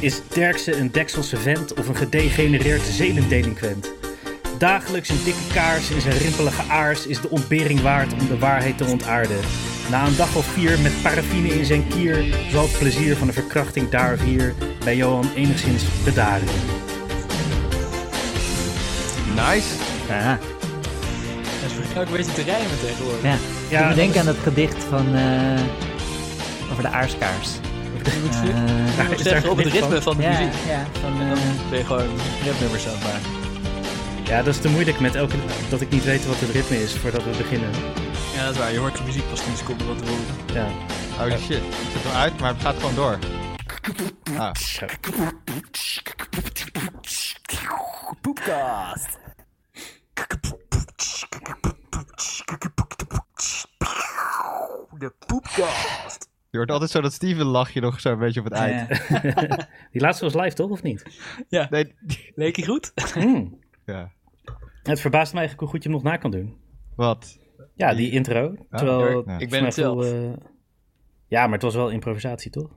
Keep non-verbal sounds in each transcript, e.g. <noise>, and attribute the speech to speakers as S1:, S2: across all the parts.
S1: Is Derksen een Dekselse vent of een gedegenereerd zedendelinquent? Dagelijks een dikke kaars in zijn rimpelige aars is de ontbering waard om de waarheid te ontaarden. Na een dag of vier met paraffine in zijn kier zal het plezier van de verkrachting daar of hier bij Johan enigszins bedaren.
S2: Nice.
S3: Ja,
S4: Dat is ook een beetje te rijmen tegenwoordig.
S3: ja.
S1: Ja,
S3: ik
S1: dat
S3: moet denken
S1: is-
S3: aan dat gedicht van, eh, over de aarskaars. Eh,
S4: Je moet zeggen, op het ritme van de
S3: ja,
S4: muziek.
S3: ja, van,
S4: En dan
S3: eh,
S4: ben je gewoon rapnummers aan het maken.
S1: Ja, dat is te moeilijk met elke dat ik niet weet wat het ritme is voordat we beginnen.
S4: Ja, dat is waar. Je hoort de muziek pas 10 seconden van tevoren.
S1: Ja.
S2: Holy Oh, shit. Ik zet hem uit, maar het gaat gewoon door. Ah,
S1: Zo.
S2: je hoort altijd zo dat Steven lachje nog zo'n beetje op het eind.
S3: ja.
S1: Die laatste was live toch, of niet?
S4: Ja,
S2: Nee,
S4: leek je goed?
S1: Hmm.
S2: ja.
S1: Het verbaast me eigenlijk hoe goed je hem nog na kan doen.
S2: Wat?
S1: Ja, die intro. Terwijl
S2: ja.
S1: voor
S4: Ik ben
S1: mij
S4: het zelf.
S1: veel, eh, ja, maar het was wel improvisatie, toch?
S4: <laughs>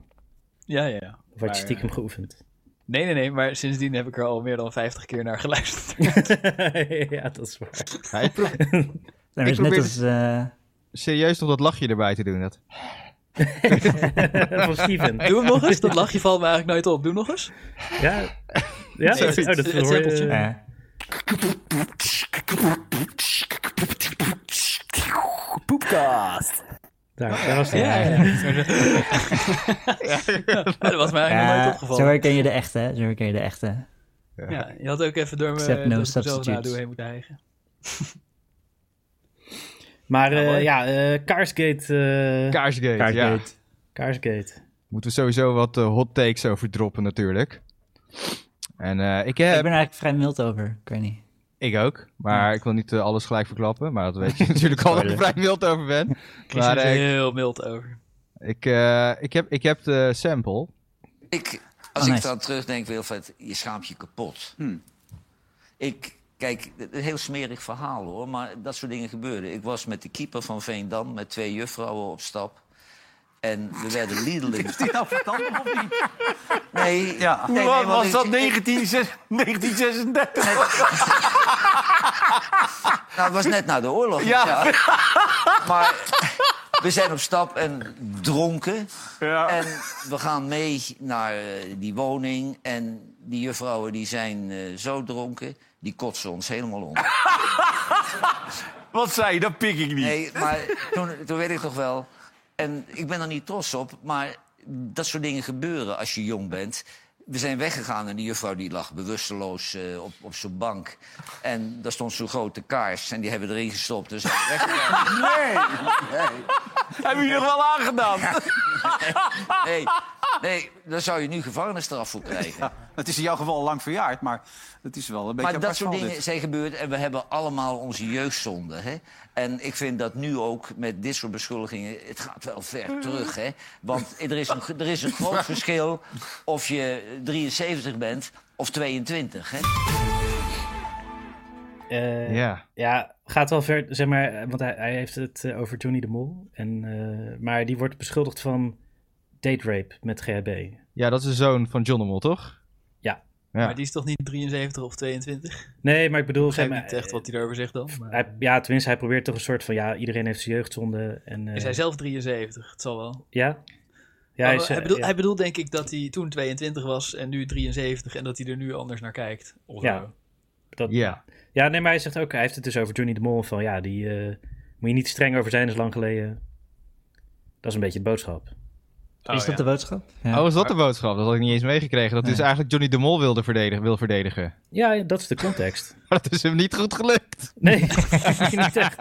S4: Ja, ja, ja.
S1: Of had
S4: Maar,
S1: je stiekem geoefend?
S4: Nee, nee, nee. Maar sindsdien heb ik er al meer dan 50 keer naar geluisterd.
S1: <laughs> ja, dat is <laughs> waar.
S2: Ja, ik probeer
S3: nou, is net
S2: probeer
S3: als... eh,
S2: serieus nog dat lachje erbij te doen. Dat.
S1: Van Steven.
S4: <laughs> Doe hem nog eens. Dat lachje valt me eigenlijk nooit op. Doe hem nog eens.
S1: Ja, ja?
S4: Nee, het-
S1: oh, dat
S4: het
S1: hoor je-
S4: simpeltje.
S3: ja.
S1: Daar, daar was het.
S4: Ja, ja. <laughs> dat was mij eigenlijk nog nooit
S3: Ja, zo
S4: opgevallen.
S3: herken je de echte, hè? zo herken je de echte.
S4: Ja, je had ook even door me
S3: Except no
S4: door mezelf
S3: substitutes.
S4: nadoen heen moeten hijgen.
S1: Maar
S4: Ja,
S1: eh,
S4: mooi.
S1: ja, eh Kaarsgate. eh,
S2: Kaarsgate, ja.
S3: Kaartgate.
S1: Kaarsgate.
S2: Moeten we sowieso wat eh, hot takes over droppen natuurlijk. En eh, ik heb...
S3: Ik ben er eigenlijk vrij mild over, ik weet niet.
S2: Ik ook, maar ik wil niet eh, alles gelijk verklappen. Maar dat weet
S3: <laughs>
S2: je natuurlijk al dat ik vrij mild over ben.
S4: Chris
S2: Maar
S4: is er
S2: eh,
S4: heel mild over.
S2: ik, eh, ik, heb, ik heb de sample.
S5: Ik, als
S3: Oh,
S5: ik
S3: nice.
S5: dan terugdenk, Wilfred, je schaamt je kapot. Ik, kijk, het is een heel smerig verhaal hoor, maar dat soort dingen gebeuren. Ik was met de keeper van Veendam met twee juffrouwen op stap. En we werden liedeling. Is die nou verstandig of niet? Nee. Ja. nee, nee, want ik-
S6: 1936?
S5: Nou, het was net na de oorlog.
S6: Ja.
S5: ja. Maar we zijn op stap en dronken.
S6: Ja.
S5: En we gaan mee naar eh, die woning. En die juffrouwen die zijn eh, zo dronken, die kotsen ons helemaal om.
S6: <laughs> Wat zei je? Dat pik ik niet.
S5: Nee, maar toen, toen weet ik nog wel. En ik ben er niet trots op, maar dat soort dingen gebeuren als je jong bent. We zijn weggegaan en die juffrouw die lag bewusteloos eh, op, op zijn bank. En daar stond zo'n grote kaars en die hebben erin gestopt. Dus zijn we weggegaan.
S6: Hebben jullie nog wel aangedaan? <laughs>
S5: nee, nee, daar zou je nu gevangenisstraf voor krijgen.
S7: Het is in jouw geval al lang verjaard, maar het is wel een beetje
S5: Maar dat
S7: apart
S5: soort
S7: verhaal,
S5: dingen zijn gebeurd en we hebben allemaal onze jeugdzonden. Hè? En ik vind dat nu ook met dit soort beschuldigingen, het gaat wel ver terug. Hè? Want er is, een, er is een
S6: <laughs>
S5: groot verschil of je 73 bent of 22. Hè?
S1: Eh,
S2: Ja.
S1: Ja, gaat wel ver, zeg maar, eh, want hij, hij heeft het eh, over Johnny de Mol. En, eh, maar die wordt beschuldigd van date rape met GHB.
S2: Ja, dat is de zoon van John de Mol, toch?
S1: Ja.
S2: Ja.
S4: Maar die is toch niet 73 of 22? Ik
S1: Nee, maar ik bedoel, zeg
S4: begrijp
S1: maar,
S4: niet echt wat hij daarover zegt dan. maar-
S1: hij, ja, tenminste, hij probeert toch een soort van, ja, iedereen heeft zijn jeugdzonde. En, eh,
S4: Is hij zelf 73? Het zal wel.
S1: Ja? Ja,
S4: Maar
S1: hij
S4: hij,
S1: is, eh,
S4: bedoelt,
S1: ja.
S4: hij bedoelt denk ik dat hij toen 22 was en nu 73 en dat hij er nu anders naar kijkt. Of
S1: Ja.
S4: zo.
S1: Dat-
S2: Ja.
S1: ja, nee, maar hij zegt ook, hij heeft het dus over Johnny de Mol. Van ja, die eh, moet je niet streng over zijn, is lang geleden. Dat is een beetje de boodschap.
S4: Oh,
S3: is dat de
S4: ja.
S3: boodschap? Ja.
S2: Oh, is dat de boodschap? Dat had ik niet eens meegekregen. Dat hij dus eigenlijk Johnny de Mol wilde verdedigen, wil verdedigen. <laughs>
S1: Ja, ja, dat is de context.
S2: Maar dat is hem niet goed gelukt.
S1: <laughs> Nee, <laughs> niet echt.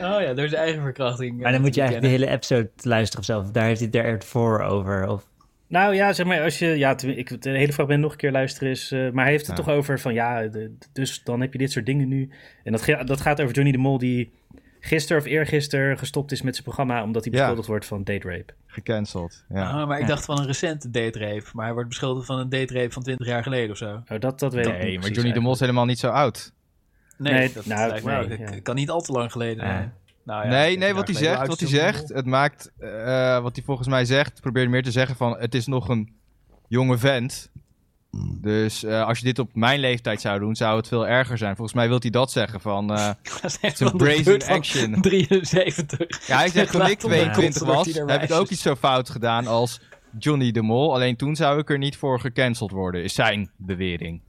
S4: Oh ja, door zijn eigen verkrachting.
S3: Maar dan moet je
S4: eh, te
S3: eigenlijk de hele episode luisteren of zo. of Daar heeft hij het er voor over. Of,
S1: Nou ja, zeg maar, als je. Ja, tenmin- ik, de hele fragment nog een keer luisteren is. eh, maar hij heeft het toch over van ja, de- dus dan heb je dit soort dingen nu. En dat, ge- dat gaat over Johnny de Mol, die gisteren of eergisteren gestopt is met zijn programma. omdat hij
S2: Ja.
S1: beschuldigd wordt van date rape.
S2: Gecanceld.
S4: kennen.
S2: Ja.
S4: Oh, maar ik dacht van een recente date rape. Maar hij wordt beschuldigd van een date rape van 20 jaar geleden of zo.
S1: Nou, dat, dat weet ik.
S2: Nee,
S1: niet
S2: maar
S1: precies
S2: Johnny de Mol is helemaal niet zo oud.
S4: Nee,
S1: Nee,
S4: dat
S1: nou,
S4: lijkt me
S1: nee,
S4: ook. Dat
S1: ja.
S4: kan niet al te lang geleden
S3: Ja.
S4: zijn. Nou ja, 20
S2: nee,
S4: jaar
S2: nee, wat hij
S4: geleden,
S2: zegt,
S4: hoe
S2: wat
S4: oud
S2: hij
S4: is John de
S2: zegt, het maakt, eh, wat hij volgens mij zegt, probeer meer te zeggen van, het is nog een jonge vent. Dus eh, als je dit op mijn leeftijd zou doen, zou het veel erger zijn. Volgens mij wil hij dat zeggen van... eh,
S4: Dat is
S2: een
S4: wel <laughs> de
S2: brazen
S4: beurt
S3: <laughs>
S4: van
S2: action.
S4: 73.
S2: ja, hij zegt toen
S4: Laat
S2: ik
S4: op de
S2: 22
S4: kont wordt
S2: was,
S4: hij er
S2: heb ik
S4: wijs.
S2: ook iets zo fout gedaan als Johnny de Mol. Alleen toen zou ik er niet voor gecanceld worden, is zijn bewering.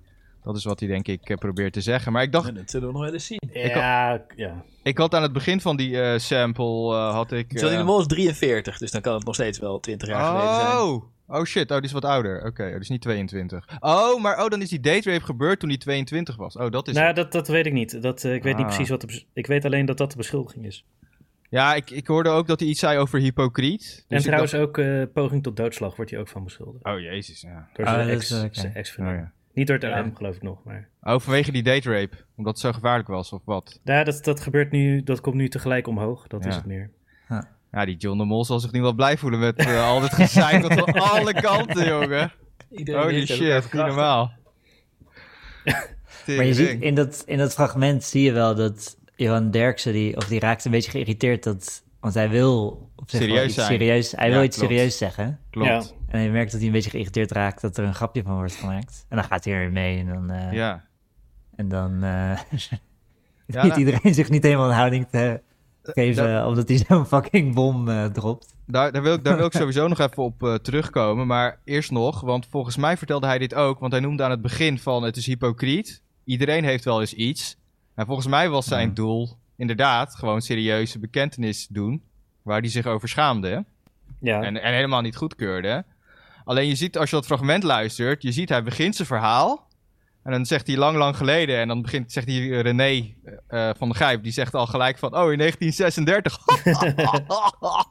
S2: Dat is wat hij denk ik eh, probeert te zeggen. Maar ik dacht,
S4: En dat zullen we nog wel eens zien.
S1: Ja, ja.
S2: ik had aan het begin van die eh, sample, eh, had ik... eh,
S4: Johnny de Mol is 43, dus dan kan het nog steeds wel 20 jaar geleden zijn.
S2: Oh, oh shit, oh, die is wat ouder. Oké, oh, die is niet 22. Oh, maar oh, dan is die date rape gebeurd toen hij 22 was. Oh, dat is...
S1: Nou, dat, dat weet ik niet. Dat, eh, ik weet niet
S2: Ah. Dus
S1: precies wat de bes- Ik weet alleen dat dat de beschuldiging is.
S2: Ja, ik, ik hoorde ook dat hij iets zei over hypocriet. Dus
S1: en
S2: ik
S1: trouwens ook eh, poging tot doodslag wordt hij ook van beschuldigd.
S2: dacht- Oh, jezus, ja.
S1: Door
S3: Ah,
S1: zijn
S3: dat
S1: ex,
S3: is wel oké.
S1: zijn ex-vriendin.
S2: Oh, ja.
S1: Niet door het RM, geloof ik nog. Maar...
S2: Oh, vanwege die date rape. Omdat het zo gevaarlijk was, of wat?
S1: Ja, dat, dat gebeurt nu. Dat komt nu tegelijk omhoog. Dat is
S2: Ja.
S1: het meer.
S2: Ja, die John de Mol zal zich nu wel blij voelen met eh, al dit gezeik dat van alle kanten, jongen.
S4: Iedereen
S2: Holy
S4: heeft elkaar
S2: shit, niet
S4: verkracht.
S2: normaal.
S3: Maar je ziet
S2: Tering.
S3: in dat, in dat fragment zie je wel dat Johan Derksen, die, of die raakt een beetje geïrriteerd dat, want hij wil op zich wel
S2: Serieus
S3: iets
S2: zijn.
S3: serieus, hij
S2: Ja,
S3: wil iets
S2: klopt.
S3: serieus zeggen.
S2: Klopt.
S3: En je merkt dat hij een beetje geïrriteerd raakt dat er een grapje van wordt gemaakt. En dan gaat hij er mee en dan, eh,
S2: Ja.
S3: en dan eh <laughs>
S2: Ja,
S3: weet
S2: nou- Eh,
S3: iedereen zich niet helemaal een houding te geven omdat hij zo'n fucking bom eh, dropt.
S2: Daar, daar, wil ik, daar wil ik sowieso nog even op eh, terugkomen. Maar eerst nog, want volgens mij vertelde hij dit ook. Want hij noemde aan het begin van het is hypocriet. Iedereen heeft wel eens iets. En volgens mij was zijn doel inderdaad gewoon serieuze bekentenis doen. Waar hij zich over schaamde. hè?
S1: Ja,
S2: En, en helemaal niet goedkeurde. hè? Alleen je ziet, als je dat fragment luistert, je ziet hij begint zijn verhaal. En dan zegt hij lang, lang geleden. En dan begint, zegt hij eh, René eh, van de Gijp. Die zegt al gelijk van, oh in 1936.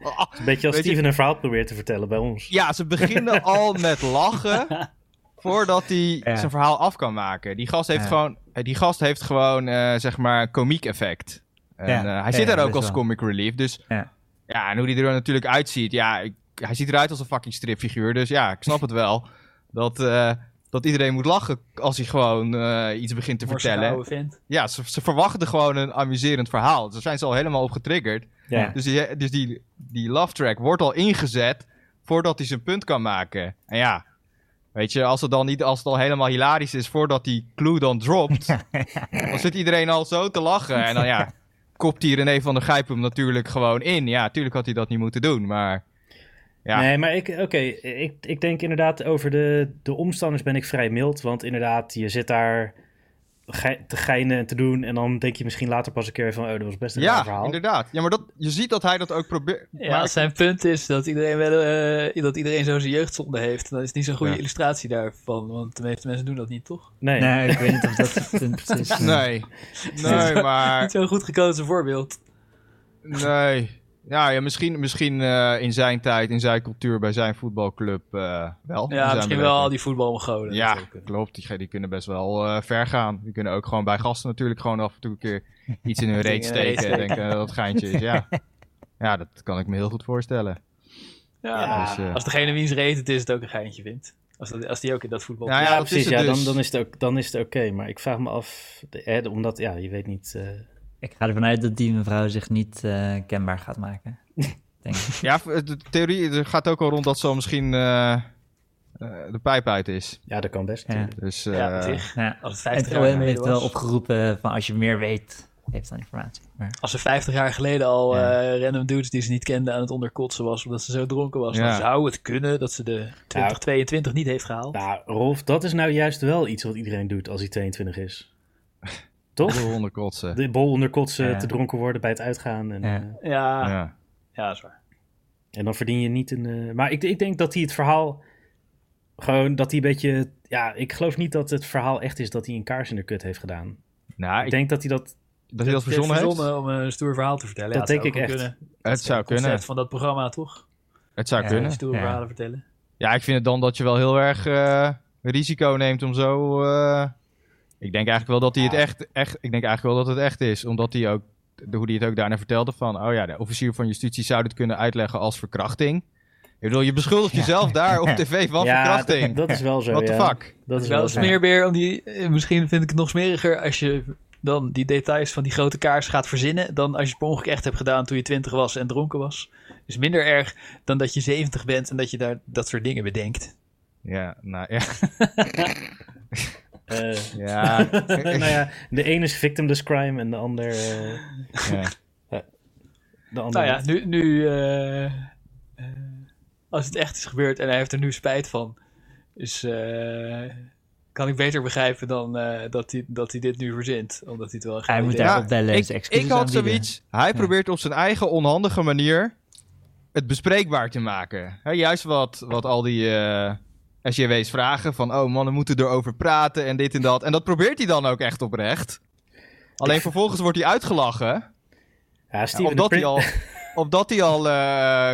S2: <laughs>
S1: het is een beetje als
S2: weet je-
S1: Steven een verhaal probeert te vertellen bij ons.
S2: Ja, ze
S3: <laughs>
S2: beginnen al met lachen. Voordat hij
S3: Ja.
S2: zijn verhaal af kan maken. Die gast heeft
S3: Ja.
S2: gewoon, eh, die gast heeft gewoon eh, zeg maar, een komiek effect. En,
S3: Ja.
S2: eh, hij
S3: Ja,
S2: zit
S3: ja,
S2: daar ook
S3: best
S2: als
S3: wel.
S2: comic relief. Dus ja.
S3: Ja.
S2: en hoe hij er natuurlijk uitziet. Ja, ik- hij ziet eruit als een fucking stripfiguur. Dus ja, ik snap het wel. Dat, eh, dat iedereen moet lachen als hij gewoon eh, iets begint te
S4: Morsige
S2: vertellen.
S4: oude vent.
S2: Ja, ze, ze verwachten gewoon een amuserend verhaal. Daar zijn ze al helemaal op getriggerd.
S1: Ja.
S2: Dus, die, dus die, die love track wordt al ingezet voordat hij zijn punt kan maken. En ja, weet je, als het dan niet, als het al helemaal hilarisch is voordat die clue dan dropt, dan zit iedereen al zo te lachen. En dan ja, kopt hij René van der Gijp hem natuurlijk gewoon in. Ja, tuurlijk had hij dat niet moeten doen, maar Ja.
S1: Nee, maar ik, oké, ik, ik denk inderdaad over de, de omstanders ben ik vrij mild. Want inderdaad, je zit daar ge- te geinen en te doen. En dan denk je misschien later pas een keer van, oh, dat was best een raar
S2: ja,
S1: verhaal.
S2: inderdaad. Ja, maar dat, je ziet dat hij dat ook probeert.
S4: Ja,
S2: maar
S4: als zijn punt is dat iedereen, wel, eh, dat iedereen zo zijn jeugdzonde heeft, dan is het niet zo'n goede
S2: Ja.
S4: illustratie daarvan. Want de meeste mensen doen dat niet, toch?
S1: Nee,
S3: Nou, ik weet niet of dat het punt precies eh, is.
S2: nee, nee, maar
S4: Niet zo'n goed gekozen voorbeeld.
S2: nee. Ja, ja misschien, misschien eh, in zijn tijd, in zijn cultuur, bij zijn voetbalclub eh, wel. In
S4: Ja,
S2: zijn
S4: misschien wel
S2: beleving.
S4: al die voetbalmogolen.
S2: Ja,
S4: natuurlijk.
S2: klopt. Die, die kunnen best wel eh, ver gaan. Die kunnen ook gewoon bij gasten natuurlijk gewoon af en toe een keer iets in hun reet
S4: Dingen in hun reet
S2: steken. En denken eh, dat het geintje is, ja. Ja, dat kan ik me heel goed voorstellen.
S4: Ja,
S2: Dus, eh,
S4: Als degene wiens reet het is, het ook een geintje vindt. Als, dat, als die ook in dat voetbal...
S2: Nou ja,
S1: ja,
S2: dat is
S1: precies.
S2: het
S1: ja,
S2: dus.
S1: dan, dan is het ook- dan is het oké. maar ik vraag me af, de- eh, omdat, ja, je weet niet. eh,
S3: Ik ga ervan uit dat die mevrouw zich niet eh, kenbaar gaat maken. Denk ik.
S2: Ja, de theorie er gaat ook al rond dat ze al misschien eh, eh, de pijp uit is.
S1: ja, dat kan best.
S3: Ja.
S1: natuurlijk.
S2: Dus,
S4: Ja,
S2: eh,
S4: op zich.
S3: Ja.
S4: Als het
S3: En het
S4: 50 jaar
S3: OM
S4: geleden
S3: heeft wel
S4: was.
S3: opgeroepen van als je meer weet, geef dan informatie. Maar,
S4: Als ze 50 jaar geleden al
S3: Ja.
S4: eh, random dudes die ze niet kenden aan het onderkotsen was, omdat ze zo dronken was,
S2: Ja.
S4: dan zou het kunnen dat ze de 2022 niet heeft gehaald.
S1: Nou, Rolf, dat is nou juist wel iets wat iedereen doet als hij 22 is.
S2: <laughs> de
S1: Toch?
S2: honden kotsen.
S1: De bol onder kotsen,
S3: Ja.
S1: te dronken worden bij het uitgaan. En,
S3: Ja.
S1: eh,
S4: Ja, ja.
S2: Ja.
S4: dat is waar.
S1: En dan verdien je niet een. eh, maar ik, ik denk dat hij het verhaal. Gewoon dat hij een beetje. Ja, ik geloof niet dat het verhaal echt is dat hij een kaars in de kut heeft gedaan.
S2: Nou,
S1: ik
S2: ik,
S1: denk dat hij dat.
S2: dat hij dat
S4: Het is
S2: verzonnen heeft.
S4: verzonnen om een stoer verhaal te vertellen.
S1: Dat
S4: Ja, het
S1: denk
S4: zou
S1: ik
S4: ook
S1: echt.
S4: wel
S2: Het zou
S4: Kunnen.
S2: kunnen.
S4: Concept van dat programma, toch?
S2: Het zou
S3: Ja.
S2: kunnen.
S4: Stoere
S3: Ja.
S4: verhalen vertellen.
S2: Ja, ik vind het dan dat je wel heel erg eh, risico neemt om zo. eh, ik denk eigenlijk wel dat hij het echt, echt. Ik denk eigenlijk wel dat het echt is. Omdat hij ook. De, hoe hij het ook daarna vertelde van. Oh ja, de officier van justitie zou dit kunnen uitleggen als verkrachting. Ik bedoel, je beschuldigt jezelf
S1: <laughs>
S2: daar op tv van
S1: ja,
S2: verkrachting.
S1: Dat, dat is wel zo.
S2: What the
S1: ja.
S2: fuck?
S1: Dat
S4: Het
S1: is
S4: is wel
S1: wel
S4: een
S1: zo.
S4: smeerbeer om die... eh, Misschien vind ik het nog smeriger als je dan die details van die grote kaars gaat verzinnen... dan als je het per ongeluk echt hebt gedaan toen je 20 was en dronken was. Is minder erg dan dat je 70 bent en dat je daar dat soort dingen bedenkt.
S2: Ja, nou ja.
S1: Eh, <laughs>
S2: ja,
S1: nou ja, de ene is victimless crime en de ander... eh,
S2: <laughs> ja.
S1: de ander
S4: Nou ja,
S1: niet.
S4: nu. nu eh, eh, als het echt is gebeurd en hij heeft er nu spijt van. Dus. eh, kan ik beter begrijpen dan eh, dat, hij, dat hij dit nu verzint. Omdat hij het wel een
S3: Hij
S4: gaaf
S3: moet
S4: idee
S3: daar
S4: had.
S2: Ja,
S3: opbellen en
S2: ik,
S3: zijn excuses
S2: ik had
S3: aanbieden.
S2: zoiets. Hij probeert op zijn eigen onhandige manier het bespreekbaar te maken. Hè, juist wat, wat al die eh SJW's vragen van, oh mannen moeten erover praten en dit en dat. En dat probeert hij dan ook echt oprecht. Alleen vervolgens wordt hij uitgelachen,
S1: Ja,
S2: ja,
S1: Steven de
S2: omdat hij
S1: Prin-
S2: al, omdat hij al eh,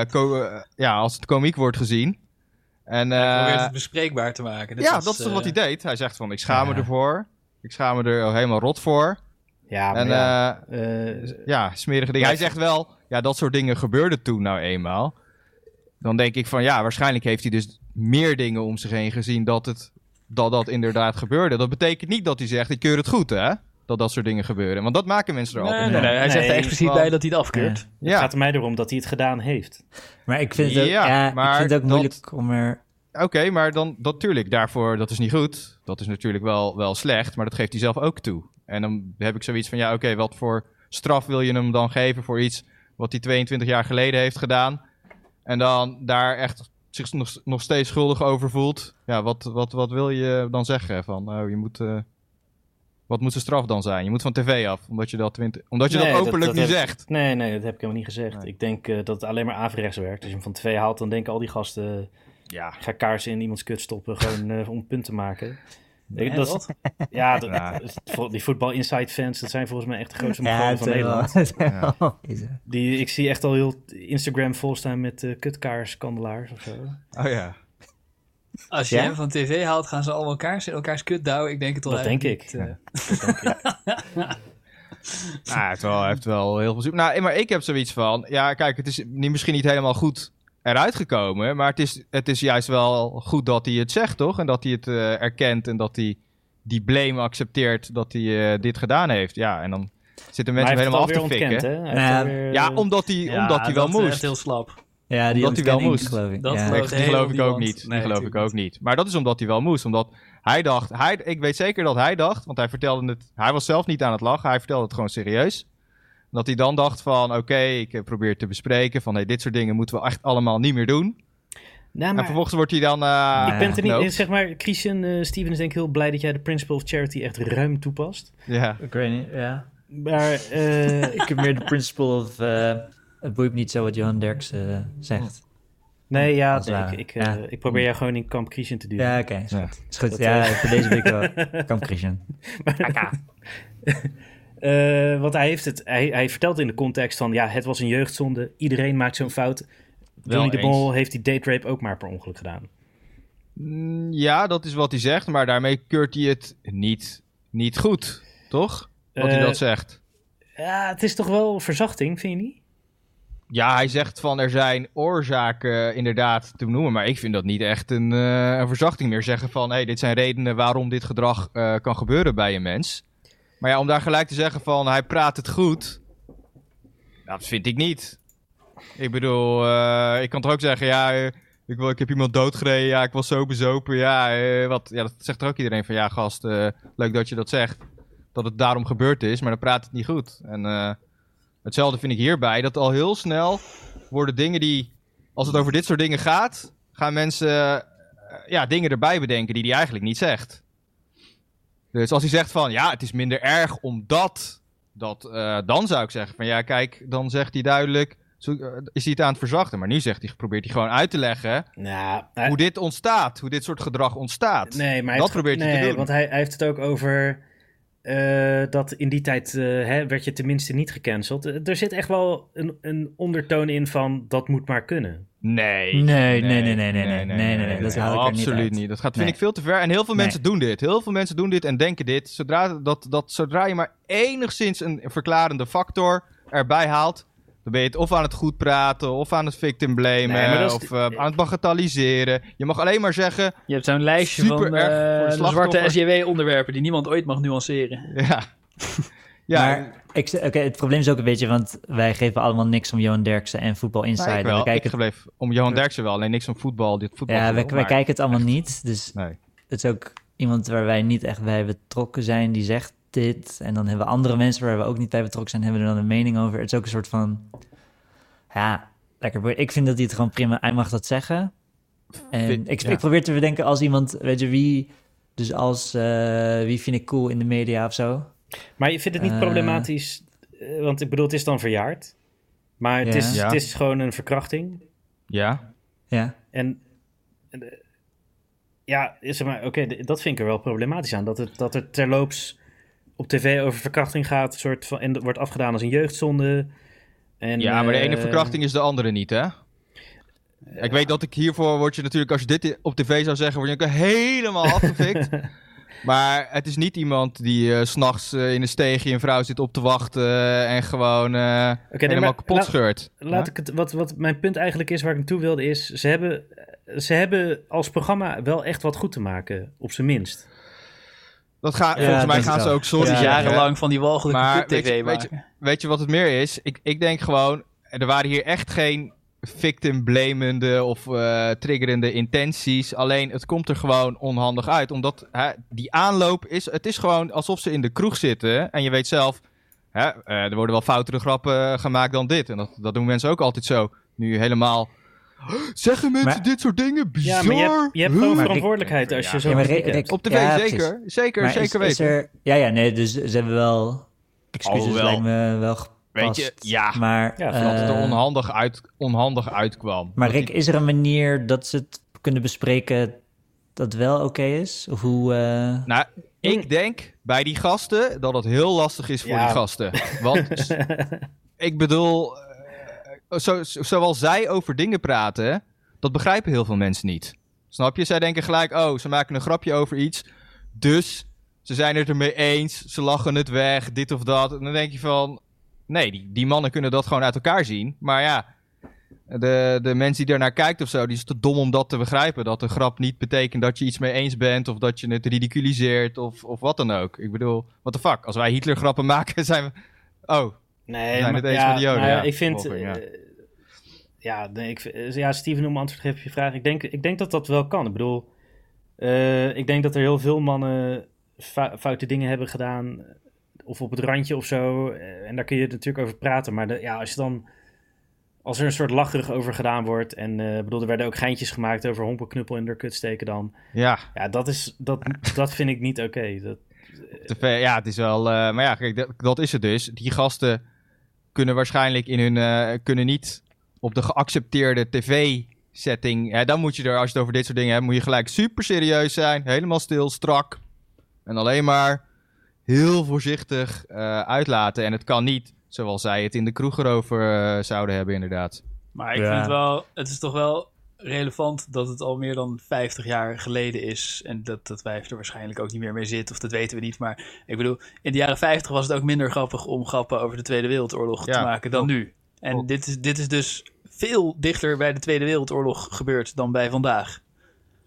S2: eh, co- eh, ja, als het komiek wordt gezien. En,
S4: Hij probeert
S2: eh,
S4: het bespreekbaar te maken. Net
S2: ja,
S4: als,
S2: dat is toch
S4: eh,
S2: wat hij deed. Hij zegt van, ik schaam me
S1: ja.
S2: ervoor. Ik schaam me er helemaal rot voor.
S1: Ja, maar
S2: en
S1: ja.
S2: eh,
S1: Eh,
S2: ja, smerige dingen. Hij zegt wel, ja, dat soort dingen gebeurden toen nou eenmaal. Dan denk ik van, ja, waarschijnlijk heeft hij dus meer dingen om zich heen gezien dat het, dat, dat inderdaad gebeurde. Dat betekent niet dat hij zegt, ik keur het goed, hè? Dat dat soort dingen gebeuren. Want dat maken mensen er
S4: Nee,
S2: altijd
S4: nee,
S2: van.
S4: nee, hij zegt er
S1: Nee,
S4: expliciet
S2: want-
S4: bij dat hij het afkeurt.
S1: Het
S2: Ja,
S1: gaat er mij erom dat hij het gedaan heeft.
S3: Maar ik vind het ook,
S2: Ja,
S3: ja,
S2: maar
S3: ik vind het ook
S2: dat-
S3: moeilijk om er...
S2: oké, maar dan, dat tuurlijk, daarvoor, dat is niet goed. Dat is natuurlijk wel, wel slecht, maar dat geeft hij zelf ook toe. En dan heb ik zoiets van, ja, oké, wat voor straf wil je hem dan geven voor iets wat hij 22 jaar geleden heeft gedaan? En dan daar echt zich nog, nog steeds schuldig over voelt. Ja, wat, wat, wat wil je dan zeggen? Van, oh, je moet, eh, wat moet zijn straf dan zijn? Je moet van tv af, omdat je dat, 20, omdat je
S1: Nee,
S2: dat
S1: dat-
S2: openlijk
S1: dat
S2: niet
S1: heb-
S2: zegt.
S1: Nee, nee, dat heb ik helemaal niet gezegd. Ik denk eh, dat het alleen maar averechts werkt. Als je hem van twee haalt, dan denken al die gasten...
S2: Ja,
S1: ga kaarsen in iemands kut stoppen, gewoon eh, om punt te maken. Ik-
S4: Ja,
S1: dat,
S4: wat?
S1: <laughs> Ja, dat-
S2: Ja.
S1: dat- voor- die voetbal inside fans, dat zijn volgens mij echt de grootste
S3: Ja,
S1: mogolen
S3: het eh,
S1: van
S3: zijn wel- <laughs>
S1: Nederland.
S3: het zijn wel deze.
S1: Die, ik zie echt al heel Instagram vol staan met eh kutkaarskandelaars of zo.
S2: oh ja.
S4: Als je
S3: Ja?
S4: hem van tv haalt, gaan ze allemaal elkaars in elkaars kut douwen. Ik denk het al.
S1: Dat denk
S3: eh,
S1: ik. <laughs>
S2: Nou, hij heeft wel, hij heeft wel heel veel zoek. Nou, maar ik heb zoiets van... Ja, kijk, het is niet, misschien niet helemaal goed eruit gekomen... maar het is, het is juist wel goed dat hij het zegt, toch? En dat hij het eh, erkent en dat hij die blame accepteert dat hij eh, dit gedaan heeft. Ja, en dan zitten
S1: Maar
S2: mensen
S1: hij
S2: hem
S1: heeft het
S2: helemaal af
S1: alweer
S2: te fikken.
S1: ontkend, hè? Hij heeft
S3: Ja.
S1: alweer, eh,
S2: Ja, omdat hij, omdat hij wel
S4: dat, eh,
S2: moest.
S4: heel slap.
S3: Ja, die
S2: Omdat hij wel
S3: ontkenning,
S2: moest.
S3: geloof ik.
S4: Dat
S3: ja.
S4: geloof
S2: Nee,
S4: ik.
S2: die geloof ik
S4: helemaal
S2: ook
S4: niemand.
S2: niet.
S4: Nee,
S2: die geloof ik
S4: natuurlijk
S2: ook niet. Maar dat is omdat hij wel moest. Omdat hij dacht... Hij, ik weet zeker dat hij dacht... Want hij vertelde het... Hij was zelf niet aan het lachen. Hij vertelde het gewoon serieus. Dat hij dan dacht van... Oké, ik eh, probeer het te bespreken. Van hey, dit soort dingen moeten we echt allemaal niet meer doen.
S1: Nou,
S2: en
S1: maar
S2: vervolgens wordt hij dan... eh,
S3: Ik
S1: ik ben het er niet...
S2: geknoopt.
S1: Zeg maar, Christian, eh, Steven is denk ik heel blij dat jij de principle of charity echt ruim toepast.
S2: <laughs> Ja.
S3: Ik weet niet, ja.
S1: Maar
S3: <laughs>
S1: eh,
S3: Ik heb meer de principle of... eh, het boeit me niet zo wat Johan Derks eh, zegt.
S1: nee, ja,
S3: Dat is
S1: nee,
S3: waar.
S1: ik, ik, eh,
S3: Ja.
S1: ik probeer jou gewoon in kamp Christian te duwen.
S3: Ja, oké. is
S2: Ja.
S3: goed. Is goed. ja, voor deze week wel. <laughs> Kamp Christian.
S1: Eh, want hij, heeft het, hij, hij vertelt in de context van... ja, het was een jeugdzonde, iedereen maakt zo'n fout. Johnny de
S2: eens.
S1: Mol heeft die date rape ook maar per ongeluk gedaan.
S2: Mm, ja, dat is wat hij zegt. Maar daarmee keurt hij het niet, niet goed. Toch? Wat hij
S1: Eh,
S2: dat zegt.
S1: Ja, het is toch wel verzachting, vind je niet?
S2: Ja, hij zegt van er zijn oorzaken inderdaad te benoemen, maar ik vind dat niet echt een, eh, een verzachting meer. Zeggen van hey, dit zijn redenen waarom dit gedrag eh, kan gebeuren bij een mens. Maar ja, om daar gelijk te zeggen van hij praat het goed, dat vind ik niet. Ik bedoel, eh, ik kan toch ook zeggen, ja, eh, ik, wil- ik heb iemand doodgereden, ja, ik was zo bezopen, ja, eh, wat. Ja, dat zegt er ook iedereen van, ja, gast, eh, leuk dat je dat zegt. Dat het daarom gebeurd is, maar dan praat het niet goed. En eh, Hetzelfde vind ik hierbij, dat al heel snel worden dingen die, als het over dit soort dingen gaat, gaan mensen eh, ja, dingen erbij bedenken die hij eigenlijk niet zegt. Dus als hij zegt van, ja, het is minder erg omdat, dat, eh, dan zou ik zeggen van, ja, kijk, dan zegt hij duidelijk, zo- eh, is hij het aan het verzachten. Maar nu zegt hij, probeert hij gewoon uit te leggen
S1: Nou,
S2: hoe dit ontstaat, hoe dit soort gedrag ontstaat.
S1: nee, maar hij
S2: dat
S1: heeft-
S2: probeert hij
S1: nee,
S2: te doen.
S1: want hij, hij heeft het ook over... eh, dat in die tijd eh, hè, werd je tenminste niet gecanceld. Eh, Er zit echt wel een, een ondertoon in van dat moet maar kunnen.
S2: Nee.
S3: Nee, nee, nee, nee, nee, nee, nee, nee, nee, dat haal ik er niet
S2: Absoluut
S3: uit.
S2: niet. Dat gaat, vind
S3: Nee.
S2: ik veel te ver. En heel veel
S3: Nee.
S2: mensen doen dit. Heel veel mensen doen dit en denken dit. Zodra, dat, dat, zodra je maar enigszins een verklarende factor erbij haalt, dan ben je het of aan het goed praten, of aan het victim blamen,
S1: Nee, maar dat is-
S2: of eh, aan het bagatelliseren. Je mag alleen maar zeggen, <laughs>
S4: Je hebt zo'n lijstje
S2: Super
S4: van
S2: erg
S4: eh,
S2: voor de
S4: de zwarte
S2: slachtoffer.
S4: SJW-onderwerpen die niemand ooit mag nuanceren.
S2: ja. Ja,
S3: maar ik, oké, het probleem is ook een beetje, want wij geven allemaal niks om Johan Derksen en Voetbal Insider.
S2: ik
S3: we
S2: wel.
S3: kijken,
S2: ik gebleef om Johan Derksen wel. Nee, niks om voetbal. Dit voetbal
S3: ja, wij,
S2: gelul,
S3: wij
S2: maar-
S3: kijken het allemaal niet. Dus
S2: Nee.
S3: het is ook iemand waar wij niet echt bij betrokken zijn, die zegt dit. En dan hebben we andere mensen waar we ook niet bij betrokken zijn, hebben er dan een mening over. Het is ook een soort van, ja, lekker. boeien. Ik vind dat hij het gewoon prima, hij mag dat zeggen. En
S2: Vind-
S3: ik,
S2: ja.
S3: ik probeer te bedenken als iemand, weet je wie, dus als eh, wie vind ik cool in de media of zo.
S1: Maar je vindt het niet
S3: Eh.
S1: problematisch, eh, want ik bedoel, het is dan verjaard. Maar het,
S3: Ja.
S1: is,
S2: Ja.
S1: het is gewoon een verkrachting.
S2: Ja.
S3: Ja,
S1: En eh, ja, zeg maar, oké, d- dat vind ik er wel problematisch aan. Dat het, dat het terloops op tv over verkrachting gaat soort van, en dat wordt afgedaan als een jeugdzonde. En,
S2: ja, maar de ene
S1: eh,
S2: verkrachting is de andere niet, hè? ik weet dat ik hiervoor word je natuurlijk, als je dit i- op tv zou zeggen, word je ook helemaal
S1: <laughs>
S2: afgefikt. maar het is niet iemand die eh, s s'nachts in een steegje een vrouw zit op te wachten en gewoon eh,
S1: nee,
S2: helemaal
S1: maar
S2: kapot
S1: laat-
S2: scheurt.
S1: Laat ik het, wat, wat mijn punt eigenlijk is, waar ik naartoe wilde, is... Ze hebben, ze hebben als programma wel echt wat goed te maken, op zijn minst.
S2: Dat gaat
S3: Ja,
S2: volgens mij
S3: dat
S2: gaan
S3: is
S2: ze
S3: wel.
S2: ook sorry
S3: Ja,
S2: zeggen.
S4: jarenlang van die walgelijke
S2: Maar
S4: tv
S2: weet je, weet, je, weet je wat het meer is? Ik, ik denk gewoon, er waren hier echt geen victim-blamende of eh, triggerende intenties. Alleen het komt er gewoon onhandig uit. Omdat hè, die aanloop is, het is gewoon alsof ze in de kroeg zitten. En je weet zelf, hè, eh, er worden wel foutere grappen eh, gemaakt dan dit. En dat, dat doen mensen ook altijd zo. Nu helemaal... Zeggen mensen
S3: Maar-
S2: dit soort dingen?
S1: Ja,
S2: Bizar!
S1: maar je hebt, je hebt gewoon
S2: Huh?
S1: verantwoordelijkheid als je
S2: Ja,
S1: zo...
S3: maar
S1: kritiek
S3: Rick-
S1: hebt.
S2: Op tv
S3: Ja, precies.
S2: zeker. Zeker,
S3: Maar
S2: zeker
S3: is,
S2: weten.
S3: is er, ja, ja, nee, dus ze hebben wel excuses
S2: Alhoewel.
S3: lijkt me wel gepast.
S2: Weet je, ja.
S3: Maar,
S1: Ja,
S3: eh,
S1: vooral
S2: Dat het er onhandig, uit, onhandig uitkwam.
S3: maar
S2: Dat
S3: Rick, is er een manier dat ze het kunnen bespreken dat wel oké is? Of hoe... eh,
S2: Nou, ik denk bij die gasten dat het heel lastig is voor
S1: Ja.
S2: die gasten. Want s- ik bedoel, eh, zo, zo- zoals zij over dingen praten, dat begrijpen heel veel mensen niet. Snap je? Zij denken gelijk, oh, ze maken een grapje over iets, dus ze zijn het ermee eens, ze lachen het weg, dit of dat. En dan denk je van, nee, die, die mannen kunnen dat gewoon uit elkaar zien. Maar ja, de, de mensen die daarnaar kijkt of zo, die is te dom om dat te begrijpen. Dat een grap niet betekent dat je iets mee eens bent of dat je het ridiculiseert of, of wat dan ook. Ik bedoel, what the fuck? Als wij Hitler grappen maken, <laughs> zijn we... Oh,
S1: Nee,
S2: zijn
S1: maar,
S2: het eens
S1: ja,
S2: met Joden,
S1: nou ja,
S2: ja,
S1: ik vind... eh,
S2: vervolging,
S1: Ja,
S2: ja.
S1: nee, ik, vind- eh, ja, Steven, om antwoord te geven op je vraag. Ik denk, ik denk dat dat wel kan. Ik bedoel, eh, ik denk dat er heel veel mannen fou- foute dingen hebben gedaan. Of op het randje of zo. eh, En daar kun je natuurlijk over praten. Maar de, ja, als je dan... Als er een soort lacherig over gedaan wordt. En eh, ik bedoel, er werden ook geintjes gemaakt over hompelknuppel in de kut steken dan.
S2: ja,
S1: Ja, dat, is, dat, dat vind ik niet oké. Dat-
S2: te ver- ja, het is wel... eh, maar ja, kijk, dat, dat is het dus. Die gasten kunnen waarschijnlijk in hun... eh, kunnen niet op de geaccepteerde tv-setting... Hè, dan moet je er, als je het over dit soort dingen hebt, moet je gelijk super serieus zijn. Helemaal stil, strak. En alleen maar heel voorzichtig eh, uitlaten. En het kan niet zoals zij het in de kroeg erover eh, zouden hebben, inderdaad.
S4: Maar ik
S3: Ja.
S4: vind het wel, het is toch wel relevant dat het al meer dan 50 jaar geleden is. En dat, dat wij er waarschijnlijk ook niet meer mee zitten, of dat weten we niet. Maar ik bedoel, in de jaren 50 was het ook minder grappig om grappen over de Tweede Wereldoorlog
S2: Ja,
S4: te maken dan nu. En
S2: klopt.
S4: dit is, dit is dus veel dichter bij de Tweede Wereldoorlog gebeurd dan bij vandaag.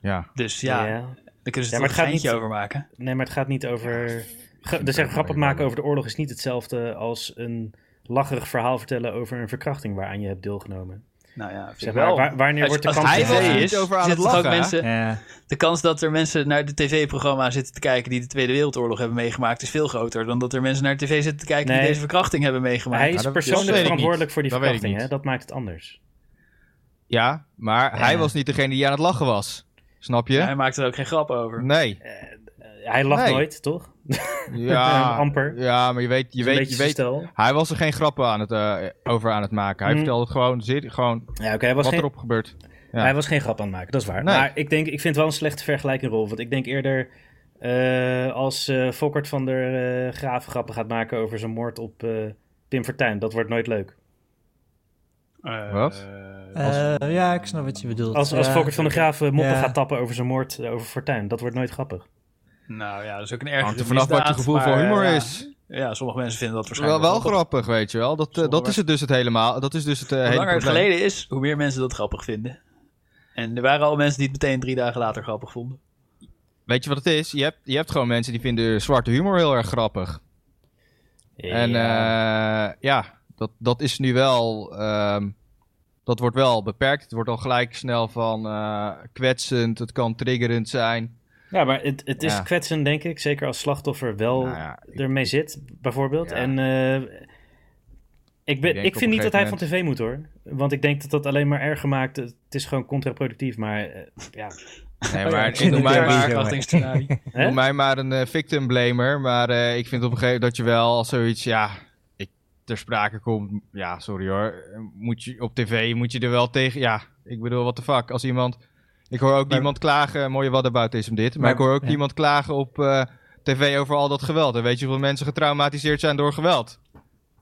S2: Ja.
S4: Dus ja,
S1: ja.
S4: daar kunnen ze
S1: Ja, maar
S4: toch
S1: het
S4: een
S1: gaat
S4: geintje
S1: niet-
S4: over maken.
S1: Nee, maar het gaat niet over. Gra- dus echt grappig maken over de oorlog is niet hetzelfde als een lacherig verhaal vertellen over een verkrachting waaraan je hebt deelgenomen.
S4: Nou ja, vind
S1: Zeg
S4: ik
S1: maar,
S4: wel.
S1: wa- wanneer
S4: Als-
S1: wordt de
S4: als
S1: kans
S4: het
S2: was
S1: gedaan?
S4: tv
S2: niet
S4: is,
S2: over aan
S4: zitten
S2: het
S4: toch ook
S2: lachen, hè?
S4: mensen,
S3: ja.
S4: De kans dat er mensen naar de tv-programma zitten te kijken die de Tweede Wereldoorlog hebben meegemaakt, is veel groter dan dat er mensen naar de tv zitten te kijken
S1: Nee.
S4: die deze verkrachting hebben meegemaakt.
S1: Hij
S2: Ja,
S1: is
S2: dat-
S1: persoonlijk
S2: dat weet ik
S1: verantwoordelijk
S2: niet.
S1: voor die
S2: Dat weet ik
S1: verkrachting, hè?
S2: niet.
S1: Dat maakt het anders.
S2: Ja, maar hij
S1: Eh.
S2: was niet degene die aan het lachen was. Snap je?
S4: Hij maakt er ook geen grap
S1: <laughs>
S4: over.
S2: Nee.
S1: Hij lacht
S2: Nee.
S1: nooit, toch?
S2: Ja,
S1: amper.
S2: Ja, maar je weet, je
S1: Een
S2: weet,
S1: beetje
S2: je
S1: zijn
S2: weet
S1: stijl.
S2: Hij was er geen grappen aan het, eh, over aan het maken. Hij
S1: Mm.
S2: vertelde het gewoon, zeer, gewoon
S1: Ja, oké, hij, was
S2: wat
S1: geen-
S2: erop gebeurt. Ja.
S1: hij was geen grap aan het maken, dat is waar.
S2: Nee.
S1: Maar ik, denk, ik vind het wel een slechte vergelijking, Rolf. Want ik denk eerder eh, als eh Fokkert van der eh, Graaf grappen gaat maken over zijn moord op eh Pim Fortuyn. Dat wordt nooit leuk.
S4: Eh,
S2: Wat?
S3: Eh, ja, ik snap wat je bedoelt.
S1: Als, als
S3: Ja.
S1: Fokkert van der Graaf eh, moppen
S3: Ja.
S1: gaat tappen over zijn moord eh, over Fortuyn, dat wordt nooit grappig.
S4: Nou ja, dat is ook een erg.
S2: Hangt er vanaf wat je gevoel voor humor is.
S4: eh, Ja, sommige mensen vinden dat
S2: Wel,
S4: waarschijnlijk
S2: wel grappig, weet je wel. Dat, eh, dat is het dus het helemaal. Dat is dus het eh,
S4: Hoe
S2: hele
S4: langer het
S2: probleem.
S4: geleden is, hoe meer mensen dat grappig vinden. En er waren al mensen die het meteen drie dagen later grappig vonden.
S2: Weet je wat het is? Je hebt, je hebt gewoon mensen die vinden zwarte humor heel erg grappig. En eh, ja, dat, dat is nu wel. ehm, dat wordt wel beperkt. Het wordt al gelijk snel van eh, kwetsend. Het kan triggerend zijn.
S1: Ja, maar het, het is
S2: Ja.
S1: kwetsend, denk ik. Zeker als slachtoffer
S4: Oh.
S1: wel
S2: Nou ja, ik-
S1: ermee zit, bijvoorbeeld.
S2: Ja.
S1: En eh, ik, ben,
S2: denk
S1: ik
S2: op een
S1: vind niet dat hij
S2: gegeven
S1: van tv moet, hoor. Want ik denk dat dat alleen maar erger maakt. Het is gewoon contraproductief, maar eh, ja.
S2: Nee,
S4: Oh ja,
S2: maar,
S4: in
S2: noem, mij
S3: inderdaad.
S2: maar, <laughs>
S4: verwachtingsscenario.
S1: Hè?
S2: noem mij maar een eh, victim blamer. Maar eh, ik vind op een gegeven moment dat je wel als zoiets. Ja, ik, ter sprake komt. Ja, sorry hoor. Moet je, op tv moet je er wel tegen. Ja, ik bedoel, what the fuck. Als iemand. Ik hoor ook niemand klagen. Mooie whataboutism dit. Maar,
S3: Maar-
S2: ik hoor ook
S3: ja.
S2: niemand klagen op eh, tv over al dat geweld. En weet je hoeveel mensen getraumatiseerd zijn door geweld?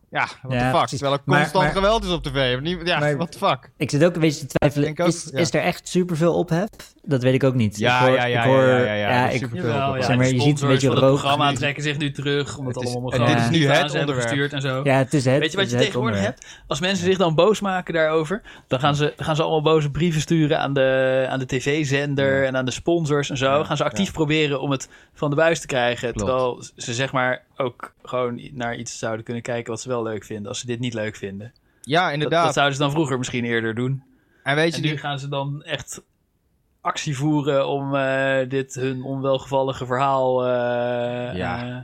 S2: Ja, what
S3: Ja,
S2: the fuck.
S3: precies.
S2: Terwijl er
S3: Maar-
S2: constant
S3: maar-
S2: geweld is op tv. Nie- Ja,
S3: Maar-
S2: what the fuck.
S3: Ik zit ook een beetje te twijfelen.
S2: Ik denk ook,
S3: is,
S2: ja.
S3: is er echt superveel ophef? Dat weet ik ook niet.
S2: Ja,
S3: ik hoor,
S2: ja, ja,
S3: ik hoor,
S2: ja, ja, ja,
S3: ja,
S2: dat is
S3: ik-
S2: superveel.
S4: Jawel, ja,
S3: Zeg maar,
S4: de
S3: je ziet een
S4: sponsors
S3: beetje
S4: van het
S3: rook.
S4: programma trekken zich nu terug, omdat
S2: Het is-
S4: allemaal
S2: en
S3: dit
S4: programma's
S3: is
S2: nu
S4: niet
S2: het
S4: aan ze hebben
S2: onderwerp.
S4: gestuurd en zo.
S3: ja, het is het.
S4: Weet je
S3: het
S4: wat
S3: is
S4: je
S3: het
S4: tegenwoordig
S3: onderwerp.
S4: hebt? Als mensen zich dan boos maken daarover, dan gaan ze, gaan ze allemaal boze brieven sturen aan de, aan de tv-zender en aan de sponsors en zo. gaan ze actief proberen om het van de buis te krijgen.
S2: Klopt.
S4: Terwijl ze zeg maar ook gewoon naar iets zouden kunnen kijken wat ze wel leuk vinden, als ze dit niet leuk vinden.
S2: Ja,
S4: Dat,
S2: inderdaad.
S4: dat zouden ze dan vroeger misschien eerder doen.
S2: En weet je,
S4: En
S2: die-
S4: nu gaan ze dan echt actie voeren om eh, dit hun onwelgevallige verhaal eh,
S2: Ja.
S4: eh,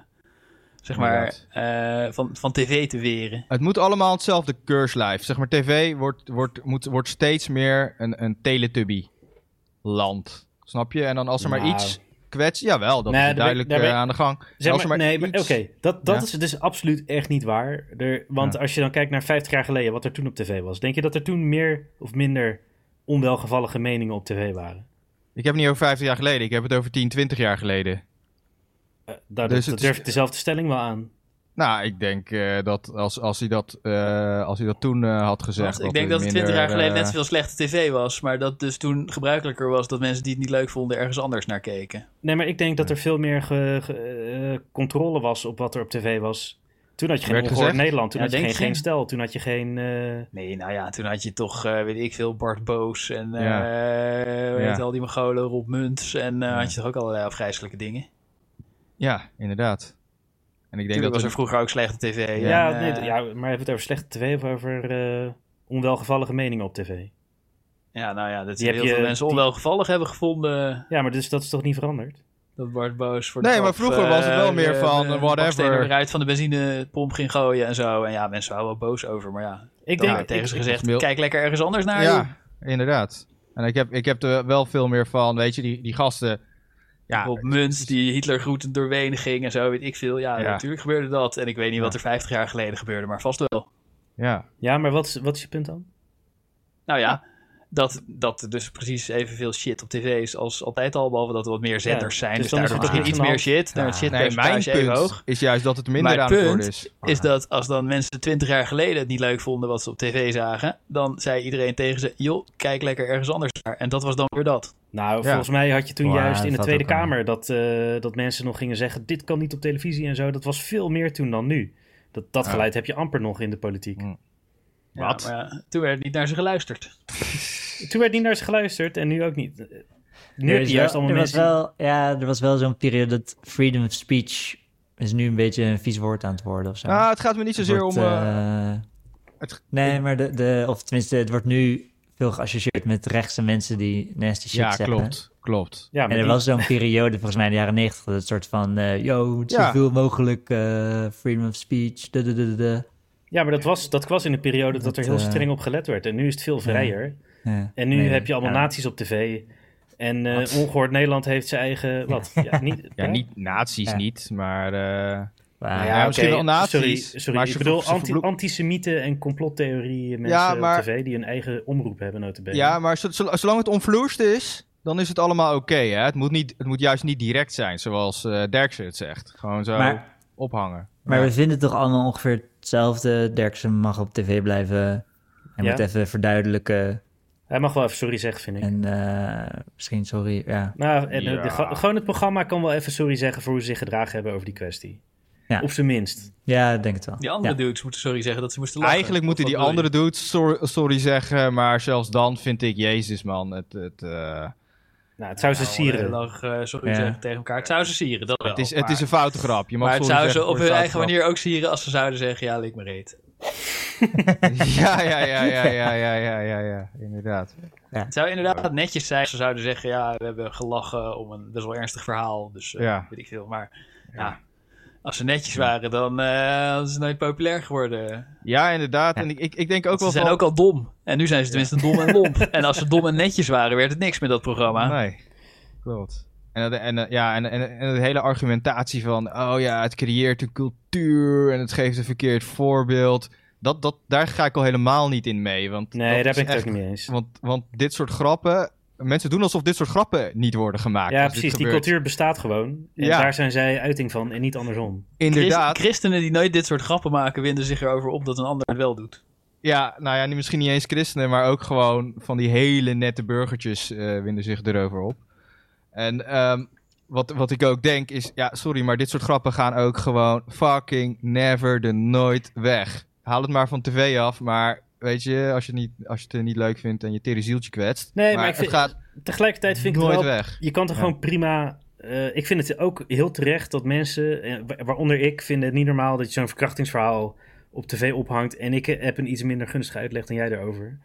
S4: zeg maar, eh, van, van tv te weren.
S2: Het moet allemaal hetzelfde keurslijf. Zeg maar, tv wordt, wordt, moet, wordt steeds meer een, een teletubby-land. Snap je? En dan als er maar
S1: Nou.
S2: iets kwets... Jawel,
S1: Nee,
S2: dat
S1: daar
S2: is
S1: ben-
S2: duidelijk
S1: daar
S2: eh,
S1: ben-
S2: aan de gang. En
S1: Zeg
S2: als
S1: maar,
S2: er
S1: nee, maar
S2: iets-
S1: oké, dat, dat
S2: Ja.
S1: is dus absoluut echt niet waar. Er, want
S2: Ja.
S1: als je dan kijkt naar 50 jaar geleden, wat er toen op tv was, denk je dat er toen meer of minder onwelgevallige meningen op tv waren?
S2: Ik heb het niet over 50 jaar geleden. Ik heb het over 10, 20 jaar geleden.
S1: Eh, daar
S2: Dus
S1: dat
S2: het is-
S1: durf ik dezelfde stelling wel aan.
S2: Nou, ik denk eh, dat als, als, hij dat, eh, als hij dat toen eh, had gezegd...
S4: ik denk
S2: hij
S4: dat het
S2: minder,
S4: 20 jaar geleden
S2: eh,
S4: net zoveel slechte tv was, maar dat dus toen gebruikelijker was dat mensen die het niet leuk vonden ergens anders naar keken.
S1: Nee, maar ik denk dat er veel meer ge- ge- eh, controle was op wat er op tv was. Toen had je geen
S2: Werd
S1: ongehoord
S2: gezegd?
S1: Nederland, toen
S4: Ja,
S1: had je
S4: denk
S1: geen,
S4: je?
S1: geen stel, toen had je geen... eh,
S4: Nee, nou ja, toen had je toch, eh, weet ik veel, Bart Boos en eh
S2: Ja.
S4: hoe heet
S2: Ja.
S4: al die Mongolen, Rob Muntz en eh, had je toch ook allerlei afgrijzelijke dingen.
S2: Ja, inderdaad. En ik denk dat
S4: Natuurlijk was
S2: we-
S4: er vroeger ook slechte tv.
S1: ja,
S4: en,
S1: nee,
S4: eh,
S1: ja, maar hebben we het over slechte tv of over eh, onwelgevallige meningen op tv?
S4: Ja, nou ja, dat
S1: Die
S4: heel
S1: heb
S4: veel
S1: je- eh,
S4: mensen
S1: die-
S4: onwelgevallig hebben gevonden
S1: Ja, maar dus, dat is toch niet veranderd?
S4: dat Bart Boos voor
S2: Nee,
S4: de
S2: maar
S4: grap,
S2: vroeger
S4: eh,
S2: was het wel meer
S4: de-
S2: van,
S4: de-
S2: eh,
S4: de
S2: whatever.
S4: bakstenen eruit van de benzinepomp ging gooien en zo. En ja, mensen waren wel boos over, maar ja.
S1: Ik
S4: dan
S1: denk,
S4: werd tegen ze
S1: ik-
S4: gezegd,
S2: wil-
S4: kijk lekker ergens anders naar. joh.
S2: Ja, inderdaad. En ik heb, ik heb er wel veel meer van, weet je, die, die gasten... Ja,
S4: Op Muns, die Hitler groetend door Wenen ging en zo, weet ik veel. Ja,
S2: Ja.
S4: natuurlijk gebeurde dat. En ik weet niet wat er 50 jaar geleden gebeurde, maar vast wel.
S2: ja.
S1: ja, maar wat, is- wat is je punt dan?
S4: Nou ja, Dat, dat er dus precies evenveel shit op tv is als altijd al. Behalve dat er wat meer
S1: Ja,
S4: zenders zijn,
S1: dus
S4: dus,
S1: dan is
S4: daardoor
S1: er toch
S4: misschien iets meer
S1: niks
S4: shit. Dan
S3: Ja.
S4: het shit
S2: Nee, mijn punt
S4: even hoog.
S2: is juist dat het minder
S4: Mijn
S2: aan het worden
S4: punt
S2: is.
S4: is dat als dan mensen 20 jaar geleden het niet leuk vonden wat ze op tv zagen, dan zei iedereen tegen ze: joh, kijk lekker ergens anders naar. En dat was dan weer dat.
S1: Nou,
S2: Ja.
S1: volgens mij had je toen
S3: Ja,
S1: juist in de
S3: dat
S1: Tweede
S3: ook wel.
S1: Kamer dat, eh, dat mensen nog gingen zeggen: dit kan niet op televisie en zo. Dat was veel meer toen dan nu. Dat, dat
S2: Ja.
S1: geluid heb je amper nog in de politiek.
S2: Hm.
S4: Ja,
S2: Wat?
S4: maar ja, toen werd niet naar ze geluisterd.
S1: Toen werd niet naar ze geluisterd en nu ook niet. Eh, Nu
S3: Er
S1: heb
S3: is
S1: je
S3: wel-
S1: juist allemaal
S3: er was
S1: mensen.
S3: wel, ja, er was wel zo'n periode dat freedom of speech is nu een beetje een vies woord aan het worden of zo.
S2: Nou, het gaat me niet
S3: Het
S2: zozeer
S3: wordt,
S2: om... eh,
S3: eh,
S2: het-
S3: nee, maar de, de, of tenminste, het wordt nu veel geassocieerd met rechtse mensen die nasty shit
S2: ja,
S3: zeggen.
S2: klopt. Klopt.
S1: Ja, maar
S3: En er
S1: die-
S3: was zo'n periode, volgens mij in de jaren negentig, dat het soort van, eh yo, het
S2: Ja.
S3: zoveel mogelijk eh, freedom of speech, duh, duh, duh, duh, duh.
S1: ja, maar dat was, dat was in de periode dat,
S3: Dat,
S1: er heel
S3: eh,
S1: streng op gelet werd. En nu is het veel vrijer.
S3: Ja.
S1: En nu
S3: Nee,
S1: heb je allemaal
S3: ja.
S1: naties op tv. En eh, ongehoord Nederland heeft zijn
S3: <laughs>
S1: eigen. Wat? Ja, niet,
S2: Ja, niet nazi's
S3: Ja.
S2: niet, maar... eh,
S1: Nou
S3: Wauw.
S2: ja, misschien
S1: oké,
S2: wel nazi's,
S1: Sorry, sorry.
S2: maar
S1: ik
S2: ze
S1: bedoel
S2: ver- ze
S1: anti-
S2: verbloem-
S1: antisemieten en complottheorie mensen
S2: Ja, maar-
S1: op tv die een eigen omroep hebben notabene.
S2: ja, maar zo- zo- zolang het onvloerst is, dan is het allemaal oké. hè. het, moet niet- het moet juist niet direct zijn, zoals eh Derksen het zegt. Gewoon zo
S3: Maar-
S2: ophangen.
S3: Maar
S2: Ja.
S3: we vinden het toch allemaal ongeveer hetzelfde. Derksen mag op tv blijven. Hij
S1: Ja.
S3: moet even verduidelijken.
S1: Hij mag wel even sorry zeggen, vind ik.
S3: En eh, misschien, sorry, ja.
S1: Nou, en, eh, de-
S2: Ja.
S1: ge- gewoon het programma kan wel even sorry zeggen voor hoe ze zich gedragen hebben over die kwestie.
S3: Ja.
S1: Op zijn minst.
S3: Ja, ik denk het wel.
S4: Die andere
S3: ja.
S4: dudes moeten sorry zeggen dat ze moesten lachen.
S2: Eigenlijk moeten
S4: Of
S2: die
S4: wat bedoel
S2: andere dudes sor- sorry zeggen, maar zelfs dan vind ik, jezus man, het, het, eh,
S1: Nou, het zou ze
S4: Heel
S1: sieren.
S4: lang eh, sorry
S3: Ja.
S4: zeggen tegen elkaar. Het zou ze sieren, dat wel.
S2: Het is, het is een foute grap. Je mag
S4: maar het
S2: sorry
S4: zou ze
S2: zeggen
S4: op
S2: voor
S4: hun
S2: de
S4: eigen
S2: foute
S4: manier ook sieren als ze zouden zeggen, ja, lik me reet.
S2: grap. <laughs> Ja, ja, ja, ja, ja, ja, ja, ja, ja, inderdaad.
S4: Het zou inderdaad netjes zijn als ze zouden zeggen, ja, we hebben gelachen om een best wel ernstig verhaal, dus eh,
S2: Ja.
S4: weet ik veel. Maar ja. als ze netjes waren, dan eh hadden ze nooit populair geworden.
S2: Ja, inderdaad. En ik, ik, ik denk ook
S4: Ze
S2: wel
S4: zijn
S2: van-
S4: ook al dom. En nu zijn ze tenminste dom en
S2: <laughs>
S4: lomp. En als ze dom en netjes waren, werd het niks met dat programma.
S2: Nee, klopt. En, dat- en, eh, ja, en, en, en de hele argumentatie van, oh ja, het creëert een cultuur en het geeft een verkeerd voorbeeld. Dat, dat, daar ga ik al helemaal niet in mee. Want
S1: Nee,
S2: dat
S1: daar
S2: is
S1: ben ik het
S2: echt-
S1: ook niet mee eens.
S2: Want, want dit soort grappen, mensen doen alsof dit soort grappen niet worden gemaakt.
S1: Ja,
S2: als dit
S1: precies. Die
S2: Dus gebeurt.
S1: cultuur bestaat gewoon. En
S2: Ja.
S1: daar zijn zij uiting van en niet andersom.
S4: Christ-
S2: Inderdaad.
S4: Christenen die nooit dit soort grappen maken, winden zich erover op dat een ander het wel doet.
S2: Ja, nou ja, niet- misschien niet eens christenen, maar ook gewoon van die hele nette burgertjes eh, winden zich erover op. En ehm, wat, wat ik ook denk is, ja, sorry, maar dit soort grappen gaan ook gewoon fucking never de nooit weg. Haal het maar van tv af, maar weet je, als je, het niet, als je het niet leuk vindt en je tere zieltje kwetst.
S1: Nee, maar ik
S2: het
S1: vind-
S2: gaat
S1: Tegelijkertijd vind ik het
S2: nooit
S1: wel
S2: weg.
S1: Je kan toch
S2: Ja.
S1: gewoon prima. eh, ik vind het ook heel terecht dat mensen, eh, wa- waaronder ik, vinden het niet normaal dat je zo'n verkrachtingsverhaal op tv ophangt. En ik eh, heb een iets minder gunstige uitleg dan jij daarover.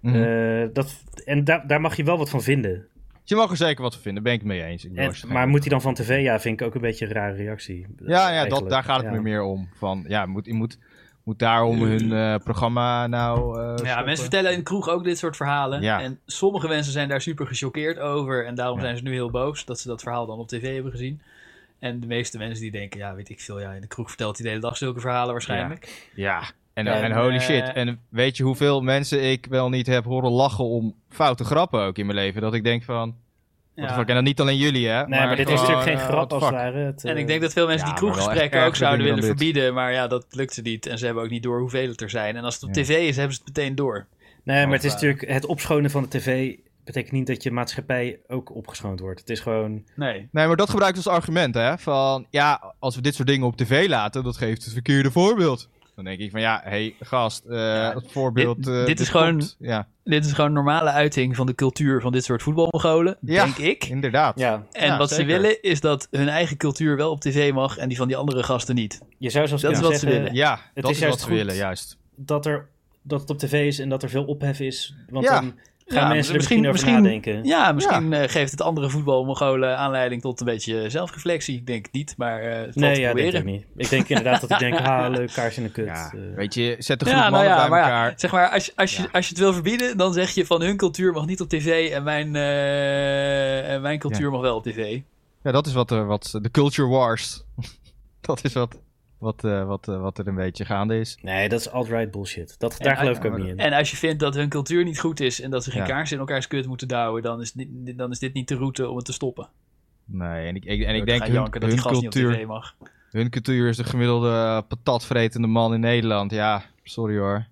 S2: Mhm.
S1: Eh, dat, en daar daar mag je wel wat van vinden.
S2: Je mag er zeker wat van vinden, ben ik het mee eens. Ik bedoel,
S1: En-
S2: als je het
S1: maar
S2: geen-
S1: moet hij dan van tv? Ja, vind ik ook een beetje een rare reactie.
S2: Ja, ja dat,
S1: Eigenlijk.
S2: daar gaat het
S1: Ja.
S2: me meer om. Van, ja, moet, moet, moet daarom hun eh, programma nou... eh,
S4: Ja,
S2: stoppen?
S4: mensen vertellen in de kroeg ook dit soort verhalen.
S2: Ja.
S4: En sommige mensen zijn daar super gechoqueerd over. En daarom zijn ze nu heel boos dat ze dat verhaal dan op tv hebben gezien. En de meeste mensen die denken, ja, weet ik veel, ja, in de kroeg vertelt hij de hele dag zulke verhalen waarschijnlijk.
S2: Ja, en,
S4: En,
S2: en holy
S4: eh,
S2: shit. En weet je hoeveel mensen ik wel niet heb horen lachen om foute grappen ook in mijn leven? Dat ik denk van, what the fuck? En dan niet alleen jullie, hè?
S1: Nee, maar, dit is
S2: gewoon,
S1: natuurlijk geen
S2: eh,
S1: grap
S2: what
S1: als
S2: the
S1: het
S2: fuck.
S1: ware. Het,
S4: En
S1: eh,
S4: ik denk dat veel mensen
S2: Ja,
S4: die
S2: maar wel echt
S4: kroeggesprekken
S2: erger
S4: ook zouden
S2: dingen
S4: willen
S2: dan dit.
S4: verbieden. Maar ja, dat lukte niet. En ze hebben ook niet door hoeveel het er zijn. En als het op tv is, hebben ze het meteen door.
S1: Nee, maar het is
S4: Of, eh,
S1: natuurlijk het opschonen van de tv betekent niet dat je maatschappij ook opgeschoond wordt. Het is gewoon.
S4: Nee.
S2: Nee, maar dat gebruikt als argument, hè? Van, ja, als we dit soort dingen op tv laten, dat geeft het verkeerde voorbeeld. Dan denk ik van, ja, hé, hey, gast, eh, het voorbeeld...
S4: dit-
S2: eh,
S4: dit is gewoon-
S2: komt. Ja,
S4: Dit is gewoon een normale uiting van de cultuur van dit soort voetbalmogolen,
S2: Ja.
S4: denk ik.
S2: inderdaad.
S1: Ja,
S4: En
S2: Ja,
S4: wat
S2: zeker.
S4: ze willen is dat hun eigen cultuur wel op tv mag en die van die andere gasten niet.
S1: je zou zelfs
S4: Dat is
S1: kunnen
S4: wat ze
S1: zeggen-
S4: willen.
S2: Ja, dat
S1: is
S2: is,
S1: juist
S2: wat ze
S1: goed.
S2: willen, juist.
S1: dat, er, dat het op tv is en dat er veel ophef is. Want
S2: Ja.
S1: dan gaan
S4: Ja,
S1: mensen er
S4: misschien-
S1: misschien,
S4: misschien-
S1: over nadenken.
S4: Ja, misschien eh, geeft het andere voetbalmogolen aanleiding tot een beetje eh, zelfreflectie. Ik denk het niet, maar eh het valt
S1: nee,
S4: te
S1: ja, denk
S4: proberen.
S1: ik niet. Ik denk inderdaad dat ik
S4: <laughs>
S1: denk, ha, leuk, kaars in de kut.
S2: Ja,
S1: Eh,
S2: weet je, zet de groep
S4: Ja, nou
S2: mannen
S4: ja,
S2: bij
S4: maar
S2: elkaar.
S4: ja, zeg maar, als, je- als, je, als je het wil verbieden, dan zeg je van hun cultuur mag niet op tv en mijn, eh, en mijn cultuur mag wel op tv.
S2: Ja, dat is wat, eh, wat eh, de culture wars. <laughs> dat is wat, wat, eh, wat, eh, wat er een beetje gaande is.
S1: Nee, dat is alt-right bullshit. Dat, daar
S4: En-
S1: geloof ik ook niet in.
S4: En als je vindt dat hun cultuur niet goed is en dat ze geen
S2: Ja.
S4: kaars in elkaars kut moeten douwen, dan is, dit, dan is dit niet de route om het te stoppen.
S2: Nee, en ik, ik- en ik
S4: Door te
S2: denk
S4: gaan
S2: hun,
S4: janken dat
S2: hun,
S4: die gast niet op tv
S2: cultuur,
S4: mag.
S2: hun cultuur is de gemiddelde eh, patatvretende man in Nederland. Ja, sorry hoor.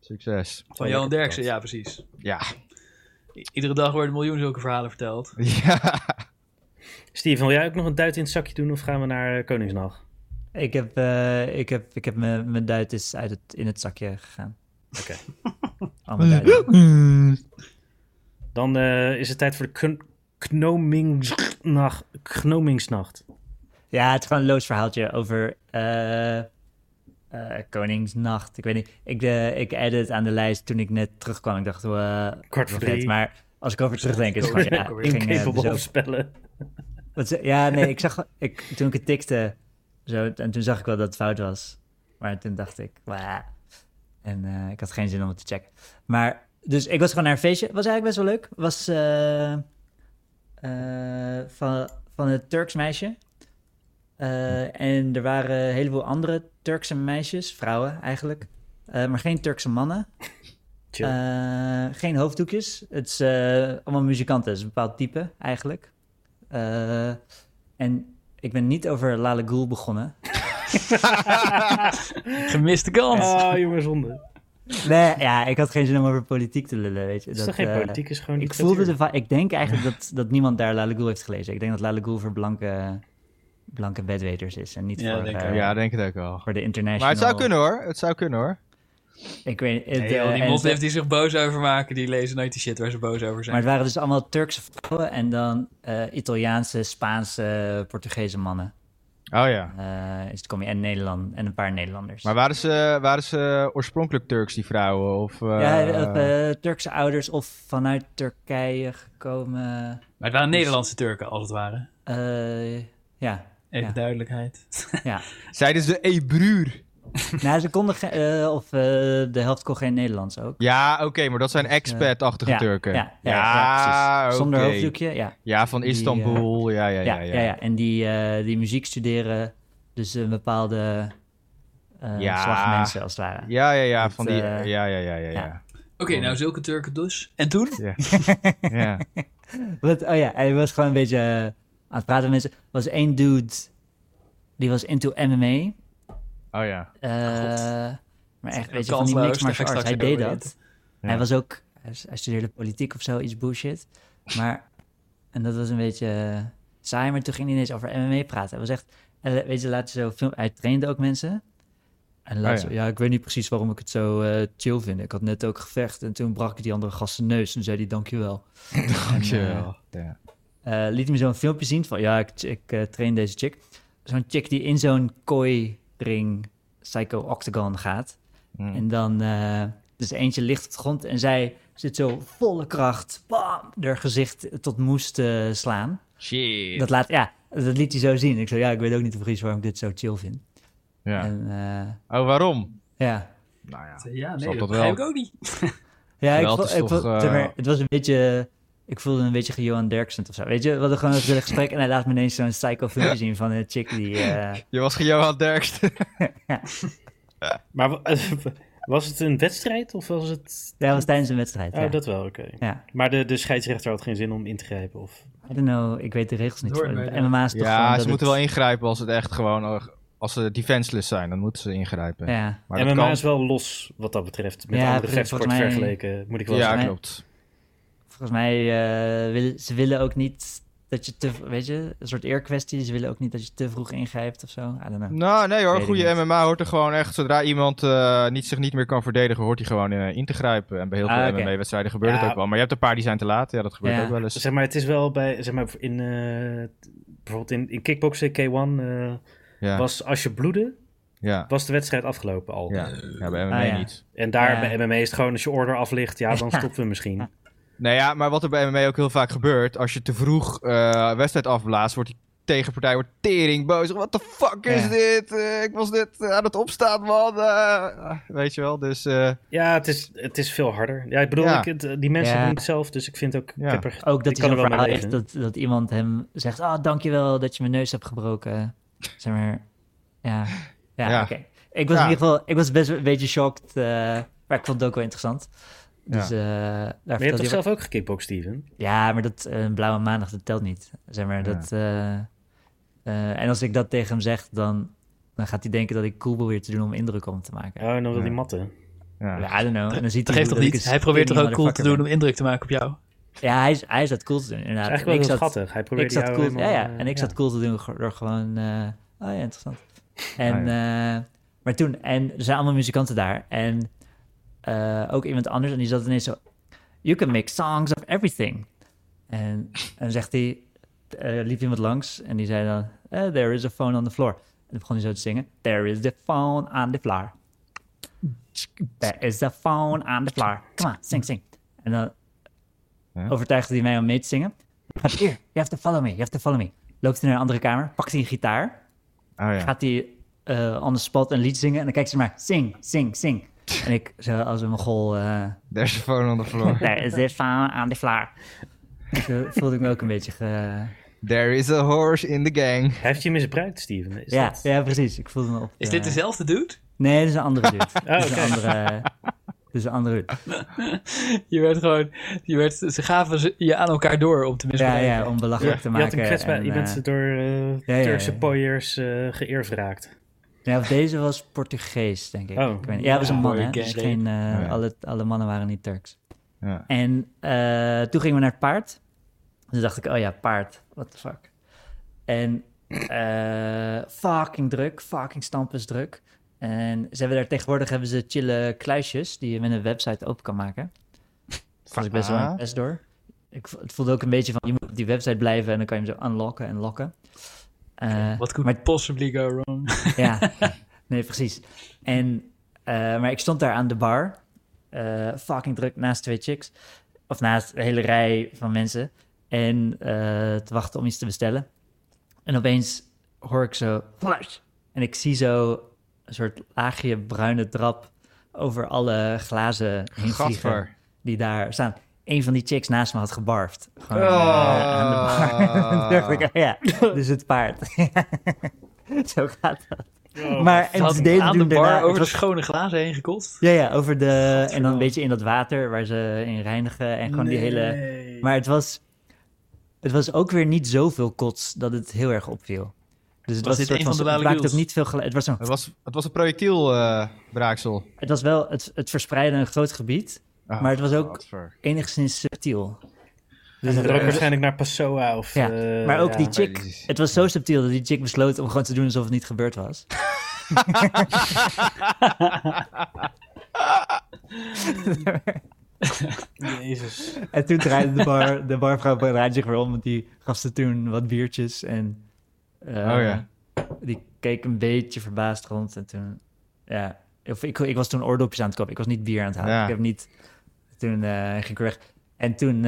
S2: Succes.
S4: Van Johan Derksen, ja precies.
S2: Ja. <laughs>
S4: I- Iedere dag worden miljoen zulke verhalen verteld.
S2: ja.
S1: Steven, wil jij ook nog een duit in het zakje doen of gaan we naar eh, Koningsnacht?
S3: Ik heb, eh, ik heb, ik heb mijn, mijn duit is uit het, in het zakje gegaan.
S1: Oké.
S3: <laughs> Al mijn duiten. Mm.
S1: Dan eh, is het tijd voor de kn- Knomingsnacht. Knomingsnacht.
S3: Ja, het is gewoon een loos verhaaltje over eh, eh, Koningsnacht. Ik weet niet. Ik, eh ik edit het aan de lijst toen ik net terugkwam. Ik dacht, eh
S1: Kwart voor
S3: wel vet.
S1: drie.
S3: Maar als ik over terugdenk, is het gewoon, ja, ik ging, eh,
S1: Incapable
S3: zo-
S1: of spellen.
S3: Wat ze- ja, nee, ik zag, ik, toen ik het tikte, zo, en toen zag ik wel dat het fout was. Maar toen dacht ik, "Wah." En eh, ik had geen zin om het te checken. Maar, dus ik was gewoon naar een feestje. Was eigenlijk best wel leuk. Was eh, eh, van, van een Turks meisje. Eh, en er waren een heleboel andere Turkse meisjes, vrouwen eigenlijk. Eh, maar geen Turkse mannen.
S1: Chill.
S3: Eh, geen hoofddoekjes. Het is eh, allemaal muzikanten. Het is een bepaald type eigenlijk. Eh, en ik ben niet over Lale Ghoul begonnen. <laughs>
S4: Gemiste kans.
S2: <laughs>
S1: Ah, jongen, zonde.
S2: eh,
S3: Nee, ja, ik had geen zin om over politiek te lullen, weet je.
S1: Het is toch
S3: Dat,
S1: geen
S3: eh,
S1: politiek, is gewoon
S3: ik
S1: dictatuur.
S3: voelde de va- Ik denk eigenlijk dat, dat niemand daar Lale Ghoul heeft gelezen. Ik denk dat Lale Ghoul voor blanke, blanke bedweters is en niet
S4: Ja,
S3: voor,
S4: denk ik
S3: eh,
S4: ook.
S2: ja, denk het ook wel.
S3: voor de international...
S2: Maar het zou kunnen hoor. Het zou kunnen hoor.
S3: Ik weet het,
S4: Nee,
S3: eh,
S4: joh, die
S3: en-
S4: motlift die zich boos over maken, die lezen nooit die shit waar ze boos over zijn.
S3: Maar het waren dus allemaal Turkse vrouwen en dan eh, Italiaanse, Spaanse, Portugese mannen.
S2: Oh ja.
S3: Eh, is het kom je en Nederland en een paar Nederlanders.
S2: Maar waren ze, waren ze oorspronkelijk Turks, die vrouwen? Of, eh,
S3: ja, eh, eh, Turkse ouders of vanuit Turkije gekomen.
S4: Maar het waren Nederlandse Turken, als het ware.
S3: Eh, ja,
S4: Even
S3: Ja.
S4: duidelijkheid.
S3: ja.
S2: Zeiden ze Ebruur?
S3: nou, ze konden geen, eh, of eh, de helft kon geen Nederlands ook.
S2: Ja, oké, maar dat zijn expat-achtige
S3: Dus, eh, Ja,
S2: Turken.
S3: Ja, ja, ja,
S2: Ja,
S3: precies. Zonder
S2: oké.
S3: hoofddoekje, ja.
S2: Ja, van
S3: Die, eh,
S2: Istanbul. ja, ja,
S3: Ja,
S2: ja, ja. ja,
S3: En die, eh, die muziek studeren, dus een bepaalde eh
S2: Ja.
S3: slag mensen als het ware.
S2: ja, ja,
S3: Dat,
S2: van die...
S3: eh,
S2: ja, ja, ja, ja, ja.
S3: ja.
S4: Oké, nou zulke Turken dus. En toen?
S3: <laughs>
S2: ja.
S3: Wat, oh ja, hij was gewoon een beetje eh, aan het praten met mensen. Er was één dude, die was into MMA.
S2: Oh ja.
S3: eh, maar echt, weet je, van die mixed
S4: kansloos, daar ga
S3: martial
S4: ik
S3: arts.
S4: straks
S3: Hij
S4: even
S3: deed
S4: over
S3: dat.
S2: Ja.
S3: Hij was ook, hij s- hij studeerde politiek of zo, iets bullshit. Maar, en dat was een beetje eh, saai, maar toen ging hij ineens over MMA praten. Hij was echt, en la- weet je, laat je zo film, hij trainde ook mensen. En laat
S2: Oh ja.
S3: zo, ja, ik weet niet precies waarom ik het zo eh, chill vind. Ik had net ook gevecht en toen brak ik die andere gast zijn neus en zei hij dankjewel. En, eh,
S2: Dankjewel. Ja.
S3: eh, liet hij me zo'n filmpje zien van ja, ik, ik eh, train deze chick. Zo'n chick die in zo'n kooi ring psycho octagon gaat.
S2: Mm.
S3: En dan eh, dus eentje ligt op de grond en zij zit zo volle kracht, bam, haar gezicht tot moest te slaan.
S2: Shit.
S3: Dat, laat, ja, dat liet hij zo zien. Ik zei ja, ik weet ook niet precies waarom ik dit zo chill vind.
S2: Ja.
S3: En, eh,
S2: Oh, waarom?
S3: ja.
S2: Nou ja.
S4: Ja,
S2: Snap
S4: nee,
S2: dat
S4: dat begrijp ik
S2: wel.
S4: ook niet.
S3: Ja, ik,
S2: Geweld
S3: vo-
S2: is
S3: ik
S2: toch,
S3: vo-
S2: eh,
S3: zeg maar, het was een beetje... Ik voelde een beetje Johan Derksen of zo. Weet je, we hadden gewoon een gezellig gesprek... en hij laat me ineens zo'n psycho filmpje zien van een chick die... eh,
S2: Je was geen Johan
S3: <laughs>
S2: Derksen.
S1: Maar wa- <laughs> was het een wedstrijd of was het...
S3: Ja, dat was tijdens een wedstrijd.
S1: Oh,
S3: ja.
S1: dat wel, oké.
S3: ja.
S1: Maar de, de scheidsrechter had geen zin om in te grijpen of...
S3: I don't know, ik weet de regels niet.
S4: Door
S3: voor.
S4: bij de-
S3: MMA is toch gewoon
S2: Ja,
S3: dat
S2: ze moeten wel
S3: het-
S2: ingrijpen als het echt gewoon... Als ze defenseless zijn, dan moeten ze ingrijpen.
S3: Ja,
S2: Maar
S1: MMA
S2: dat kan.
S1: is wel los wat dat betreft. Met
S3: Ja,
S1: andere
S3: precies,
S1: vechtsport
S3: volgens mij-
S1: vergeleken, moet ik wel
S2: Ja,
S1: zeggen.
S3: Nee.
S2: klopt.
S3: volgens mij eh, willen ze willen ook niet dat je te... Weet je, een soort eerkwestie. Ze willen ook niet dat je te vroeg ingrijpt of zo. I don't know.
S2: Nou, nee hoor.
S3: Weet ik
S2: Goede
S3: niet.
S2: MMA hoort er gewoon echt. Zodra iemand eh, niet, zich niet meer kan verdedigen, hoort hij gewoon eh, in te grijpen. En bij heel veel
S3: Ah, oké.
S2: MMA-wedstrijden gebeurt
S1: Ja.
S2: het ook wel. Maar je hebt een paar die zijn te laat. Ja, dat gebeurt
S3: Ja.
S2: ook wel eens.
S1: Zeg maar, het is wel bij, zeg maar, in, eh, bijvoorbeeld in, in kickboksen, K1, eh,
S2: Ja,
S1: was als je bloedde,
S2: ja,
S1: was de wedstrijd afgelopen al.
S2: ja. ja bij MMA
S3: Ah, ja.
S2: niet.
S1: En daar
S3: Ja.
S1: bij MMA is het gewoon, als je order af ligt, ja, dan stoppen we misschien.
S2: Nou ja, maar wat er bij MMA ook heel vaak gebeurt. Als je te vroeg eh, wedstrijd afblaast, wordt die tegenpartij wordt tering boos. What the fuck is
S3: Ja.
S2: dit? Eh, ik was dit eh, aan het opstaan, man. Eh, weet je wel, dus... eh,
S1: Ja, het is, het is veel harder. Ja, ik bedoel, ik,
S2: Ja.
S1: het- die mensen
S3: Ja.
S1: doen het zelf, dus ik vind ook...
S2: Ja.
S1: Ik heb er,
S3: Ook dat
S1: ik
S3: hij
S1: kan
S3: zo'n
S1: er wel
S3: verhaal
S1: mee
S3: heeft
S1: leven.
S3: dat, dat iemand hem zegt... Ah, dankjewel dat je mijn neus hebt gebroken. Zeg maar, ja. Ja,
S2: Ja.
S3: oké. Ik was
S2: Ja.
S3: in ieder geval... Ik was best een beetje shocked. eh, maar ik vond het ook wel interessant. Dus, eh, daar
S1: Maar je hebt
S3: vertelt
S1: toch
S3: hij-
S1: zelf ook gekickboxd, Steven?
S3: Ja, maar dat eh, een blauwe maandag, dat telt niet. Zeg maar,
S2: Ja.
S3: dat... eh, eh, en als ik dat tegen hem zeg, dan, dan gaat hij denken dat ik cool probeer te doen om indruk op hem te maken.
S1: Oh, en dan wil
S2: Ja.
S1: die matten.
S2: ja.
S3: I don't know. En dan ziet
S4: Dat
S3: hij
S4: geeft
S3: hoe
S4: toch
S3: ik
S4: niet?
S3: een
S4: Hij probeert toch
S3: skinny
S4: ook cool te doen
S3: motherfucker
S4: om indruk te maken op jou?
S3: ben. Ja, hij, is- hij is dat cool te doen, inderdaad.
S1: Dat is
S3: En
S1: eigenlijk wel heel
S3: zat-
S1: schattig. Hij
S3: ik
S1: probeert
S3: zat
S1: jou
S3: cool, ja,
S1: helemaal,
S3: ja,
S1: eh,
S3: en ik zat cool te doen ge- door gewoon, eh, oh ja, interessant. En,
S2: Ah,
S3: eh, maar toen, en er zijn allemaal muzikanten daar. En eh, ook iemand anders, en die zat ineens zo, you can make songs of everything. En, en zegt hij, eh, liep iemand langs en die zei dan, eh, there is a phone on the floor. En dan begon hij zo te zingen, there is the phone on the floor. There is the phone on the floor. Come on, sing, sing. En dan
S2: Ja.
S3: overtuigde hij mij om mee te zingen. Gaat hier, you have to follow me, you have to follow me. Loopt hij naar een andere kamer, pakt hij een gitaar,
S2: Oh, ja.
S3: gaat hij eh on the spot een lied zingen en dan kijkt ze maar, zing, zing, zing. En ik, zo als een mogol, eh
S2: There's a phone on the floor.
S3: there is the phone on the floor. Zo voelde ik me ook een beetje ge...
S2: There is a horse in the gang.
S1: Hij heeft je misbruikt, Steven. Is
S3: Ja,
S1: dat-
S3: ja, precies. Ik voelde me op...
S4: Is
S3: eh,
S4: dit dezelfde dude?
S3: Nee, dit is een andere dude. dit, is
S1: oké.
S3: een andere, dit is een andere dude.
S4: Je werd gewoon, je werd, ze gaven ze- je aan elkaar door om te
S3: Ja,
S4: misbruiken.
S3: ja, om belachelijk te
S1: Je, had
S3: maken.
S1: hem kwetsbaar,
S3: en,
S1: je bent
S3: eh,
S1: door eh,
S3: ja, ja.
S1: Turkse pooiers eh geëerd geraakt.
S3: Ja, of deze was Portugees, denk ik.
S1: Oh.
S3: ik weet niet. Ja, het was een
S4: Ja,
S3: man, hè?
S4: Portugees.
S3: Dus geen, eh,
S2: ja.
S3: alle, alle mannen waren niet Turks.
S2: Ja.
S3: En eh, toen gingen we naar het paard. Toen dacht ik, oh ja, paard. What the fuck. En eh, fucking druk, fucking stampensdruk. En ze hebben daar tegenwoordig hebben ze chille kluisjes die je met een website open kan maken. Daar was ik best wel
S2: Ah.
S3: impressed door. Ik, vo- het voelde ook een beetje van, je moet op die website blijven en dan kan je hem zo unlocken en locken. Eh,
S4: What could
S3: maar
S4: possibly go wrong?
S3: ja, <laughs> nee, precies. En, eh, maar ik stond daar aan de bar, eh, fucking druk, naast twee chicks. Of naast een hele rij van mensen. En eh, te wachten om iets te bestellen. En opeens hoor ik zo... Flush! En ik zie zo een soort laagje bruine drap over alle glazen heen vliegen
S2: Gadver.
S3: die daar staan. Een van die chicks naast me had gebarfd. Gewoon eh,
S2: Ah.
S3: aan de bar. <laughs> Toen dacht ik, oh ja, dus het paard. <laughs> Zo gaat dat.
S2: Oh,
S3: maar en ze deden
S4: aan de
S3: toen
S4: bar
S3: daarna...
S4: over
S3: het
S4: de
S3: was-
S4: schone glazen heen gekotst.
S3: ja, ja, over de... En dan een beetje in dat water waar ze in reinigen en gewoon die hele... Maar het was, het was ook weer niet zoveel kots dat het heel erg opviel. Dus het
S4: Was
S3: was,
S4: dit
S3: een soort
S4: een van de
S3: het
S4: lale
S3: maakte ook
S4: deals?
S3: niet veel geluid. Het was, een,
S2: Het was, het was een projectiel, eh, braaksel.
S3: het was wel het, het verspreiden een groot gebied,
S2: Ah,
S3: maar het was ook
S2: Gadver.
S3: enigszins subtiel.
S1: Dus dat ook
S3: eh,
S1: waarschijnlijk naar Passoa of...
S3: Ja,
S1: eh,
S3: maar ook
S1: ja.
S3: die chick,
S2: precies.
S3: het was zo subtiel dat die chick besloot om gewoon te doen alsof het niet gebeurd was.
S1: Jezus.
S3: En toen draaide de, bar, de barvrouw draaide zich weer om, want die gaf ze toen wat biertjes en eh,
S2: Oh ja.
S3: die keek een beetje verbaasd rond. En toen, ja, of ik, ik was toen oordopjes aan het kopen, ik was niet bier aan het halen.
S2: Ja.
S3: Ik heb niet, toen eh, ging ik weg. En toen eh,
S4: de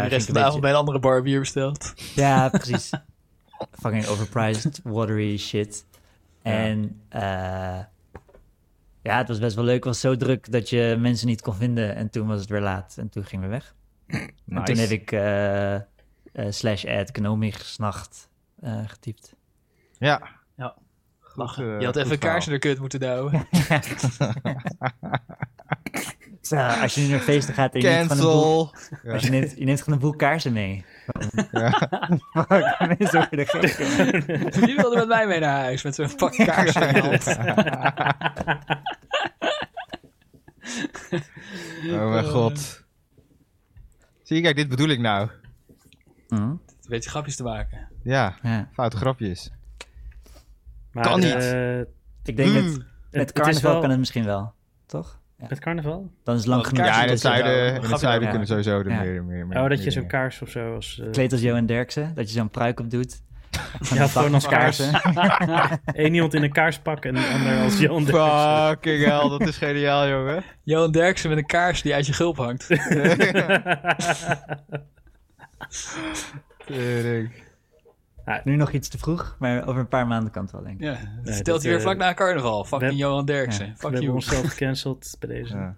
S3: ging
S4: rest
S3: ik een
S4: van de avond
S3: beetje-
S4: bij een andere bar bier besteld.
S3: Ja, precies. <laughs> Fucking overpriced, watery shit. En eh, ja, het was best wel leuk. Het was zo druk dat je mensen niet kon vinden. En toen was het weer laat. En toen gingen we weg. En toen
S2: Nice.
S3: heb ik eh, eh, slash ad Knomigsnacht eh getypt.
S2: Ja.
S4: Ja.
S2: Lachen.
S4: je had even een kaars in de kut moeten douwen.
S3: Zo, als je nu naar feesten gaat en je neemt, gewoon een boel,
S2: Cancel. Ja.
S3: als je neemt, je neemt gewoon een boel kaarsen mee. <laughs> Fuck, mensen worden gek.
S4: Die wilde met mij mee naar huis met zo'n pak kaars in de hand.
S2: <laughs> Oh mijn god. Zie je, kijk, dit bedoel ik nou.
S3: Mhm,
S4: Een beetje grapjes te maken.
S2: Ja,
S3: ja.
S2: foute grapjes.
S1: Maar,
S2: Kan niet.
S1: eh,
S3: Ik denk
S2: Mm.
S3: dat met
S1: het is
S3: carnaval
S1: wel-
S3: kan het misschien wel, toch?
S1: Met carnaval?
S3: Dan is het lang
S4: Oh,
S3: genoeg.
S2: Ja, in het
S3: tussen-
S2: zuiden, in
S4: Grapje
S2: het zuiden
S3: maken.
S2: kunnen sowieso er
S3: Ja.
S2: meer, meer, meer.
S1: Oh, dat
S2: meer
S1: je zo'n
S2: dingen.
S1: kaars of zo als... eh,
S3: Kleed als Johan Derksen, dat je zo'n pruik op doet.
S1: ja, gewoon als kaars.
S3: Kaarsen.
S1: Eén iemand in een kaarspak en de ander
S2: <laughs>
S1: als Jan de
S2: Fucking hell, dat is geniaal, jongen.
S4: Johan Derksen met een kaars die uit je gulp hangt.
S2: Tering.
S3: <laughs> Nu nog iets te vroeg, maar over een paar maanden kan het wel, denk ik.
S4: Ja, dat
S1: Nee,
S4: stelt
S1: dat,
S4: hij weer
S1: eh,
S4: vlak na carnaval. Fucking
S1: we-
S4: Johan Derksen.
S3: Ja,
S1: We
S4: Fuck
S1: hebben
S4: you.
S1: onszelf gecanceld bij deze.
S2: Ja.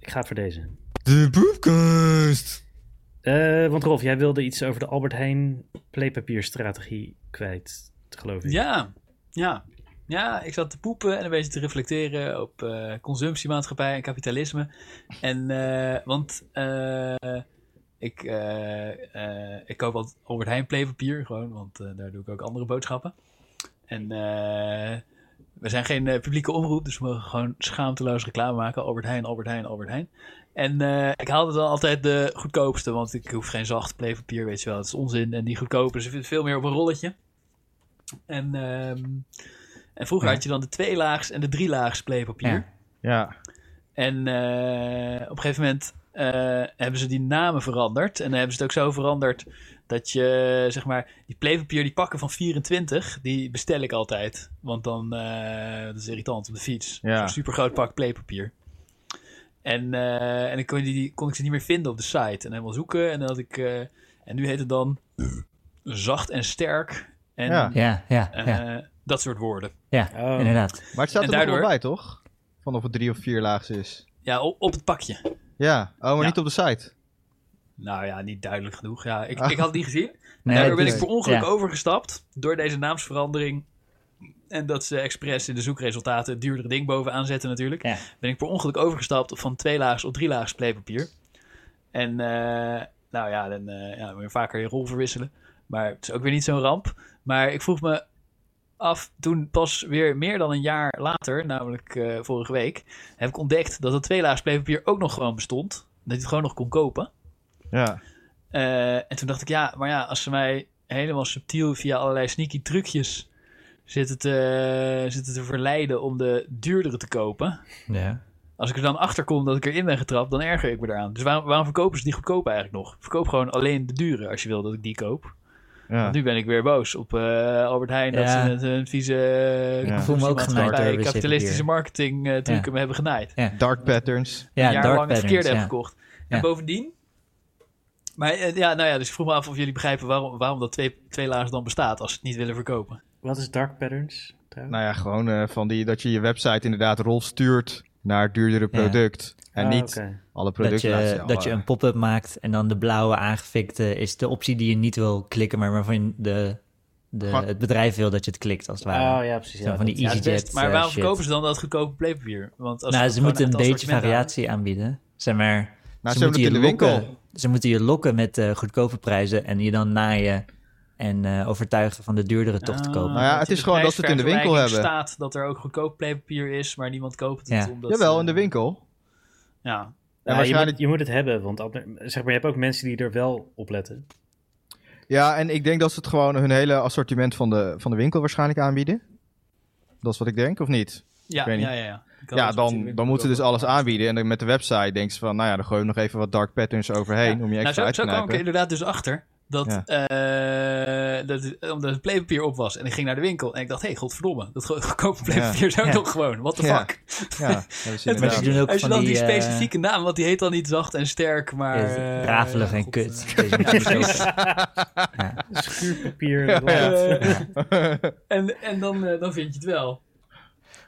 S1: Ik ga voor deze.
S2: De boepkast.
S1: Eh, want Rolf, jij wilde iets over de Albert Heijn playpapierstrategie kwijt, geloof ik.
S4: Ja, ja. Ja, ik zat te poepen en een beetje te reflecteren op eh, consumptiemaatschappij en kapitalisme. En, eh, want eh, ik, eh, eh, ik koop altijd Albert Heijn playpapier gewoon, want eh, daar doe ik ook andere boodschappen. En eh, we zijn geen eh, publieke omroep, dus we mogen gewoon schaamteloos reclame maken. Albert Heijn, Albert Heijn, Albert Heijn. En eh, ik haalde dan altijd de goedkoopste, want ik hoef geen zacht playpapier, weet je wel. Het is onzin. En dus die goedkope, ze veel meer op een rolletje. En, ehm, en vroeger had je dan de tweelaags en de drielaags playpapier.
S3: Ja.
S2: Ja.
S4: En eh, op een gegeven moment eh, hebben ze die namen veranderd. En dan hebben ze het ook zo veranderd dat je, zeg maar, die playpapier, die pakken van 24, die bestel ik altijd. Want dan, eh, dat is irritant op de fiets.
S2: Ja.
S4: Zo'n super groot pak playpapier. En, eh, en dan kon, je die, kon ik ze niet meer vinden op de site. En helemaal zoeken. En, dan had ik, eh, en nu heet het dan zacht en sterk. En
S2: Eh. Ja.
S3: Ja, ja,
S4: eh,
S3: ja.
S4: dat soort woorden.
S3: ja
S1: Oh.
S3: inderdaad.
S2: Maar het staat
S4: En
S2: er
S4: daardoor-
S2: nog wel bij, toch? Van of het drie of vier laags is.
S4: Ja, op, op het pakje.
S2: Ja. Oh, maar
S4: Ja.
S2: niet op de site.
S4: Nou ja, niet duidelijk genoeg. Ja, ik,
S2: Ah.
S4: ik had het niet gezien.
S3: Nee,
S4: Daardoor ben
S3: het
S4: ik
S3: is-
S4: per ongeluk
S3: ja.
S4: overgestapt door deze naamsverandering. En dat ze expres in de zoekresultaten het duurdere ding bovenaan zetten natuurlijk.
S3: Ja.
S4: Ben ik per ongeluk overgestapt van tweelaags op drielaags playpapier. En eh, nou ja, dan eh ja, moet je vaker je rol verwisselen. Maar het is ook weer niet zo'n ramp. Maar ik vroeg me af, toen pas weer meer dan een jaar later, namelijk eh, vorige week, heb ik ontdekt dat het tweelaags playpapier ook nog gewoon bestond. Dat je het gewoon nog kon kopen.
S2: Ja.
S4: Eh, en toen dacht ik, ja, maar ja, als ze mij helemaal subtiel via allerlei sneaky trucjes zitten te, zitten te verleiden om de duurdere te kopen.
S3: Ja.
S4: Als ik er dan achter kom dat ik erin ben getrapt, dan erger ik me eraan. Dus waarom, waarom verkopen ze die goedkoop eigenlijk nog? Verkoop gewoon alleen de dure als je wil dat ik die koop.
S2: Ja.
S4: Want nu ben ik weer boos op eh, Albert Heijn dat
S3: Ja.
S4: ze met hun vieze eh,
S2: Ja. Ik
S3: voel me ook
S4: maatschappij-
S3: genaaid door WCP hier.
S4: eh, kapitalistische marketing eh trucken me hebben genaaid.
S2: Dark patterns.
S3: Ja,
S4: een jaar
S3: dark
S4: lang het
S3: patterns,
S4: verkeerde
S3: ja.
S4: heb gekocht. En
S3: Ja.
S4: bovendien... Maar eh, ja, nou ja, dus ik vroeg me af of jullie begrijpen waarom, waarom dat twee, twee laars dan bestaat als ze het niet willen verkopen.
S1: Wat is Dark Patterns? trouwens?
S2: Nou ja, gewoon eh, van die, dat je je website inderdaad rol stuurt naar het duurdere product. En
S1: Ah,
S2: Nou, niet
S1: oké.
S2: alle
S3: Dat
S2: producten
S3: je,
S2: laten
S3: dat je
S2: zelf.
S3: een pop-up maakt en dan de blauwe aangefikte is de optie die je niet wil klikken, maar waarvan je de, de,
S2: Maar-
S3: het bedrijf wil dat je het klikt, als het ware.
S1: Oh ja, precies.
S3: Zo
S1: Ja,
S3: van die
S1: dat- ja,
S4: het
S3: EasyJet.
S4: best. Maar
S3: eh,
S4: waarom
S3: shit.
S4: verkopen ze dan dat goedkope playpapier? Want als
S3: Nou,
S4: het
S3: ze
S4: gewoon
S3: moeten een
S4: echt
S3: beetje
S4: assortiment
S3: variatie aanbieden. Zeg maar,
S2: Nou,
S3: ze
S2: ze
S3: moeten je
S2: hebben het in de
S3: lokken. Ze moeten je lokken met eh, goedkope prijzen en je dan naaien en eh, overtuigen van de duurdere toch te
S4: Ah,
S3: kopen.
S2: Nou ja, het
S4: in
S2: is
S4: de
S2: gewoon dat ze het in de winkel
S4: prijsvergelijking
S2: hebben.
S4: staat dat er ook goedkoop playpapier is, maar niemand koopt het.
S3: Ja.
S4: Omdat,
S2: Jawel,
S4: eh,
S2: in de winkel.
S4: Ja.
S2: En
S1: je,
S2: waarschijnlijk
S1: moet, je moet het hebben, want ander- zeg maar, je hebt ook mensen die er wel op
S2: <laughs>
S1: letten.
S2: Ja, en ik denk dat ze het gewoon hun hele assortiment van de, van de winkel waarschijnlijk aanbieden. Dat is wat ik denk, of niet?
S4: Ja,
S2: Ik weet niet.
S4: ja, ja, ja. Je kan
S2: ja,
S4: het in de
S2: dan,
S4: winkel
S2: dan moeten ze dus
S4: kopen.
S2: alles aanbieden. En dan met de website denken ze van, nou ja, dan gooi je nog even wat dark patterns overheen om je
S4: Nou,
S2: extra
S4: zo,
S2: uit te
S4: zo kwam ik er
S2: knijpen.
S4: inderdaad dus achter dat, eh, dat omdat het playpapier op was en ik ging naar de winkel en ik dacht, hé, hey, godverdomme, dat go- <laughs> goedkope playpapier is ook
S3: Ja.
S4: nog gewoon, what the
S2: Ja.
S4: fuck. <laughs>
S2: Ja, dat is
S3: Maar ze
S2: inderdaad.
S3: doen ook
S4: Als je
S3: van
S4: dan die,
S3: eh,
S4: specifieke naam, want die heet dan niet zacht en sterk, maar...
S3: ja,
S4: eh,
S3: rafelig en
S4: god,
S3: kut.
S4: eh.
S3: Deze moet je niet kopen.
S1: Schuurpapier.
S2: ja.
S1: blad.
S4: Eh, <laughs> en en dan, eh, dan vind je het wel.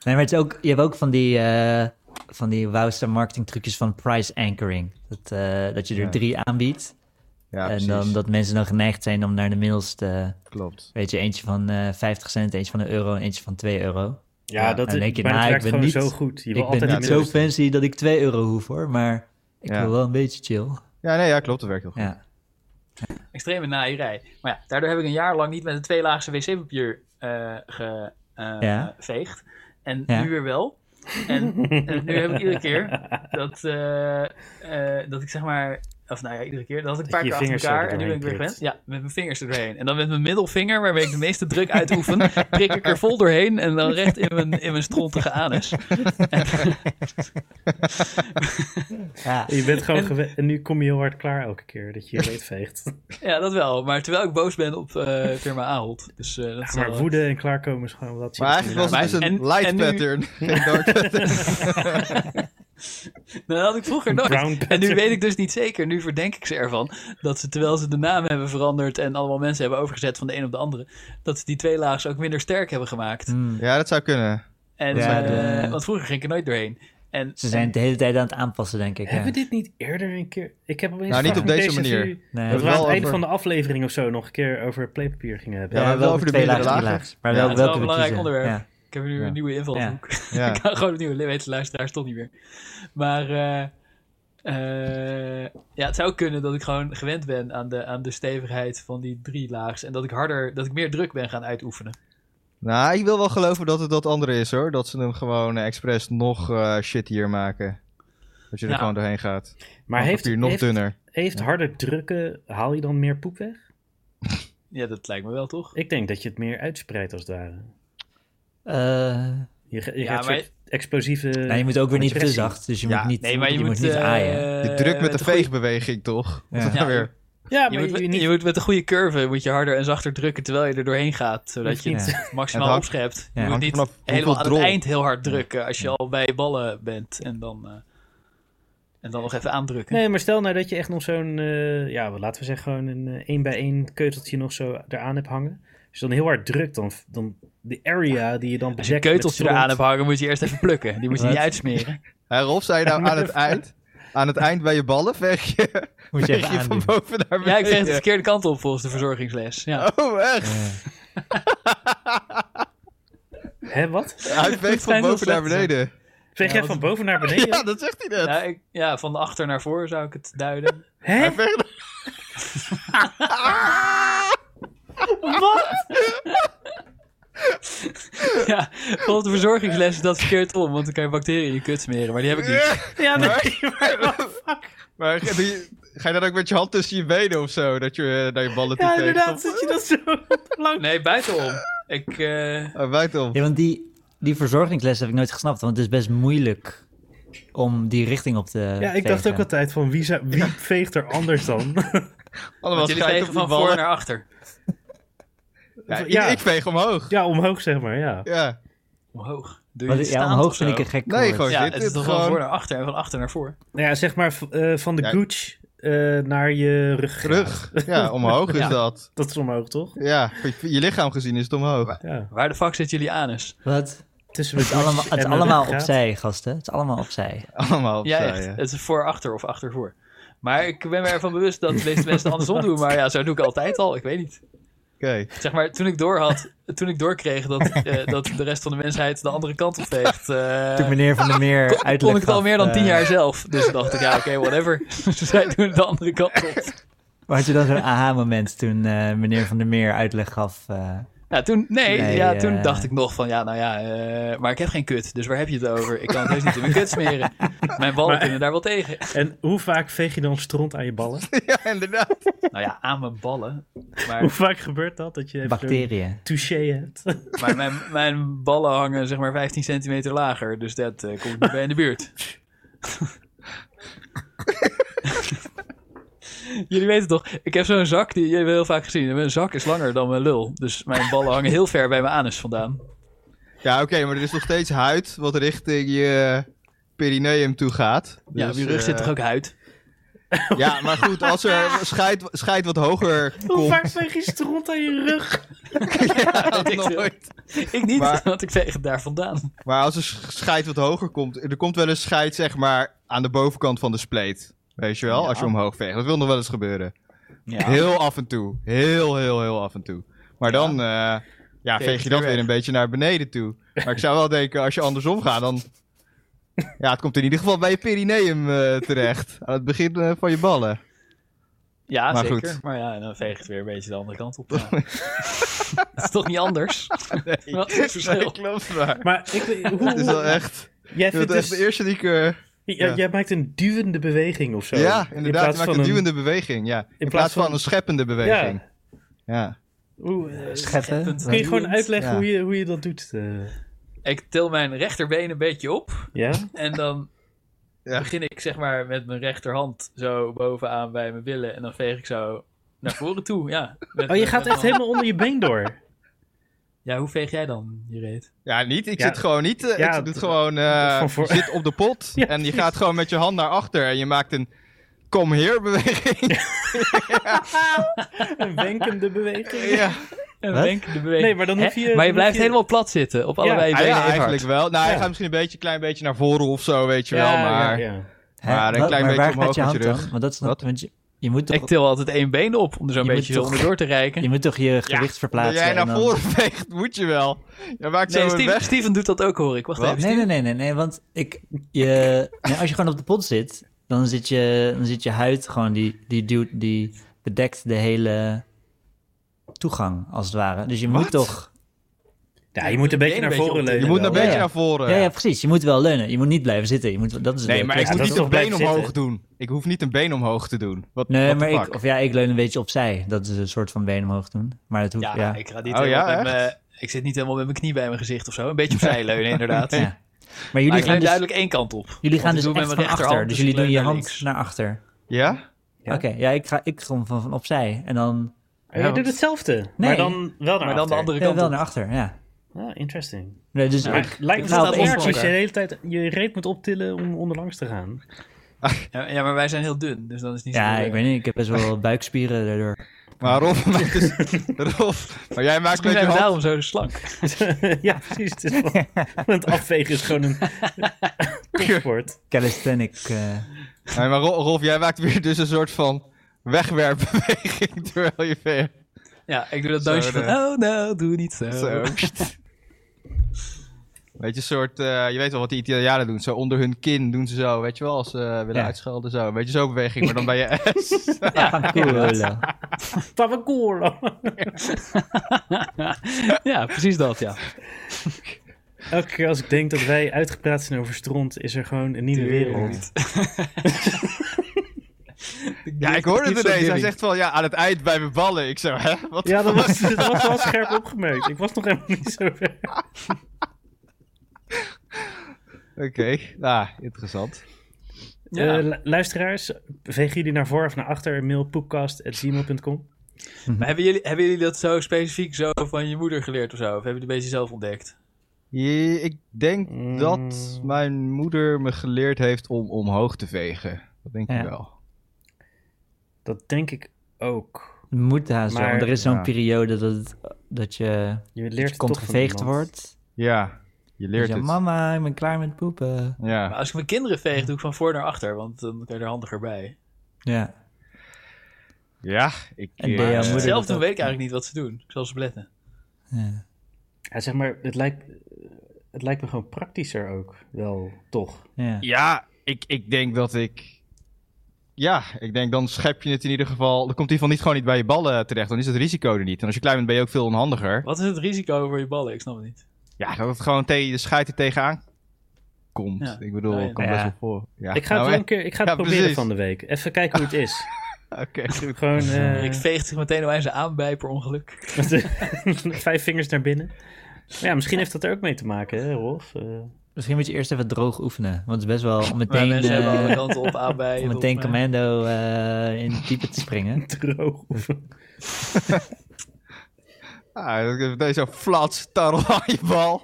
S3: Nee, maar het is ook, je hebt ook van die, eh van die wauwste marketing trucjes van price anchoring. Dat, eh, dat je er
S2: Ja.
S3: drie aanbiedt.
S2: Ja,
S3: en
S2: precies.
S3: dan dat mensen dan geneigd zijn om naar de middelste,
S2: Klopt.
S3: weet je, eentje van eh 50 cent, eentje van een euro en eentje van 2 euro.
S1: Ja, dat
S3: dan denk je,
S1: maar het
S3: nou,
S1: werkt
S3: ik ben
S1: gewoon
S3: niet-
S1: zo goed. Je wil
S3: ik ben
S1: altijd
S3: niet
S1: de
S3: zo
S1: middelste.
S3: fancy dat ik 2 euro hoef hoor, maar ik
S2: Ja.
S3: wil wel een beetje chill.
S2: Ja, nee, ja, klopt, dat werkt heel goed.
S3: Ja.
S4: extreme naaierij. Maar ja, daardoor heb ik een jaar lang niet met een tweelaagse wc-papier eh geveegd.
S3: Ja.
S4: En
S3: Ja.
S4: nu weer wel. En, en nu heb ik iedere keer dat, eh, eh, dat ik zeg maar... Of nou ja, iedere keer. Dat had ik een
S1: Dat
S4: paar
S1: je
S4: keer
S1: je
S4: achter
S1: vingers
S4: elkaar.
S1: er
S4: En nu ben ik weer
S1: doorheen
S4: gewend. Ja, met mijn vingers er doorheen. En dan met mijn middelvinger, waarmee ik de meeste druk uitoefen, prik ik er vol doorheen en dan recht in mijn, in mijn strontige anus.
S3: Ja.
S1: Je bent gewoon gewe- En nu kom je heel hard klaar elke keer dat je
S2: <laughs>
S1: je reet veegt.
S4: Ja, dat wel. Maar terwijl ik boos ben op eh, firma Ahold. Dus eh, dat
S1: <laughs>
S4: is
S1: maar
S4: wel-
S1: woede en klaarkomen is gewoon wat.
S2: Maar eigenlijk was het dus een
S4: en-
S2: light
S4: en nu-
S2: pattern, geen dark pattern.
S4: Nou, dat had ik vroeger
S1: Een
S4: nooit.
S1: brown
S4: En nu
S1: pattern.
S4: weet ik dus niet zeker, nu verdenk ik ze ervan, dat ze terwijl ze de naam hebben veranderd en allemaal mensen hebben overgezet van de een op de andere, dat ze die twee laags ook minder sterk hebben gemaakt.
S3: Hmm.
S2: Ja, dat zou kunnen.
S4: En,
S3: Ja,
S4: eh,
S3: de-
S4: Want vroeger ging ik er nooit doorheen. En,
S3: Ze zijn het de hele tijd aan het aanpassen, denk ik.
S1: Hebben
S3: Ja.
S1: we dit niet eerder een keer... Ik heb opeens
S2: Nou, niet
S1: vaak
S2: op deze
S1: een
S2: manier.
S1: vu-
S3: Nee,
S1: dat
S3: we
S1: we aan
S2: Eh, wel
S1: het einde
S2: over-
S1: van de aflevering of zo nog een keer over playpapier gingen hebben.
S2: Ja, maar wel over de
S3: twee
S2: meerdere
S3: laagste
S2: lagen.
S3: laags. Maar
S2: Ja,
S3: wel
S4: het is wel
S3: welke
S4: een
S3: we
S4: belangrijk
S3: kiezen.
S4: onderwerp.
S3: Ja.
S4: Ik heb nu
S2: Ja.
S4: een nieuwe invalshoek.
S2: <laughs> Ja.
S4: <laughs> ik kan gewoon opnieuw weten, luisteraars toch niet meer. Maar eh, eh, ja, het zou kunnen dat ik gewoon gewend ben aan de, aan de stevigheid van die drie laags. En dat ik harder, dat ik meer druk ben gaan uitoefenen.
S2: Nou, ik wil wel geloven dat het dat andere is hoor. Dat ze hem gewoon eh, expres nog eh, shittier maken. Dat je er
S4: Ja.
S2: gewoon doorheen gaat.
S1: Maar heeft,
S2: Papier nog
S1: heeft,
S2: dunner.
S1: heeft harder drukken, haal je dan meer poep weg?
S4: Ja, dat lijkt me wel toch?
S1: Ik denk dat je het meer uitspreidt als het ware.
S3: Eh,
S1: Je, ge- je
S4: Ja,
S1: gaat
S4: maar-
S1: een soort explosieve...
S3: nou, je moet ook weer niet te
S1: Compressie.
S3: zacht, dus je
S2: Ja,
S3: moet niet,
S4: Nee, maar
S3: je
S4: je,
S3: moet niet
S4: eh,
S3: aaien.
S2: Je drukt met de
S4: een goeie-
S2: veegbeweging toch?
S3: Ja.
S2: Ja.
S4: Ja.
S2: Weer.
S1: Ja,
S4: Je
S1: maar
S4: moet,
S1: je,
S4: met,
S1: niet,
S4: je moet met een goede curve moet je harder en zachter drukken terwijl je er doorheen gaat, zodat
S1: Hoeft
S4: je
S1: niet.
S4: het
S2: Het
S4: maximaal
S2: hangt-
S4: opschept.
S3: ja,
S4: Je moet
S2: hangt
S4: niet
S2: vanaf hoeveel
S4: helemaal aan
S2: drol.
S4: het eind heel hard drukken als je al bij ballen bent en dan, eh, en dan nog even aandrukken.
S1: Nee, maar stel nou dat je echt nog zo'n, eh, ja, wat laten we zeggen, gewoon een eh, één bij één keuteltje nog zo eraan hebt hangen. Als je dan heel hard drukt, dan, dan de area die je dan
S4: Als je een
S1: bedekt
S4: keuteltje
S1: met
S4: eraan
S1: stront-
S4: hebt hangen, moet je eerst even plukken. Die moet je
S3: Wat?
S4: niet uitsmeren.
S2: Hey, Rolf, zei je nou aan
S1: <laughs>
S2: het eind? Aan het eind bij je ballen veeg je, <laughs>
S3: Moet je
S2: veeg
S3: even
S2: je van
S3: aandoen.
S2: boven naar beneden. <laughs>
S4: Ja, ik zeg het de verkeerde kant op volgens de verzorgingsles. Ja.
S2: Oh, echt?
S1: Hè, wat?
S2: Hij
S4: <laughs>
S2: veegt van
S4: zijn heel
S2: boven naar
S4: slecht,
S2: beneden.
S1: Veeg jij
S4: wat-
S1: van boven naar beneden?
S2: <laughs> Ja, dat zegt hij net.
S4: Ja, ik- ja, van achter naar voor zou ik het duiden. <laughs>
S1: Hè?
S2: Hij veegt-
S1: Wat?
S4: Ja, op de verzorgingsles is dat verkeerd om, want dan kan je bacteriën in je kut smeren, maar die heb ik niet.
S1: Ja, nee. <laughs>
S2: Maar ga die- ga je dan ook met je hand tussen je benen of zo? Dat je eh, naar je ballen toe
S1: Ja,
S2: steekt?
S1: inderdaad, dat je dat zo <laughs> lang...
S4: Nee, buitenom. Ik, eh,
S2: Oh, wijd om.
S3: Ja, want die, die verzorgingsles heb ik nooit gesnapt, want het is best moeilijk om die richting op te
S1: Ja, ik dacht
S3: vegen.
S1: ook altijd van wie, zou- wie veegt er anders <laughs> dan?
S2: Allemaal
S4: want
S2: schijt
S4: jullie
S2: op
S4: vegen
S2: die
S4: van voor
S2: ballen.
S4: naar achter.
S2: Ja, ik-
S1: Ja.
S2: Ik veeg omhoog.
S1: Ja, omhoog zeg maar, ja.
S2: Ja.
S4: Omhoog. Doe je
S3: Maar
S4: het
S3: ja,
S4: staand
S3: omhoog
S4: of zo?
S3: vind ik een gek
S2: Nee,
S3: woord.
S2: gewoon-
S4: Ja,
S2: Zit
S4: het
S2: het
S4: is toch
S2: gewoon-
S4: van voor naar achter en van achter naar voor.
S1: Nou ja, zeg maar v- eh, van de
S2: Ja.
S1: gooch eh, naar je rug.
S2: Rug. Ja, omhoog is
S4: Ja.
S2: dat.
S1: Dat is omhoog, toch?
S2: Ja, je, je lichaam gezien is het omhoog.
S1: Ja.
S4: Waar de fuck zit jullie anus?
S3: Wat?
S1: Tussen
S3: Het is
S1: mijn
S3: allemaal,
S1: gooch
S3: het is
S1: en eh, mijn
S3: allemaal
S1: ruggraat.
S3: opzij, gasten. Het is allemaal opzij.
S4: Eh,
S2: Allemaal opzij.
S4: Ja, echt.
S2: ja.
S4: Het is voor achter of achter voor. Maar ik ben me ervan bewust dat de meeste mensen andersom doen. Maar ja, zo doe ik altijd al. Ik weet niet.
S2: Oké.
S4: Zeg maar, toen ik door had, toen ik doorkreeg dat, eh, dat de rest van de mensheid de andere kant op veegt, eh,
S3: Toen meneer
S4: <laughs>
S3: Van der Meer uitleg
S4: kon ik het al
S3: gaf,
S4: meer dan
S3: eh,
S4: tien jaar zelf. Dus toen dacht ik, ja, oké, whatever. <laughs> Zij doen het de andere kant op.
S3: Maar had je dan zo'n aha-moment toen eh, meneer Van der Meer uitleg gaf? eh,
S4: Ja, Nou, toen, nee,
S3: Nee,
S4: ja,
S3: eh.
S4: toen dacht ik nog van, ja, nou ja, eh, maar ik heb geen kut, dus waar heb je het over? Ik kan het heus niet in mijn kut smeren. Mijn ballen
S1: Maar-
S4: kunnen daar wel tegen.
S1: En hoe vaak veeg je dan stront aan je
S2: <laughs>
S1: ballen?
S2: Ja, inderdaad.
S4: Nou ja, aan mijn ballen. Maar,
S1: Hoe vaak gebeurt dat? Dat je even zo'n
S3: bacteriën.
S1: touché
S2: <laughs>
S1: hebt?
S4: maar mijn, mijn ballen hangen zeg maar 15 centimeter lager, dus dat eh, komt niet bij in de buurt. Jullie weten toch, ik heb zo'n zak, die jullie hebben heel vaak gezien. Mijn zak is langer dan mijn lul, dus mijn ballen hangen heel ver bij mijn anus vandaan.
S2: Ja, oké, maar er is nog steeds huid wat richting je perineum toe gaat.
S4: Ja, op
S2: Dus,
S4: je rug
S2: eh,
S4: zit toch ook huid?
S2: Ja, maar goed, als
S4: <laughs>
S2: er scheid, scheid wat hoger
S1: Hoe
S2: komt,
S1: vaak veeg je stront aan je rug?
S2: dat
S4: ik veel.
S2: nooit.
S4: Ik niet,
S2: Maar-
S4: want ik veeg het daar vandaan.
S2: Maar als er sch- scheid wat hoger komt, er komt wel eens scheid zeg maar aan de bovenkant van de spleet. Weet je wel, als je omhoog veegt. Dat wil nog wel eens gebeuren. Heel af en toe. Heel, heel, heel af en toe. Maar dan eh, ja,
S4: Veeg
S2: veeg je
S4: het
S2: dat
S4: weer
S2: weer
S4: weg.
S2: een beetje naar beneden toe. Maar ik zou wel denken, als je andersom gaat, dan... Ja, het komt in ieder geval bij je perineum eh, terecht. Aan het begin eh, van je ballen.
S4: Ja,
S2: Maar
S4: zeker.
S2: goed.
S4: Maar ja, en dan veeg het weer een beetje de andere kant
S1: <laughs>
S4: op. ja. dat is toch niet anders? <laughs> Wat is het
S2: <laughs>
S4: verschil?
S2: klopt maar.
S1: Maar ik, weet-
S2: <laughs> Het is wel
S1: hoe,
S2: echt...
S1: jij,
S2: Dat
S1: vindt
S2: is echt
S1: dus,
S2: de eerste die ik... eh,
S1: ja,
S2: ja.
S1: jij maakt een duwende beweging of zo.
S2: ja,
S1: In
S2: inderdaad. Je
S1: plaats
S2: maakt
S1: van
S2: een duwende beweging, ja. In plaats, van, een scheppende beweging. ja.
S1: Hoe, eh,
S3: Scheppen.
S1: kun je gewoon uitleggen
S2: Ja.
S1: hoe, je, hoe je dat doet? eh?
S4: Ik til mijn rechterbeen een beetje op.
S1: ja?
S4: En dan
S2: <laughs> Ja.
S4: begin ik zeg maar met mijn rechterhand zo bovenaan bij mijn billen. En dan veeg ik zo naar voren toe. Ja, Met-
S1: Oh, je
S4: met-
S1: gaat echt
S4: met mijn hand.
S1: helemaal onder je been door.
S4: Ja, hoe veeg jij dan je reet?
S2: Ja, niet. Ik
S1: Ja.
S2: zit gewoon niet. eh,
S1: Ja,
S2: ik doe het
S1: dat-
S2: gewoon. eh,
S1: van voor-
S2: je zit op de
S1: <laughs>
S2: pot
S1: Ja,
S2: en je
S1: precies.
S2: gaat gewoon met je hand naar achter en je maakt een kom hier
S1: <laughs>
S2: beweging.
S1: <laughs> Een wenkende
S4: <laughs>
S1: beweging.
S2: ja,
S4: Een
S3: Wat?
S4: wenkende beweging.
S1: Nee, maar dan hoef
S4: Hè?
S1: je-
S4: Maar
S1: dan
S4: je
S1: hoef
S4: blijft
S1: je-
S4: helemaal plat zitten op allebei je
S2: Ah,
S4: benen.
S2: ja
S4: even
S2: eigenlijk wel. Nou, hij
S1: Ja.
S2: gaat misschien een beetje, klein beetje naar voren of zo, weet je wel.
S1: Ja,
S2: Maar
S1: ja, ja.
S3: Hè?
S2: Maar een
S3: Wat-
S2: klein beetje
S3: maar waar gaat
S2: omhoog
S3: je
S2: met je
S3: hand
S2: rug.
S3: dan? Want dat snap
S2: Wat?
S3: ik, want je, je moet toch,
S4: hard. Ik til altijd één been op om er zo'n
S3: Je moet
S4: beetje zo
S3: toch-
S4: onderdoor te reiken.
S3: je, moet toch je gewicht
S2: als
S3: verplaatsen.
S2: jij naar
S3: en dan-
S2: voren <laughs> veegt, moet je wel. Je maakt
S4: Nee,
S2: zo een
S4: Steven,
S2: weg.
S4: Steven doet dat ook hoor ik. Wacht
S2: Wat?
S4: even.
S3: Nee, nee, nee, nee, nee, want ik, je, nee, als je gewoon op de pot zit, dan zit je, dan zit je huid gewoon, die, die, duwt- die bedekt de hele toegang, als het ware. Dus je moet
S2: Wat?
S3: toch...
S1: Ja, je moet een beetje
S4: Een
S1: naar
S4: beetje
S1: voren
S4: op de-
S1: leunen.
S2: Je moet een
S1: wel.
S2: beetje
S3: ja.
S2: naar voren.
S3: Ja, ja, precies. Je moet wel leunen. Je moet niet blijven zitten. Je moet, dat is het
S2: Oh Nee,
S3: leuke.
S2: maar ik
S1: Ja,
S2: moet
S1: dat
S2: niet
S1: is
S2: een
S1: toch
S2: been
S1: blijven
S2: omhoog
S1: zitten.
S2: doen. Ik hoef niet een been omhoog te doen. Wat,
S3: Nee,
S2: what the
S3: maar
S2: fuck?
S3: ik, of ja, ik leun een beetje opzij. Dat is een soort van been omhoog doen. Maar dat hoeft,
S4: Ja,
S3: ja. Ja,
S4: ik ga niet
S2: Oh,
S4: helemaal
S2: ja,
S4: met mijn... Ik zit niet helemaal met mijn knie bij mijn gezicht of zo. Een beetje
S3: <laughs>
S4: opzij leunen, inderdaad. Maar
S3: Maar
S4: ik
S3: jullie
S4: leun
S3: gaan dus,
S4: duidelijk één kant op.
S3: jullie gaan
S4: Want ik
S3: dus
S4: doe
S3: echt
S4: met mijn
S3: van achter. Dus
S4: rechterhand, dus
S3: jullie
S4: ik
S3: doen je
S4: leun naar
S3: hand
S4: links.
S3: naar achter.
S2: Ja?
S1: Ja.
S3: Oké, ja, ik, ga, ik kom van, van opzij. En dan
S1: Oh, jij doet hetzelfde. Maar dan wel naar
S4: Maar dan de
S1: achter.
S4: andere
S3: ja,
S4: kant
S3: wel
S4: op.
S3: naar achter, ja.
S1: Ah, interesting.
S3: Nee, dus
S1: Maar
S3: ik,
S1: het lijkt me
S3: nou,
S1: wel
S3: op één
S1: erg als je
S3: plek.
S1: de hele tijd je reet moet optillen om onderlangs te <laughs> gaan.
S4: Ja, ja, maar wij zijn heel dun, dus dan is het niet zo...
S3: Ja,
S1: Eh,
S4: moeilijk.
S3: ik weet niet. Ik heb best
S1: <laughs>
S3: wel buikspieren daardoor.
S2: Maar Rolf maakt dus... Rolf, maar jij maakt
S4: Misschien
S2: met je
S4: zijn
S2: hand...
S4: Dus we daarom zo slank.
S1: ja, precies. Het is wel- <laughs> want afvegen is <laughs> gewoon een topsport.
S3: Calisthenic. eh.
S1: <laughs>
S2: Nee, maar Ro- Rolf, jij maakt weer dus een soort van wegwerpbeweging <laughs> terwijl je veegt.
S4: Ja, ik doe dat oh,
S2: Zo,
S4: dansje van...
S2: nee.
S4: Oh, nou, doe niet zo.
S2: Zo. Weet je, soort, eh, je weet wel wat die Italianen doen. Zo onder hun kin doen ze zo, weet je wel, als ze eh, willen
S3: Ja.
S2: uitschelden. Zo. Weet je, zo'n beweging, maar dan ben je
S1: <laughs>
S3: Cool.
S1: Tavacolo.
S4: ja, precies dat, ja.
S1: Elke keer als ik denk dat wij uitgepraat zijn over stront, is er gewoon een nieuwe wereld.
S3: <laughs>
S2: Ja, ik hoorde het ineens. Hij zegt van, ja, aan het eind bij mijn ballen. Ik zo, hè? Wat?
S1: Ja, dat was, dat was wel scherp opgemerkt. Ik was nog helemaal niet zo ver.
S2: <laughs> Oké, nou, interessant.
S4: Ja.
S1: Eh, lu- luisteraars, veeg jullie naar voor of naar achter. Mail poepcast.gmail.com.
S4: Maar hebben jullie, hebben jullie dat zo specifiek zo van je moeder geleerd of zo? Of hebben jullie het een beetje zelf ontdekt?
S2: Je- ik denk dat
S1: Mm.
S2: mijn moeder me geleerd heeft om omhoog te vegen. Dat denk
S3: Ja.
S2: ik wel.
S1: Dat denk ik ook.
S3: Moet haast wel,
S1: Maar-
S3: want er is zo'n
S2: ja.
S3: periode dat, het, dat je,
S1: Je leert
S3: dat je
S1: het
S3: kont
S1: toch van
S3: geveegd
S1: iemand.
S3: wordt.
S2: Ja, je
S3: Dus
S2: leert
S3: je,
S2: het.
S3: mama, ik ben klaar met poepen.
S2: Ja.
S4: Maar Nou, als ik mijn kinderen veeg, doe ik van voor naar achter, want dan kan je er handiger bij.
S3: Ja.
S2: ja, ik...
S3: En
S2: eh,
S3: deed jouw
S4: Als
S3: moeder
S4: ze het zelf
S3: dat
S4: doen,
S3: ook?
S4: weet ik eigenlijk niet wat ze doen. Ik zal ze beletten.
S3: ja.
S1: Ja, zeg maar, het lijkt, het lijkt me gewoon praktischer ook. Wel, toch?
S3: ja.
S2: Ja, ik, ik denk dat ik... Ja, ik denk dan schep je het in ieder geval... Dan komt in ieder geval niet gewoon niet bij je ballen terecht. Dan is het risico er niet. En als je klein bent ben je ook veel onhandiger.
S4: Wat is het risico voor je ballen? Ik snap het niet.
S2: Ja, dat het gewoon tegen de scheid er tegenaan komt.
S4: Ja.
S2: Ik bedoel,
S4: Nou ja.
S2: ik kan
S3: Ja.
S2: best wel voor. Ja.
S1: Ik ga het
S2: nou,
S1: wel een keer ik ga het
S2: Ja,
S1: proberen
S2: precies.
S1: van de week. Even kijken hoe het is.
S2: eh, Oké, goed.
S1: Gewoon eh,
S4: Ik veeg zich meteen al zijn aan bij per ongeluk.
S1: met de- <laughs> vijf vingers naar binnen. Maar ja, misschien heeft dat er ook mee te maken, hè, Rolf? Eh, <laughs>
S3: Misschien moet je eerst even droog oefenen. Want het is best wel om
S4: Maar
S3: meteen,
S4: mensen hebben
S3: eh,
S4: alle kanten op aan bij.
S3: om meteen commando eh, in het diepe te springen.
S1: droog oefenen.
S2: Ah, dat is meteen zo'n flats tarrel aan je bal.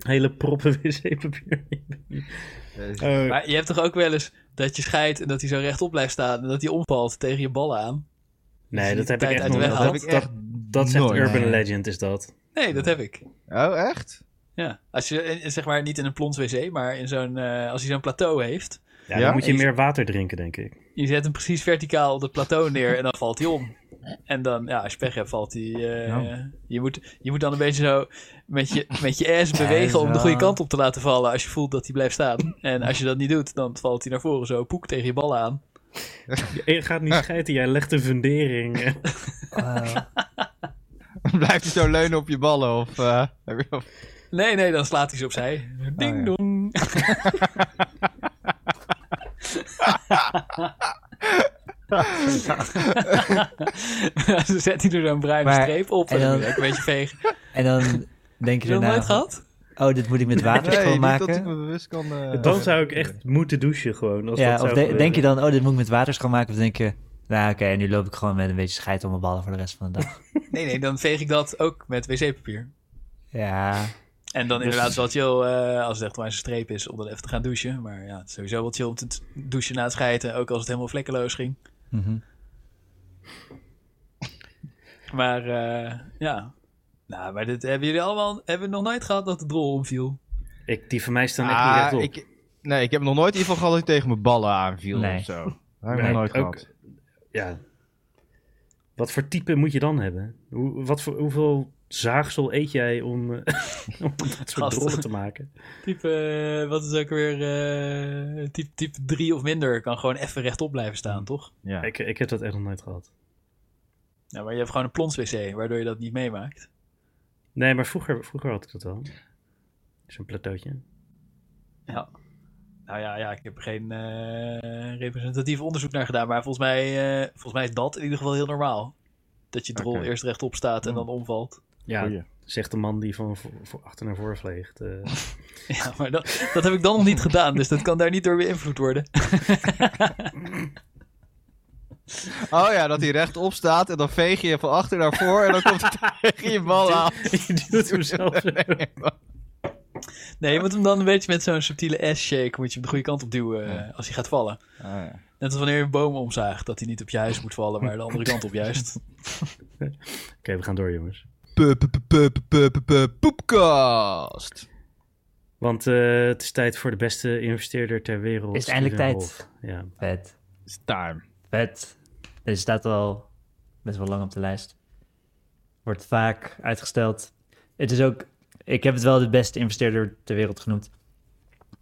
S1: Hele proppen wc-papier. Eh,
S4: Maar je hebt toch ook wel eens dat je scheidt en dat hij zo rechtop blijft staan en dat hij omvalt tegen je ballen aan?
S1: nee, dat heb ik
S4: tijd
S1: echt
S4: uit de
S1: nog
S4: weg
S1: nooit. Dat,
S2: Dat
S4: haalt.
S2: heb
S1: dat-
S2: ik echt
S1: dat zegt
S2: nooit.
S1: Urban Legend, is dat.
S4: Nee, dat heb ik.
S2: Oh, echt? <laughs>
S4: Ja. Als je eh, zeg maar niet in een plons wc, maar in zo'n, eh, als hij zo'n plateau heeft.
S1: Ja,
S2: Ja?
S1: dan moet je
S4: Eens-
S1: meer water drinken, denk ik.
S4: Je zet hem precies verticaal op het plateau neer en dan valt hij om. En dan, ja, als je pech hebt, valt hij. eh, je, moet, je moet dan een beetje zo met je, met je ass
S3: is
S4: bewegen om de
S3: wel-
S4: goede kant op te laten vallen. Als je voelt dat hij blijft staan. En als je dat niet doet, dan valt hij naar voren zo poek tegen je ballen aan.
S1: Je gaat niet scheiden, jij legt een fundering. <laughs> eh.
S2: Blijf je zo leunen op je ballen? Of, eh, heb je- of-
S4: Nee, nee, dan slaat hij ze opzij. Ding
S2: ja.
S4: dong. <laughs> Ze zet hij er zo'n bruine
S3: Maar-
S4: streep op en
S3: en
S4: dan
S3: dan-
S4: moet je ook een beetje vegen. Heb
S3: En dan denk je
S4: je dat
S3: daarna...
S4: nooit gehad?
S3: Oh, dit moet ik met water
S2: nee, niet
S3: schoonmaken.
S2: dat ik me bewust kan... eh,
S1: Dan zou ik echt moeten douchen gewoon. Als
S3: ja,
S1: dat
S3: of
S1: zou
S3: de-
S1: gebeuren.
S3: denk je dan, oh, dit moet ik met water schoonmaken? Of denk je, nou oké, nu loop ik gewoon met een beetje scheid om mijn ballen voor de rest van de dag.
S4: Nee, nee, dan veeg ik dat ook met wc-papier.
S3: ja,
S4: En dan inderdaad is het wel chill eh, als het echt maar een streep is om dan even te gaan douchen. Maar ja, het is sowieso wel chill om te t- douchen na het scheiden. Ook als het helemaal vlekkeloos ging.
S3: Mhm.
S4: Maar eh, ja. Nou, maar dit hebben jullie allemaal hebben we nog nooit gehad dat de drol omviel.
S1: Ik, die van mij staan echt
S2: ah,
S1: niet rechtop.
S2: ik, nee, ik heb nog nooit in ieder geval gehad dat hij tegen mijn ballen aanviel
S3: Nee.
S2: of zo. Dat heb ik
S1: Nee,
S2: nog nooit
S1: ook-
S2: gehad.
S1: Ja. Wat voor type moet je dan hebben? Hoe, wat voor, hoeveel zaagsel eet jij om, eh, <laughs> om dat soort
S4: Gast.
S1: rollen te maken?
S4: Type, eh, wat is ook weer, eh, type, type 3 of minder kan gewoon even rechtop blijven staan, toch?
S2: Ja.
S1: Ik, ik heb dat echt nog nooit gehad.
S4: Ja, maar je hebt gewoon een plons-wc, waardoor je dat niet meemaakt.
S1: Nee, maar vroeger, vroeger had ik dat wel. Zo'n plateautje.
S4: Ja. Nou ja, ja ik heb er geen eh, representatief onderzoek naar gedaan, maar volgens mij, eh, volgens mij is dat in ieder geval heel normaal. Dat je drol
S2: Oké.
S4: eerst rechtop staat en
S3: Hmm.
S4: dan omvalt. <laughs>
S1: Ja,
S2: Goeie.
S1: zegt de man die van vo- voor achter naar voren vleegt. eh.
S4: Ja, maar dat, dat heb ik dan nog niet gedaan, dus dat kan daar niet door beïnvloed worden. <laughs>
S2: Oh ja, dat hij rechtop staat en dan veeg je van achter naar voor en dan komt
S3: <laughs>
S2: hij tegen je bal aan.
S1: <laughs> je doet hem zelf. <laughs>
S4: Nee, je moet hem dan een beetje met zo'n subtiele S-shake moet je hem de goede kant op duwen eh, als hij gaat vallen.
S3: Ah,
S4: Net als wanneer je een boom omzaagt, dat hij niet op je huis moet vallen, maar de andere kant op
S3: <laughs>
S4: juist.
S1: Oké, we gaan door, jongens.
S2: Pup, pup, pup, pup, pup, pup, Poepkast.
S1: Want eh, het is tijd voor de beste investeerder ter wereld.
S3: Is het eindelijk
S1: Steven
S3: tijd?
S1: Wolf. Ja.
S3: vet,
S2: It's time.
S3: vet. Deze staat al best wel lang op de lijst. Wordt vaak uitgesteld. Het is ook, ik heb het wel de beste investeerder ter wereld genoemd.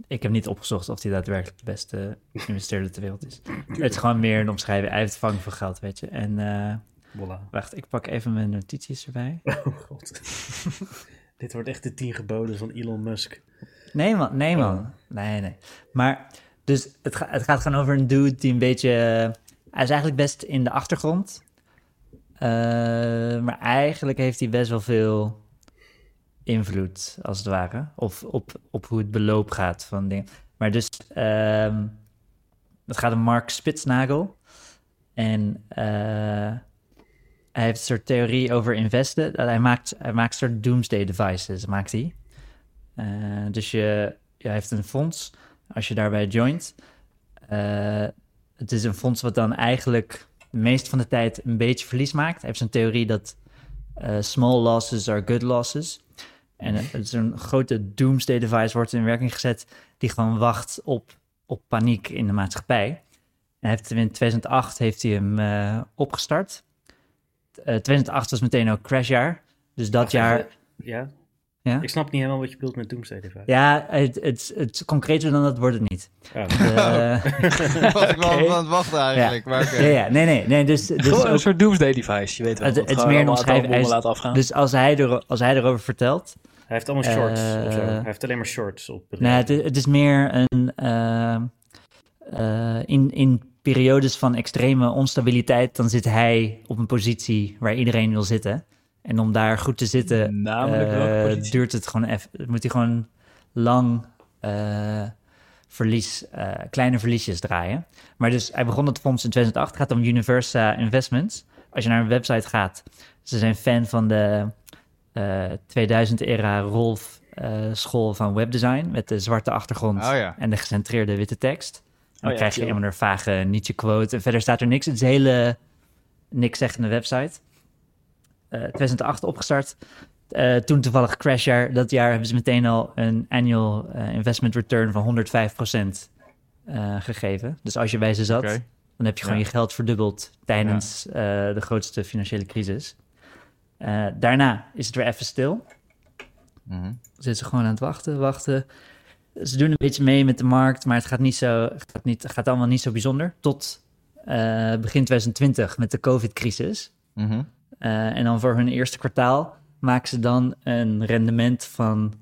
S3: Ik heb niet opgezocht of hij daadwerkelijk de beste investeerder ter wereld is. Het is gewoon meer een omschrijving. Hij heeft vang van geld, weet je. En eh,
S1: Voilà.
S3: wacht, ik pak even mijn notities erbij.
S1: Oh god. Dit wordt echt de tien geboden van Elon Musk.
S3: Nee man, nee man. Nee, nee. Maar dus het, ga- het gaat gewoon over een dude die een beetje... eh, Hij is eigenlijk best in de achtergrond. Eh, maar eigenlijk heeft hij best wel veel invloed, als het ware. Of op, op hoe het beloop gaat van dingen. Maar dus, ehm, het gaat om Mark Spitsnagel. En eh, hij heeft een soort theorie over investen. Dat Hij maakt, hij maakt een soort doomsday devices, maakt hij. Eh, dus je, je heeft een fonds. Als je daarbij joint, eh, het is een fonds wat dan eigenlijk de meeste van de tijd een beetje verlies maakt. Hij heeft zijn theorie dat eh, small losses are good losses. En eh, het is een grote doomsday device wordt in werking gezet die gewoon wacht op, op paniek in de maatschappij. En hij heeft hem in 2008 heeft hij hem eh, opgestart. Eh, 2008 was meteen ook crashjaar. Dus dat jaar...
S1: Ja?
S3: Ja?
S1: Ik snap niet helemaal wat je bedoelt met Doomsday Device.
S3: Ja, het, het, het, concreter dan dat wordt het
S4: <laughs>
S3: niet.
S1: Oh.
S3: Eh,
S2: was ik wel
S3: Oké.
S2: aan het wachten eigenlijk. Maar oké.
S3: <laughs> ja, ja, nee, nee, nee.
S4: <laughs>
S3: Dus, dus,
S4: Gewoon een
S3: ook-
S4: soort doomsday device, je weet wel.
S3: Het-
S4: dat
S3: het is
S4: gewoon
S3: meer een
S4: allemaal
S3: omschrijving.
S4: atoombommen
S3: Hij is-
S4: laat afgaan.
S3: dus als, hij er, als hij erover vertelt.
S1: Hij heeft allemaal shorts
S3: Eh,
S1: of zo. Hij heeft alleen maar shorts op.
S3: Nee, het, is- het is meer een. eh, eh, in, in periodes van extreme onstabiliteit, dan zit hij op een positie waar iedereen wil zitten. En om daar goed te zitten,
S4: Namelijk welke
S3: eh,
S4: positie?
S3: duurt het gewoon even. Moet hij gewoon lang eh, verlies, eh, kleine verliesjes draaien. Maar dus hij begon het fonds in 2008. Het gaat om Universa Investments. Als je naar een website gaat, ze zijn fan van de 2000-era Rolf eh, school van webdesign met de zwarte achtergrond
S2: Oh ja.
S3: en de gecentreerde witte tekst. En dan
S4: Oh ja,
S3: krijg je
S4: chill.
S3: helemaal een vage Nietzsche-quote. En verder staat er niks. Het is een hele niks zeggende website. Eh, 2008 opgestart. Eh, toen toevallig crashjaar. Dat jaar hebben ze meteen al een annual eh, investment return van 105% eh, gegeven. Dus als je bij ze zat,
S2: Oké.
S3: dan heb je gewoon je geld verdubbeld tijdens eh, de grootste financiële crisis. Eh, daarna is het weer even stil
S4: Mhm.
S3: zitten ze gewoon aan het wachten, wachten. Ze doen een beetje mee met de markt, maar het gaat, niet zo, gaat, niet, gaat allemaal niet zo bijzonder. Tot eh, begin 2020 met de COVID-crisis.
S2: Mhm.
S3: Eh, en dan voor hun eerste kwartaal maken ze dan een rendement van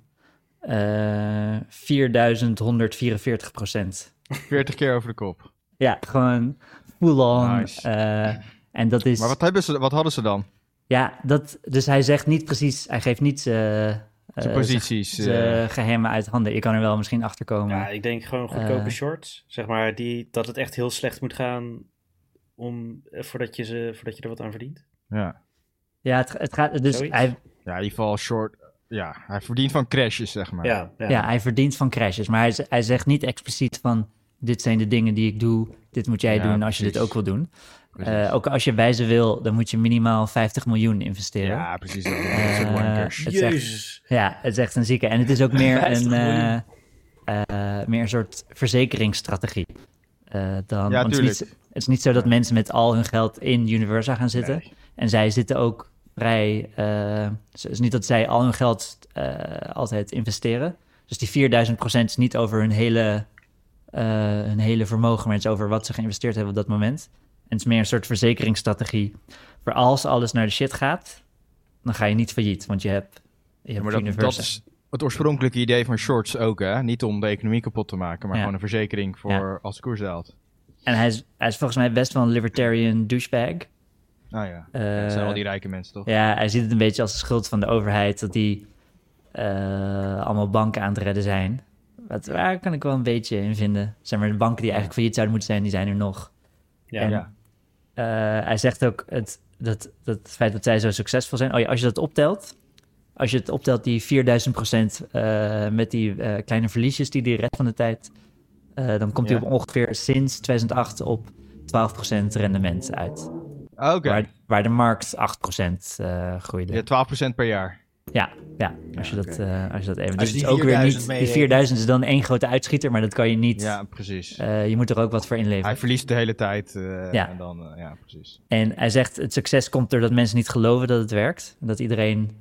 S3: eh 4144 procent.
S2: 40 keer over de kop.
S3: Ja, gewoon full on.
S2: Nice.
S3: eh, en dat is...
S2: Maar wat, hebben ze, wat hadden ze dan?
S3: Ja, dat, dus hij zegt niet precies... Hij geeft niet zijn...
S2: De
S3: eh,
S2: posities.
S3: zijn-
S2: eh,
S3: zijn geheimen uit handen. Je kan er wel misschien achter komen.
S1: Ja, ik denk gewoon goedkope
S3: Eh.
S1: shorts. Zeg maar die, dat het echt heel slecht moet gaan om, eh, voordat, je ze, voordat je er wat aan verdient.
S2: ja.
S3: Ja, het, het gaat dus
S1: Zoiets.
S3: hij,
S2: ja, in ieder geval short. Ja, hij verdient van crashes, zeg maar.
S1: Ja, ja.
S3: ja. hij verdient van crashes, maar hij, z- hij zegt niet expliciet van dit zijn de dingen die ik doe, dit moet jij
S2: Ja,
S3: doen als je dit
S2: precies.
S3: ook wil doen.
S2: Precies.
S3: Eh, ook als je wijze wil, dan moet je minimaal 50 miljoen investeren. Ja,
S2: Ja, precies. Dat is een wankers.
S3: Eh, het is echt-
S1: Jezus.
S3: het is echt een zieke. En het is ook meer
S4: 50
S3: een, eh,
S4: miljoen.
S3: eh, meer een soort verzekeringsstrategie. eh, dan,
S2: Ja,
S3: want het, is niet,
S2: tuurlijk.
S3: het is niet zo dat mensen met al hun geld in Universa gaan zitten. En zij zitten ook vrij. eh, Het is niet dat zij al hun geld eh, altijd investeren. Dus die 4000 is niet over hun hele, eh, hun hele vermogen, maar het is over wat ze geïnvesteerd hebben op dat moment. En het is meer een soort verzekeringsstrategie. Voor als alles naar de shit gaat, dan ga je niet failliet, want je hebt, je
S2: Ja,
S3: hebt
S2: maar dat, dat
S3: Universa.
S2: is het oorspronkelijke idee van shorts ook, hè? Niet om de economie kapot te maken, maar
S3: Ja.
S2: gewoon een verzekering voor
S3: Ja.
S2: als de koers daalt.
S3: En hij is, hij is volgens mij best wel een libertarian douchebag.
S2: Nou ja,
S3: Eh,
S2: dat zijn al die rijke mensen, toch?
S3: Ja, hij ziet het een beetje als de schuld van de overheid dat die eh, allemaal banken aan het redden zijn. Wat, daar kan ik wel een beetje in vinden. Zeg maar, de banken die eigenlijk failliet zouden moeten zijn, die zijn er nog.
S1: Ja.
S3: En- Eh, hij zegt ook het, dat, dat het feit dat zij zo succesvol zijn. Oh ja, als je dat optelt, als je het optelt, die 4000 eh, met die eh, kleine verliesjes die die rest van de tijd, eh, dan komt hij
S2: Ja.
S3: op ongeveer sinds 2008 op 12 rendement uit.
S2: Ah, Oké,
S3: Waar, waar de markt 8 eh groeide.
S2: ja, 12% per jaar.
S3: Ja, ja als, je dat, eh, als je dat even...
S4: Als
S3: Dus
S4: je
S3: het is
S4: die
S3: ook weer
S4: 4000
S3: niet... Die
S4: meerekent.
S3: 4000 is dan één grote uitschieter, maar dat kan je niet...
S2: Ja, precies.
S3: eh, je moet er ook wat voor inleveren.
S2: Hij verliest de hele tijd. eh,
S3: Ja.
S2: En dan, eh, ja, precies.
S3: En hij zegt, het succes komt doordat mensen niet geloven dat het werkt. Dat iedereen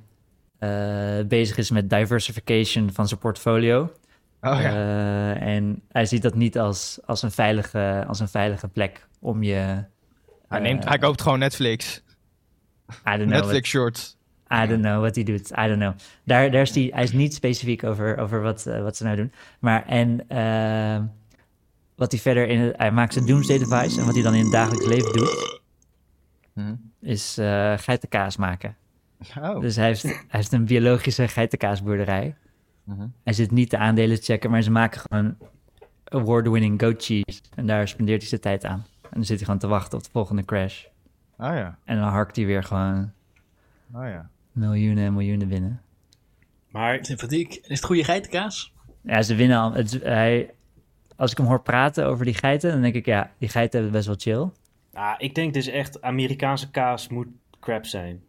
S3: eh, bezig is met diversification van zijn portfolio.
S2: Oh ja.
S3: Eh, en hij ziet dat niet als, als, een, veilige, als een veilige plek om je...
S2: hij, neemt,
S3: eh, nou,
S2: hij koopt gewoon Netflix.
S3: I don't know, what,
S2: Netflix shorts.
S3: I don't know wat hij doet. I don't know. Daar, daar is die, hij is niet specifiek over, over wat, eh, wat ze nou doen. Maar en eh, wat hij verder in... het- hij maakt zijn doomsday device. En wat hij dan in het dagelijks leven doet...
S2: Hm.
S3: is eh geitenkaas maken.
S2: Oh.
S3: Dus hij heeft, hij heeft een biologische geitenkaasboerderij.
S2: Mhm.
S3: Hij zit niet de aandelen te checken, maar ze maken gewoon award-winning goat cheese. En daar spendeert hij zijn tijd aan. En dan zit hij gewoon te wachten op de volgende crash.
S2: Oh ja.
S3: En dan harkt hij weer gewoon
S2: Oh ja.
S3: miljoenen en miljoenen binnen.
S1: Maar
S4: Sympathiek. En is het goede geitenkaas?
S3: Ja, ze winnen al. Het, hij, als ik hem hoor praten over die geiten, dan denk ik, ja, die geiten hebben het best wel chill.
S1: ah, ik denk dus echt, Amerikaanse kaas moet crap zijn.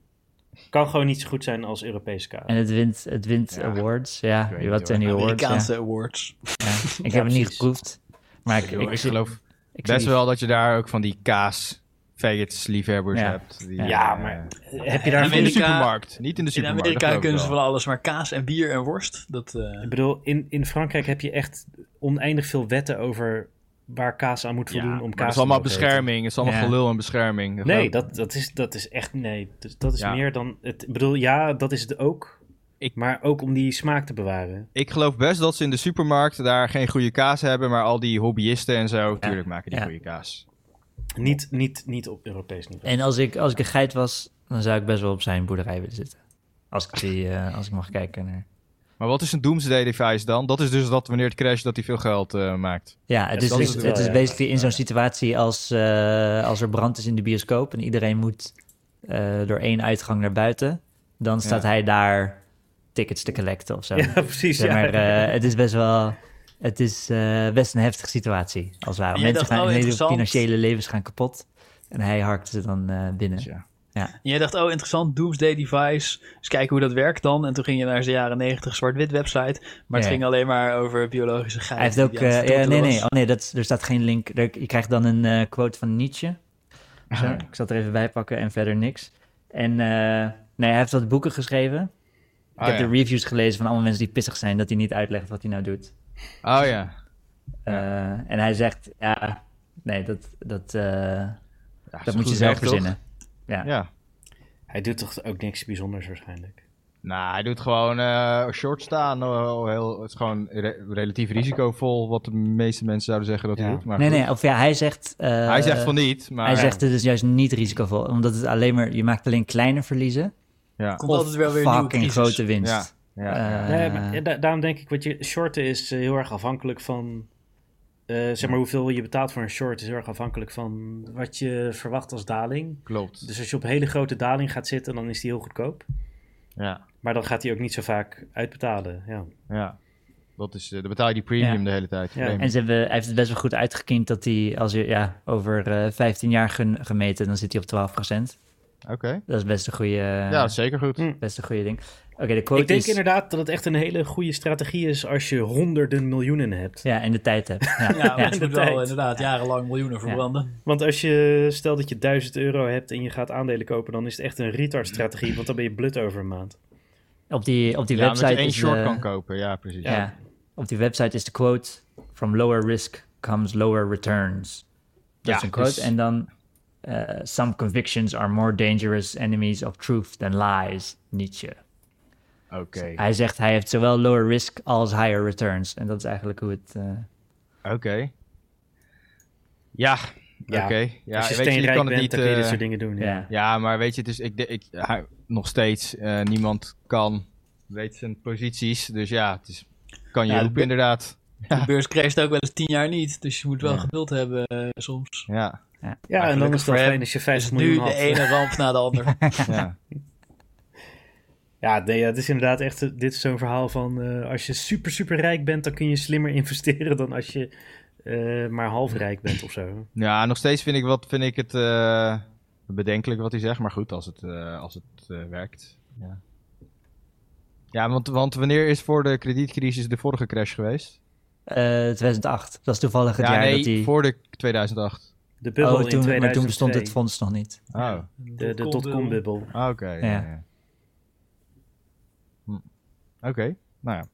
S1: Kan gewoon niet zo goed zijn als Europese kaas.
S3: En het wint, het wint awards. Ja,
S2: weet niet,
S3: wat zijn die awards? Ja.
S4: Amerikaanse awards.
S3: Ja. Ik
S1: Ja,
S3: heb het niet
S1: precies.
S3: geproefd. Maar ik, ik,
S2: Ik,
S3: ik,
S2: geloof
S3: ik-
S2: best wel dat je daar ook van die kaas faggots liefhebbers
S3: Ja.
S2: hebt. Die,
S3: Ja,
S1: ja,
S2: eh,
S1: maar heb je daar...
S2: Niet in de
S4: Amerika-
S2: supermarkt. Niet in de
S4: In
S2: supermarkt.
S4: Amerika
S2: dat geloof
S4: kunnen
S2: ik
S4: ze van alles, maar kaas en bier en worst, dat... eh,
S1: Ik bedoel, in, in Frankrijk heb je echt oneindig veel wetten over waar kaas aan moet
S2: Ja,
S1: voldoen om
S2: maar
S1: kaas
S2: het is
S1: te
S2: allemaal
S1: mogen eten.
S2: bescherming. Het is allemaal
S3: Ja.
S2: gelul en bescherming. Dat geloof
S1: Nee,
S2: ik.
S1: dat, dat, is, dat is echt... Nee, dus dat is
S2: Ja.
S1: meer dan... Het, ik bedoel, ja, dat is het ook.
S2: Ik-
S1: Maar ook om die smaak te bewaren.
S2: Ik geloof best dat ze in de supermarkt daar geen goede kaas hebben. Maar al die hobbyisten en zo, tuurlijk maken die
S3: Ja.
S2: goede kaas.
S1: Niet, niet, niet op Europees niveau.
S3: En als ik, als ik een geit was, dan zou ik best wel op zijn boerderij willen zitten. Als ik, die, eh, als ik mag kijken naar...
S2: Maar wat is een doomsday device dan? Dat is dus dat wanneer het crasht dat hij veel geld eh, maakt.
S3: Ja, het
S1: Ja,
S3: is, dus
S1: dat
S3: het,
S1: is
S3: is,
S1: het wel, ja.
S3: basically in zo'n situatie als, eh, als er brand is in de bioscoop en iedereen moet eh, door één uitgang naar buiten. Dan staat
S2: Ja.
S3: hij daar tickets te collecten of
S1: <laughs>
S3: zo.
S1: Ja, precies.
S3: Zeg
S1: Ja.
S3: maar eh, het is best wel, het is eh, best een heftige situatie als het ware.
S4: Jij
S3: Mensen
S4: dacht,
S3: gaan
S4: oh,
S3: hun hele
S4: interessant.
S3: financiële levens gaan kapot. En hij harkt ze dan eh, binnen.
S2: Dus ja.
S4: En jij dacht, oh interessant, Doomsday Device. Eens kijken hoe dat werkt dan. En toen ging je naar zijn jaren 90 zwart-wit website. Maar het
S3: Ja.
S4: ging alleen maar over biologische geiten.
S3: Hij heeft ook.
S4: die aan het
S3: eh, ja, nee,
S4: tortelen
S3: nee.
S4: was.
S3: Oh, nee dat, is- er staat geen link. Er- je krijgt dan een eh, quote van Nietzsche. Zo,
S2: ja.
S3: Ik zal het er even bij pakken en verder niks. En eh, nee, hij heeft wat boeken geschreven. Ik
S2: Oh,
S3: heb
S2: ja.
S3: de reviews gelezen van allemaal mensen die pissig zijn dat hij niet uitlegt wat hij nou doet.
S2: Oh ja.
S3: Eh, en hij zegt, ja, nee, dat, dat, eh,
S2: Ja, is
S3: dat
S2: goed
S3: moet je zelf
S2: werk, toch?
S3: verzinnen. Ja.
S2: Ja.
S1: Hij doet toch ook niks bijzonders waarschijnlijk.
S2: Nou, hij doet gewoon eh, short staan. eh, heel, het is gewoon re- relatief risicovol wat de meeste mensen zouden zeggen dat hij
S1: Ja.
S2: doet. Maar
S3: Nee,
S2: goed.
S3: nee, of ja, hij zegt... eh,
S2: hij zegt van ah, niet, maar...
S3: Hij zegt het is juist niet risicovol, omdat het alleen maar, je maakt alleen kleine verliezen.
S2: Ja,
S4: Komt altijd wel weer een nieuwe
S3: fucking
S4: crisis.
S3: grote winst.
S2: ja, ja.
S3: Eh,
S1: Nee, maar, ja, da- daarom denk ik, wat je shorten is eh, heel erg afhankelijk van. eh, zeg maar, hoeveel je betaalt voor een short is heel erg afhankelijk van wat je verwacht als daling.
S2: klopt.
S1: Dus als je op een hele grote daling gaat zitten, dan is die heel goedkoop.
S2: Ja,
S1: Maar dan gaat die ook niet zo vaak uitbetalen. Ja.
S2: ja. Dat is, eh, dan betaal je die premium
S3: Ja.
S2: de hele tijd.
S1: Ja.
S2: Premium.
S3: En ze hebben, hij heeft het best wel goed uitgekiend dat hij, als je ja, over eh, 15 jaar gen- gemeten, dan zit hij op 12%.
S2: Oké.
S3: Dat is best een goede,
S2: Ja, dat is zeker goed.
S1: Hm.
S3: best een goede ding. Oké, de quote
S1: Ik denk
S3: is...
S1: inderdaad dat het echt een hele goede strategie is als je honderden miljoenen hebt.
S3: Ja, en de tijd hebt. Ja.
S4: Ja, want je
S1: de
S4: moet wel
S1: tijd.
S4: inderdaad jarenlang miljoenen verbranden.
S1: Want als je, stel dat je 1000 euro hebt en je gaat aandelen kopen, dan is het echt een retard strategie, want dan ben je blut over een maand.
S3: op die, op die
S2: Ja, omdat je
S3: website
S2: één
S3: is
S2: short
S3: de,
S2: kan kopen. eh, Ja, precies.
S3: ja. op die website is de quote... From lower risk comes lower returns. Dat
S2: Ja,
S3: is een quote.
S2: dus-
S3: En dan... eh, Some convictions are more dangerous enemies of truth than lies, Nietzsche.
S2: Oké.
S3: Hij zegt hij heeft zowel lower risk als higher returns. En dat is eigenlijk hoe het... eh,
S2: Oké. Ja,
S1: Ja.
S2: oké. Ja,
S1: als je
S2: weet je, je
S1: steenrijk
S2: kan
S1: bent,
S2: het niet...
S1: dan kun je dit
S2: eh,
S1: soort dingen doen. Ja.
S3: ja.
S2: Ja, maar weet je, het is, ik, de- ik, hij- nog steeds, eh, niemand kan, weet zijn posities. Dus ja, het is, kan je
S4: Ja,
S2: roepen
S4: de-
S2: inderdaad.
S4: De beurs crasht ook wel eens tien jaar niet. Dus je moet wel
S2: Ja.
S4: geduld hebben eh,
S1: <laughs>
S4: soms.
S2: Ja,
S1: Ja, en dan
S4: gelukkig
S1: is het wel
S4: voor hem
S1: fijn als je
S4: Is
S1: 50
S4: het
S1: miljoen
S4: nu de
S1: had.
S4: ene ramp na de
S1: <laughs>
S4: ander.
S2: ja.
S1: Ja, nee, ja, het is inderdaad echt, eh, dit is zo'n verhaal van eh, als je super, super rijk bent, dan kun je slimmer <laughs> investeren dan als je eh, maar half rijk bent of zo.
S2: ja, nog steeds vind ik, wat, vind ik het eh, bedenkelijk wat hij zegt. Maar goed, als het, eh, als het eh, werkt. Ja, want, want wanneer is voor de kredietcrisis de vorige crash geweest?
S3: Eh, 2008. Dat is toevallig het
S2: ja,
S3: jaar
S2: nee,
S3: dat die...
S2: voor de 2008.
S1: De bubbel
S3: oh,
S1: in
S3: toen,
S1: 2002.
S3: maar toen bestond het fonds nog niet.
S2: Oh,
S1: De, de dotcom bubbel.
S2: ah, oké. ja,
S3: Ja.
S2: ja. Hm. Oké, nou ja.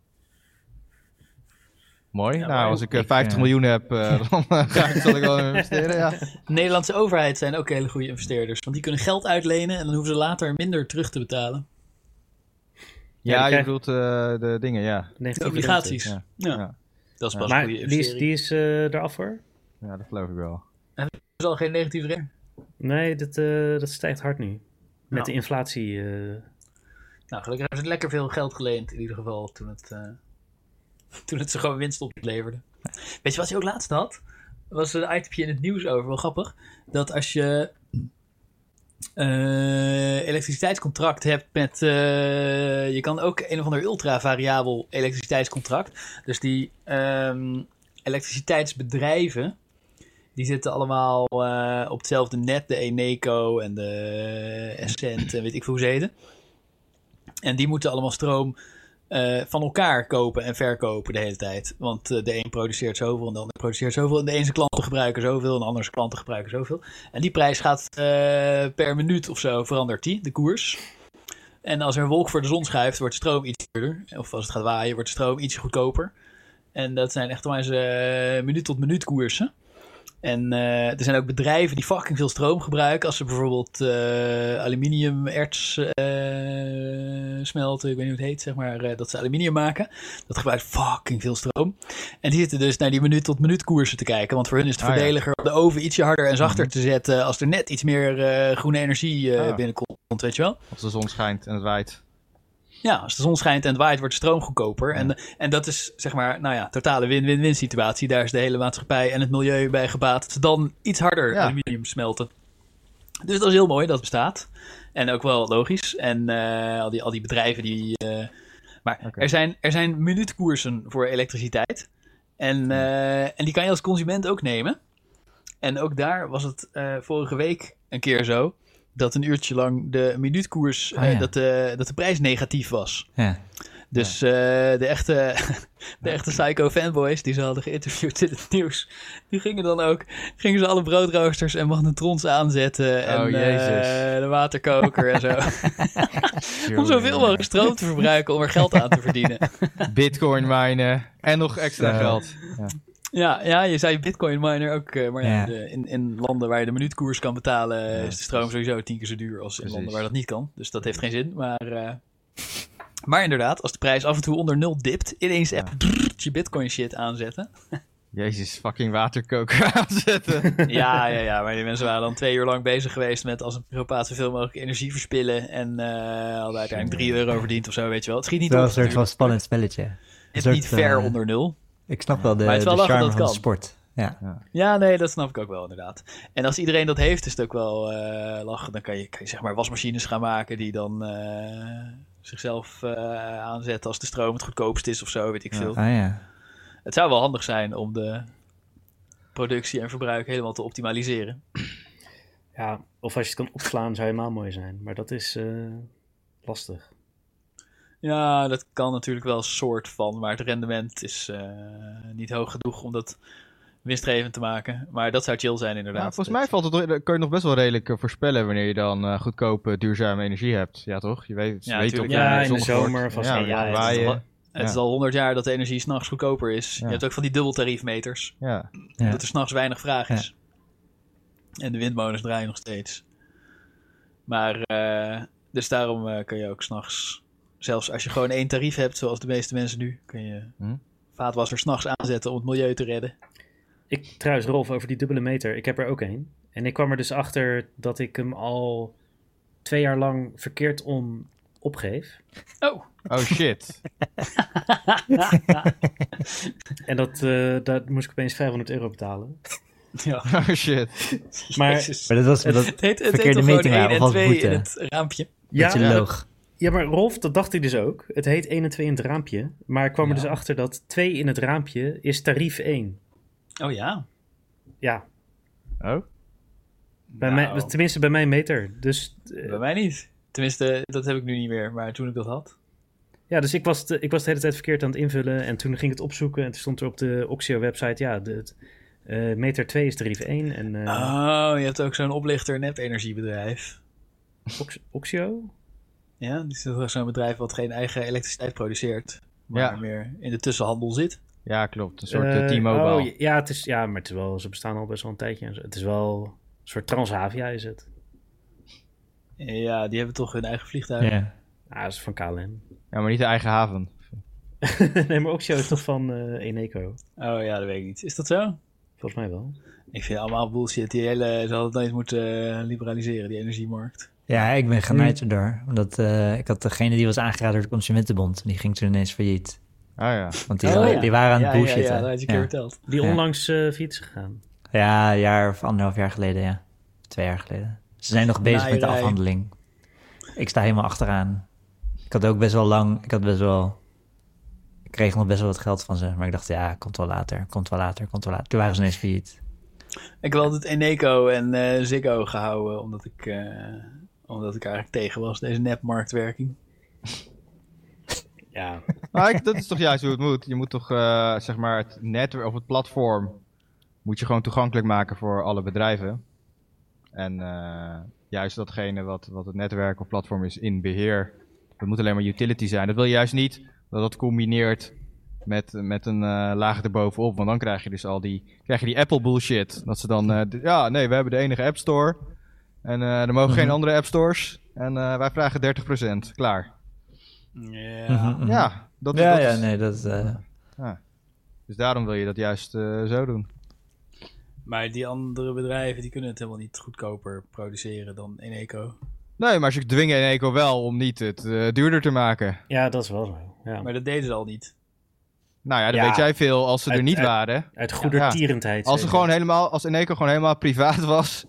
S2: Mooi. nou, als ik eh, 50
S3: eh,
S2: miljoen heb, eh, dan eh, ga ik, zal ik wel investeren, ja.
S4: De Nederlandse overheid zijn ook hele goede investeerders. Want die kunnen geld uitlenen en dan hoeven ze later minder terug te betalen.
S1: dan
S2: Ja, je
S1: krijg-
S2: bedoelt eh, de dingen, ja.
S4: De
S1: Negatieve
S4: obligaties.
S2: ja.
S4: Ja.
S2: Ja.
S4: Dat is
S2: Ja.
S4: pas
S1: Maar
S4: een goede
S1: die is,
S4: investering.
S1: die is eh eraf hoor.
S2: Ja, dat geloof ik wel.
S4: Er is al geen negatieve rente.
S1: Nee, dat, eh, dat stijgt hard nu. Met
S4: Nou.
S1: de inflatie. eh,
S4: Nou, gelukkig hebben ze lekker veel geld geleend in ieder geval toen het, eh, <laughs> toen het ze gewoon winst opleverde. Weet je wat je ook laatst had? Er was een itemje in het nieuws over, wel grappig. Dat als je eh, elektriciteitscontract hebt met... eh, je kan ook een of ander ultra-variabel elektriciteitscontract. Dus die ehm, elektriciteitsbedrijven... Die zitten allemaal eh, op hetzelfde net. De Eneco en de Essent en weet ik veel hoe ze heten. En die moeten allemaal stroom eh, van elkaar kopen en verkopen de hele tijd. Want eh, de een produceert zoveel en de ander produceert zoveel. En de ene zijn klanten gebruiken zoveel en de andere zijn klanten gebruiken zoveel. En die prijs gaat eh, per minuut of zo verandert die, de koers. En als er een wolk voor de zon schuift, wordt stroom iets duurder. Of als het gaat waaien, wordt stroom iets goedkoper. En dat zijn echt maar eens eh, minuut tot minuut koersen. En eh, er zijn ook bedrijven die fucking veel stroom gebruiken. Als ze bijvoorbeeld eh, aluminium, erts eh, smelten, ik weet niet hoe het heet, zeg maar, eh, dat ze aluminium maken. Dat gebruikt fucking veel stroom. En die zitten dus naar die minuut tot minuut koersen te kijken. Want voor hun is het
S2: Ah, ja.
S4: voordeliger om de oven ietsje harder en zachter te zetten. Als er net iets meer eh, groene energie eh,
S2: Mhm. Ah.
S4: binnenkomt, weet je wel.
S2: Als de zon schijnt en het waait.
S4: Ja, als de zon schijnt en het waait, wordt de stroom goedkoper. En, en dat is, zeg maar, nou ja, totale win-win-win situatie. Daar is de hele maatschappij en het milieu bij gebaat. Dat ze dan iets harder
S2: Ja.
S4: aluminium smelten. Dus dat is heel mooi, dat bestaat. En ook wel logisch. En eh, al, die, al die bedrijven die... eh, maar
S2: Oké.
S4: er, zijn, er zijn minuutkoersen voor elektriciteit. En, eh, en die kan je als consument ook nemen. En ook daar was het eh, vorige week een keer zo... dat een uurtje lang de minuutkoers...
S3: Ah,
S4: eh,
S3: ja.
S4: dat, de, dat de prijs negatief was.
S3: Ja.
S4: Dus eh, de, echte, <laughs> de echte psycho-fanboys die ze hadden geïnterviewd in het <laughs> nieuws, die gingen dan ook, gingen ze alle broodroosters en magnetrons aanzetten en
S2: Oh, jezus.
S4: eh, de waterkoker en zo. om zoveel mogelijk stroom te verbruiken om er geld aan te verdienen.
S2: Bitcoin minen en nog extra
S3: Zo.
S2: geld.
S4: Ja, ja je zei bitcoin miner ook, eh, maar ja,
S3: Ja.
S4: de- in, in landen waar je de minuutkoers kan betalen is de stroom sowieso tien keer zo duur als in
S2: Precies.
S4: landen waar dat niet kan. Dus dat heeft geen zin, maar... eh, maar inderdaad, als de prijs af en toe onder nul dipt, ineens even je bitcoin shit aanzetten.
S2: Jezus, fucking waterkoker <laughs> aanzetten.
S4: Ja, ja, ja, maar die mensen waren dan twee uur lang bezig geweest met als een psychopaat zoveel mogelijk energie verspillen. En eh hadden uiteindelijk drie euro verdiend of zo, weet je wel. Het schiet niet
S3: Dat was
S4: op.
S3: een soort
S4: natuurlijk.
S3: van spannend spelletje.
S4: Het is
S3: soort,
S4: niet ver
S3: eh,
S4: onder nul.
S3: Ik snap wel de,
S4: Maar het
S3: de
S4: is wel lachen
S3: charme
S4: dat
S3: van de
S4: kan.
S3: sport. Ja.
S4: Ja, nee, dat snap ik ook wel inderdaad. En als iedereen dat heeft, is het ook wel eh, lachen. Dan kan je, kan je zeg maar wasmachines gaan maken die dan eh, zichzelf eh, aanzetten als de stroom het goedkoopst is of zo, weet ik veel.
S3: Ah ja.
S4: Het zou wel handig zijn om de productie en verbruik helemaal te optimaliseren.
S1: ja, of als je het kan opslaan zou helemaal mooi zijn. Maar dat is eh, lastig.
S4: Ja, dat kan natuurlijk wel een soort van, maar het rendement is eh, niet hoog genoeg om dat winstgevend te maken. Maar dat zou chill zijn
S2: Ja,
S4: inderdaad.
S2: volgens mij valt het, door- kun je nog best wel redelijk eh, voorspellen wanneer je dan eh, goedkope, duurzame energie hebt. Ja, toch? Je weet,
S4: Ja,
S2: weet
S4: tuurlijk.
S2: of, eh,
S1: Ja, in de
S2: zonnig
S1: zomer
S2: wordt.
S1: vast
S2: Ja,
S1: wel.
S4: Ja,
S2: ja,
S4: het
S2: waaien.
S4: is wel- Het
S2: Ja.
S4: is al 100 jaar dat de energie s'nachts goedkoper is.
S2: Ja.
S4: Je hebt ook van die dubbeltariefmeters,
S2: Ja.
S3: Ja.
S4: dat er s'nachts weinig vraag is. En de windmolens draaien nog steeds. Maar, eh, dus daarom eh, kun je ook s'nachts, zelfs als je gewoon één tarief hebt, zoals de meeste mensen nu, kun je
S2: Hm.
S4: vaatwasser s'nachts aanzetten om het milieu te redden.
S1: Ik, trouwens, Rolf, over die dubbele meter. Ik heb er ook één. En ik kwam er dus achter dat ik hem al twee jaar lang verkeerd om opgeef.
S4: Oh,
S2: Oh
S1: <laughs>
S2: shit.
S1: En dat, eh, daar moest ik opeens 500 euro betalen.
S4: <laughs> ja.
S2: Oh shit.
S1: Maar-
S4: Jezus.
S3: Maar dat was dat,
S4: Het heet, het heet
S3: verkeerde
S4: toch gewoon
S3: meting
S4: 1
S3: waren,
S4: en
S3: of als
S4: 2
S3: boete.
S4: in het raampje.
S3: dat je
S1: maar-
S3: loog.
S1: ja, maar Rolf, dat dacht ik dus ook. Het heet 1 en 2 in het raampje. Maar ik kwam er dus achter dat 2 in het raampje is tarief 1.
S4: Oh ja.
S1: Ja,
S2: Oh?
S1: bij
S4: Nou.
S1: mij, tenminste bij mijn meter. Dus eh,
S4: Bij mij niet. Tenminste, dat heb ik nu niet meer, maar toen ik dat had.
S1: Ja, dus ik was, de, ik was de hele tijd verkeerd aan het invullen. En toen ging ik het opzoeken. En toen stond er op de Oxio-website... Ja, de, het, eh, meter 2 is tarief 1. En eh,
S4: Oh, je hebt ook zo'n oplichter nep-energiebedrijf.
S1: Ox- Oxio?
S4: Ja, die is toch zo'n bedrijf wat geen eigen elektriciteit produceert. Maar
S2: Ja.
S4: meer in de tussenhandel zit.
S2: Ja, klopt. Een soort
S1: Eh,
S2: eh, T-Mobile.
S1: oh, ja, het is, ja, maar het is wel, ze bestaan al best wel een tijdje. en zo. Het is wel een soort Transavia is het.
S4: Ja, die hebben toch hun eigen vliegtuig.
S3: Ja.
S1: Ah, dat is van KLM.
S2: Ja, maar niet de eigen haven.
S1: <laughs> nee, maar Oxio is toch van eh, Eneco?
S4: Oh ja, dat weet ik niet. Is dat zo?
S1: Volgens mij wel.
S4: Ik vind het allemaal bullshit. Die hele, ze hadden het nooit moeten eh, liberaliseren, die energiemarkt.
S3: ja, ik ben genaaid erdoor. Omdat eh, ik had degene die was aangeraden door de Consumentenbond. Die ging toen ineens failliet.
S2: Oh ja.
S3: Want die,
S4: Oh,
S3: wa-
S4: ja.
S3: die waren aan
S4: ja,
S3: het bullshitten.
S4: Ja, ja, dat had je een keer verteld.
S1: Die
S3: Ja.
S1: onlangs eh failliet is gegaan.
S3: Ja, een jaar of anderhalf jaar geleden, ja. Twee jaar geleden. Ze zijn nog bezig met de
S4: Naaierij.
S3: afhandeling. Ik sta helemaal achteraan. Ik had ook best wel lang, ik had best wel... Ik kreeg nog best wel wat geld van ze. Maar ik dacht, ja, komt wel later, komt wel later, komt wel later. Toen waren ze ineens failliet.
S4: Ik had altijd Eneco en eh, Ziggo gehouden, omdat ik, eh, omdat ik eigenlijk tegen was, deze nepmarktwerking.
S1: Ja,
S2: Maar ik- dat is toch juist hoe het moet. Je moet toch, eh, zeg maar, het netwerk of het platform moet je gewoon toegankelijk maken voor alle bedrijven. En eh, juist datgene wat, wat het netwerk of platform is in beheer. Dat moet alleen maar utility zijn. Dat wil je juist niet dat dat combineert met, met een eh, laag erbovenop. Want dan krijg je dus al die, krijg je die Apple bullshit. Dat ze dan, eh, d- ja, nee, we hebben de enige App Store. En eh, er mogen geen andere App Stores. En eh, wij vragen 30%. Klaar.
S4: Ja.
S3: Mhm, mhm.
S2: Ja, dat,
S3: ja,
S2: dat
S3: ja,
S2: is-
S3: nee, dat... eh,
S2: dus daarom wil je dat juist eh, zo doen.
S4: Maar die andere bedrijven, die kunnen het helemaal niet goedkoper produceren dan Eneco.
S2: Nee, maar ze dwingen Eneco wel om niet het eh, duurder te maken.
S1: ja dat is wel zo. Ja.
S4: Maar dat deden ze al niet.
S2: Nou ja, dan
S1: Ja.
S2: weet jij veel als ze er
S1: Uit-
S2: niet
S1: uit-
S2: waren.
S1: Uit goedertierendheid.
S2: Als, ze
S1: zeker.
S2: gewoon helemaal, als Eneco gewoon helemaal privaat was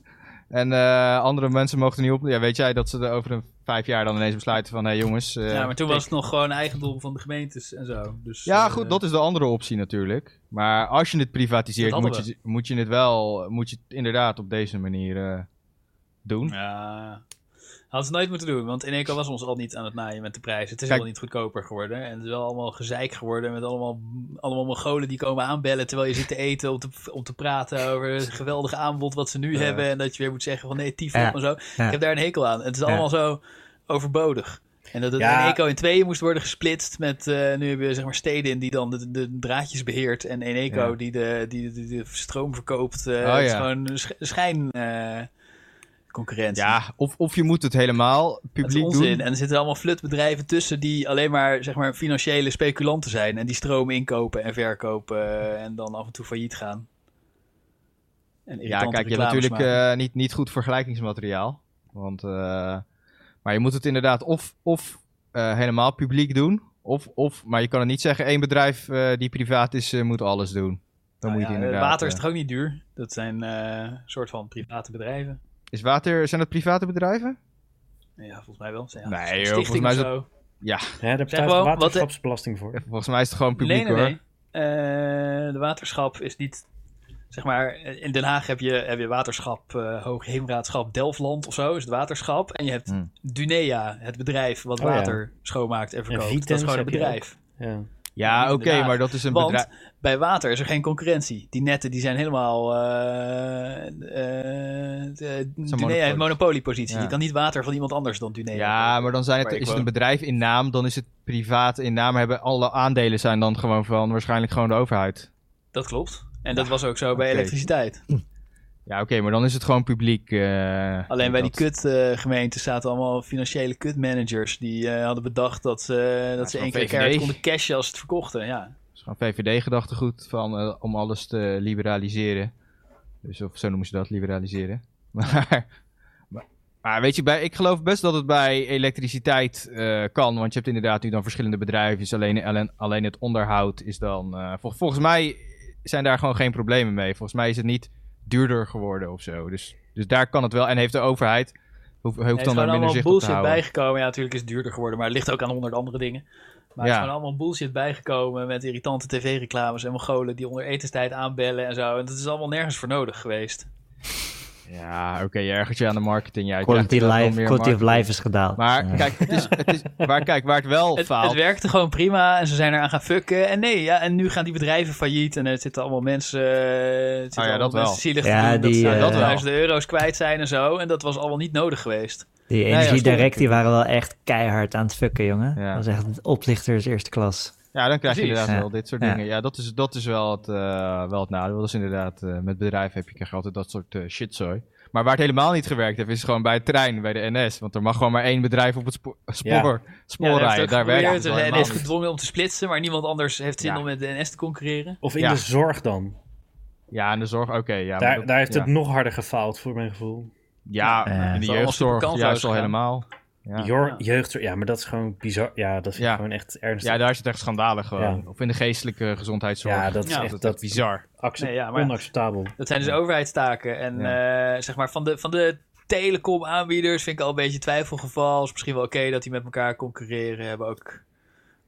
S2: en eh, andere mensen mogen er niet op... Ja, weet jij dat ze er over een vijf jaar dan ineens besluiten van... Hé jongens... eh,
S4: ja, maar toen was het nog gewoon eigendom van de gemeentes en zo. Dus,
S2: Ja,
S4: eh,
S2: goed, dat is de andere optie natuurlijk. Maar als je het privatiseert,
S4: Dat
S2: moet
S4: hadden
S2: je, moet je het wel... Moet je het inderdaad op deze manier eh, doen.
S4: Ja. Hadden ze nooit moeten doen, want Eneco was ons al niet aan het naaien met de prijs. Het is
S2: Kijk.
S4: helemaal niet goedkoper geworden. En het is wel allemaal gezeik geworden met allemaal, allemaal Mongolen die komen aanbellen terwijl je zit te eten om te, om te praten over het geweldige aanbod wat ze nu hebben. En dat je weer moet zeggen van nee, tyfus
S3: Ja.
S4: en zo. Ik heb daar een hekel aan. Het is allemaal zo overbodig. En dat het
S1: Ja.
S4: Eneco in tweeën moest worden gesplitst met... eh, nu hebben we zeg maar steden in die dan de, de draadjes beheert. En Eneco
S2: Ja.
S4: die, de, die, die de stroom verkoopt. Eh,
S2: Oh,
S4: het is
S2: ja.
S4: gewoon een sch- schijn... eh, concurrentie.
S2: Ja, of, of je moet het helemaal
S4: Dat is
S2: publiek
S4: onzin.
S2: doen.
S4: En er zitten allemaal flutbedrijven tussen die alleen maar, zeg maar financiële speculanten zijn. En die stroom inkopen en verkopen eh, en dan af en toe failliet gaan. En
S2: Ja,
S4: irritante
S2: kijk, je hebt
S4: reclames
S2: natuurlijk
S4: maken.
S2: eh, niet, niet goed vergelijkingsmateriaal. Want, eh, maar je moet het inderdaad of, of eh, helemaal publiek doen. Of, of, maar je kan het niet zeggen, één bedrijf eh, die privaat is, eh, moet alles doen. Dan
S4: Nou
S2: moet je
S4: ja,
S2: het inderdaad,
S4: water is
S2: eh,
S4: toch ook niet duur? Dat zijn eh soort van private bedrijven.
S2: is water, zijn dat private bedrijven?
S4: Ja, volgens mij wel. Zijn, ja,
S2: Nee,
S4: een
S2: joh,
S4: stichting
S2: volgens mij
S4: of
S2: is
S4: zo.
S1: Ja, daar betaalt
S4: gewoon,
S1: de
S4: wat-
S1: waterschapsbelasting voor.
S2: Volgens mij is het gewoon publiek
S4: nee,
S2: hoor.
S4: nee, nee. Eh, de waterschap is niet... Zeg maar, in Den Haag heb je, heb je waterschap, eh Hoogheemraadschap Delfland of zo, is het waterschap. En je hebt
S2: Hmm.
S4: Dunea, het bedrijf wat
S1: Oh, ja.
S4: water schoonmaakt en verkoopt. dat
S1: Vitens
S4: is gewoon een
S1: heb je
S4: bedrijf.
S1: Ja.
S2: Ja, oké,
S4: Inderdaad.
S2: maar dat is een
S4: Want
S2: bedrijf.
S4: bij water is er geen concurrentie. Die netten die zijn helemaal... eh eh, eh, Dunea
S2: monopolie.
S4: heeft monopoliepositie.
S2: Ja.
S4: Je kan niet water van iemand anders dan Dunea.
S2: Ja, maar dan zijn het,
S4: Maar ik
S2: is het
S4: wou-
S2: een bedrijf in naam, dan is het privaat in naam. Hebben alle aandelen zijn dan gewoon van waarschijnlijk gewoon de overheid.
S4: Dat klopt. En dat was ook zo bij
S2: oké.
S4: elektriciteit.
S2: Ja, oké, maar dan is het gewoon publiek. eh,
S4: Alleen bij die
S2: dat-
S4: kutgemeenten zaten allemaal financiële kutmanagers. Die eh, hadden bedacht dat ze, dat ze
S2: van
S4: één keer
S2: VVD.
S4: keihard konden cashen als ze het verkochten. Ja.
S2: Het is gewoon VVD-gedachtegoed van eh, om alles te liberaliseren. Dus of zo noemen ze dat, liberaliseren. <laughs> Maar, maar, maar weet je, bij, ik geloof best dat het bij elektriciteit eh, kan. Want je hebt inderdaad nu dan verschillende bedrijven. Dus alleen, alleen, alleen het onderhoud is dan... eh, vol- volgens mij zijn daar gewoon geen problemen mee. Volgens mij is het niet duurder geworden of zo. Dus, dus daar kan het wel. En heeft de overheid... Hoeft, hoeft
S4: Nee, het
S2: dan
S4: is
S2: daar
S4: gewoon
S2: minder
S4: allemaal
S2: zicht op te
S4: bullshit
S2: houden.
S4: bijgekomen. Ja, natuurlijk is het duurder geworden, maar het ligt ook aan honderd andere dingen. Maar het
S2: Ja.
S4: is gewoon allemaal bullshit bijgekomen met irritante tv-reclames en Mongolen die onder etenstijd aanbellen en zo. En dat is allemaal nergens voor nodig geweest.
S2: Ja, oké, je ergert je aan de marketing. Ja, je
S3: Quality,
S2: krijgt inderdaad wel
S3: life,
S2: meer
S3: quality of
S2: marketing.
S3: life is gedaald.
S2: Maar
S3: Dus, eh,
S2: kijk, het is, het is, waar, kijk, waar het wel
S4: Het,
S2: faalt.
S4: het werkte gewoon prima en ze zijn eraan gaan fucken. En nee, ja, en nu gaan die bedrijven failliet en er zitten allemaal mensen, eh, het zitten
S2: Oh ja,
S4: allemaal
S2: dat wel.
S4: mensen zielig
S3: Ja,
S4: te doen.
S3: die,
S4: dat ze
S3: eh,
S4: dat duizenden euro's kwijt zijn en zo. En dat was allemaal niet nodig geweest.
S3: die
S2: ja,
S3: Energy
S2: stom.
S3: Direct, die waren wel echt keihard aan het fucken, jongen.
S2: Ja.
S3: Dat was echt oplichters eerste klas.
S2: ja, dan krijg je
S4: Precies.
S2: inderdaad
S3: Ja.
S2: wel dit soort
S3: Ja.
S2: dingen. Ja, dat is, dat is wel, het, eh, wel het nadeel. Dat is inderdaad, eh, met bedrijven heb je krijg je altijd dat soort eh, shitzooi. Maar waar het helemaal niet gewerkt heeft, is gewoon bij de trein, bij de NS. Want er mag gewoon maar één bedrijf op het eh, spoor, spoor, spoor
S4: Ja,
S2: rijden. Daar werkt het wel
S4: En
S2: helemaal
S4: is
S2: niet.
S4: gedwongen om te splitsen, maar niemand anders heeft zin
S2: Ja.
S4: om met de NS te concurreren.
S1: Of in
S2: Ja.
S1: de zorg dan.
S2: Ja, en de zorg, oké. ja, maar
S1: Daar,
S2: dat-
S1: daar heeft
S2: ja.
S1: het nog harder gefaald, voor mijn gevoel.
S2: Ja,
S3: Ja.
S2: in
S3: Het
S2: de
S3: is
S4: allemaal
S2: jeugdzorg
S4: superkantloos
S2: juist al
S4: gegaan.
S2: helemaal. Ja.
S1: Jor- Jeugdzorg, ja, maar dat is gewoon bizar. Ja, dat vind
S2: Ja.
S1: ik gewoon echt ernstig.
S2: Ja, daar is het echt schandalig gewoon.
S1: Ja.
S2: Of in de geestelijke gezondheidszorg.
S1: Ja, dat is
S4: Ja,
S1: echt
S2: dat,
S1: dat,
S2: is bizar.
S1: acce-
S4: Nee, ja, maar-
S1: onacceptabel.
S4: Dat zijn dus overheidstaken. En eh, zeg maar van de, van de telecomaanbieders vind ik al een beetje twijfelgeval. Is misschien wel oké dat die met elkaar concurreren. Hebben ook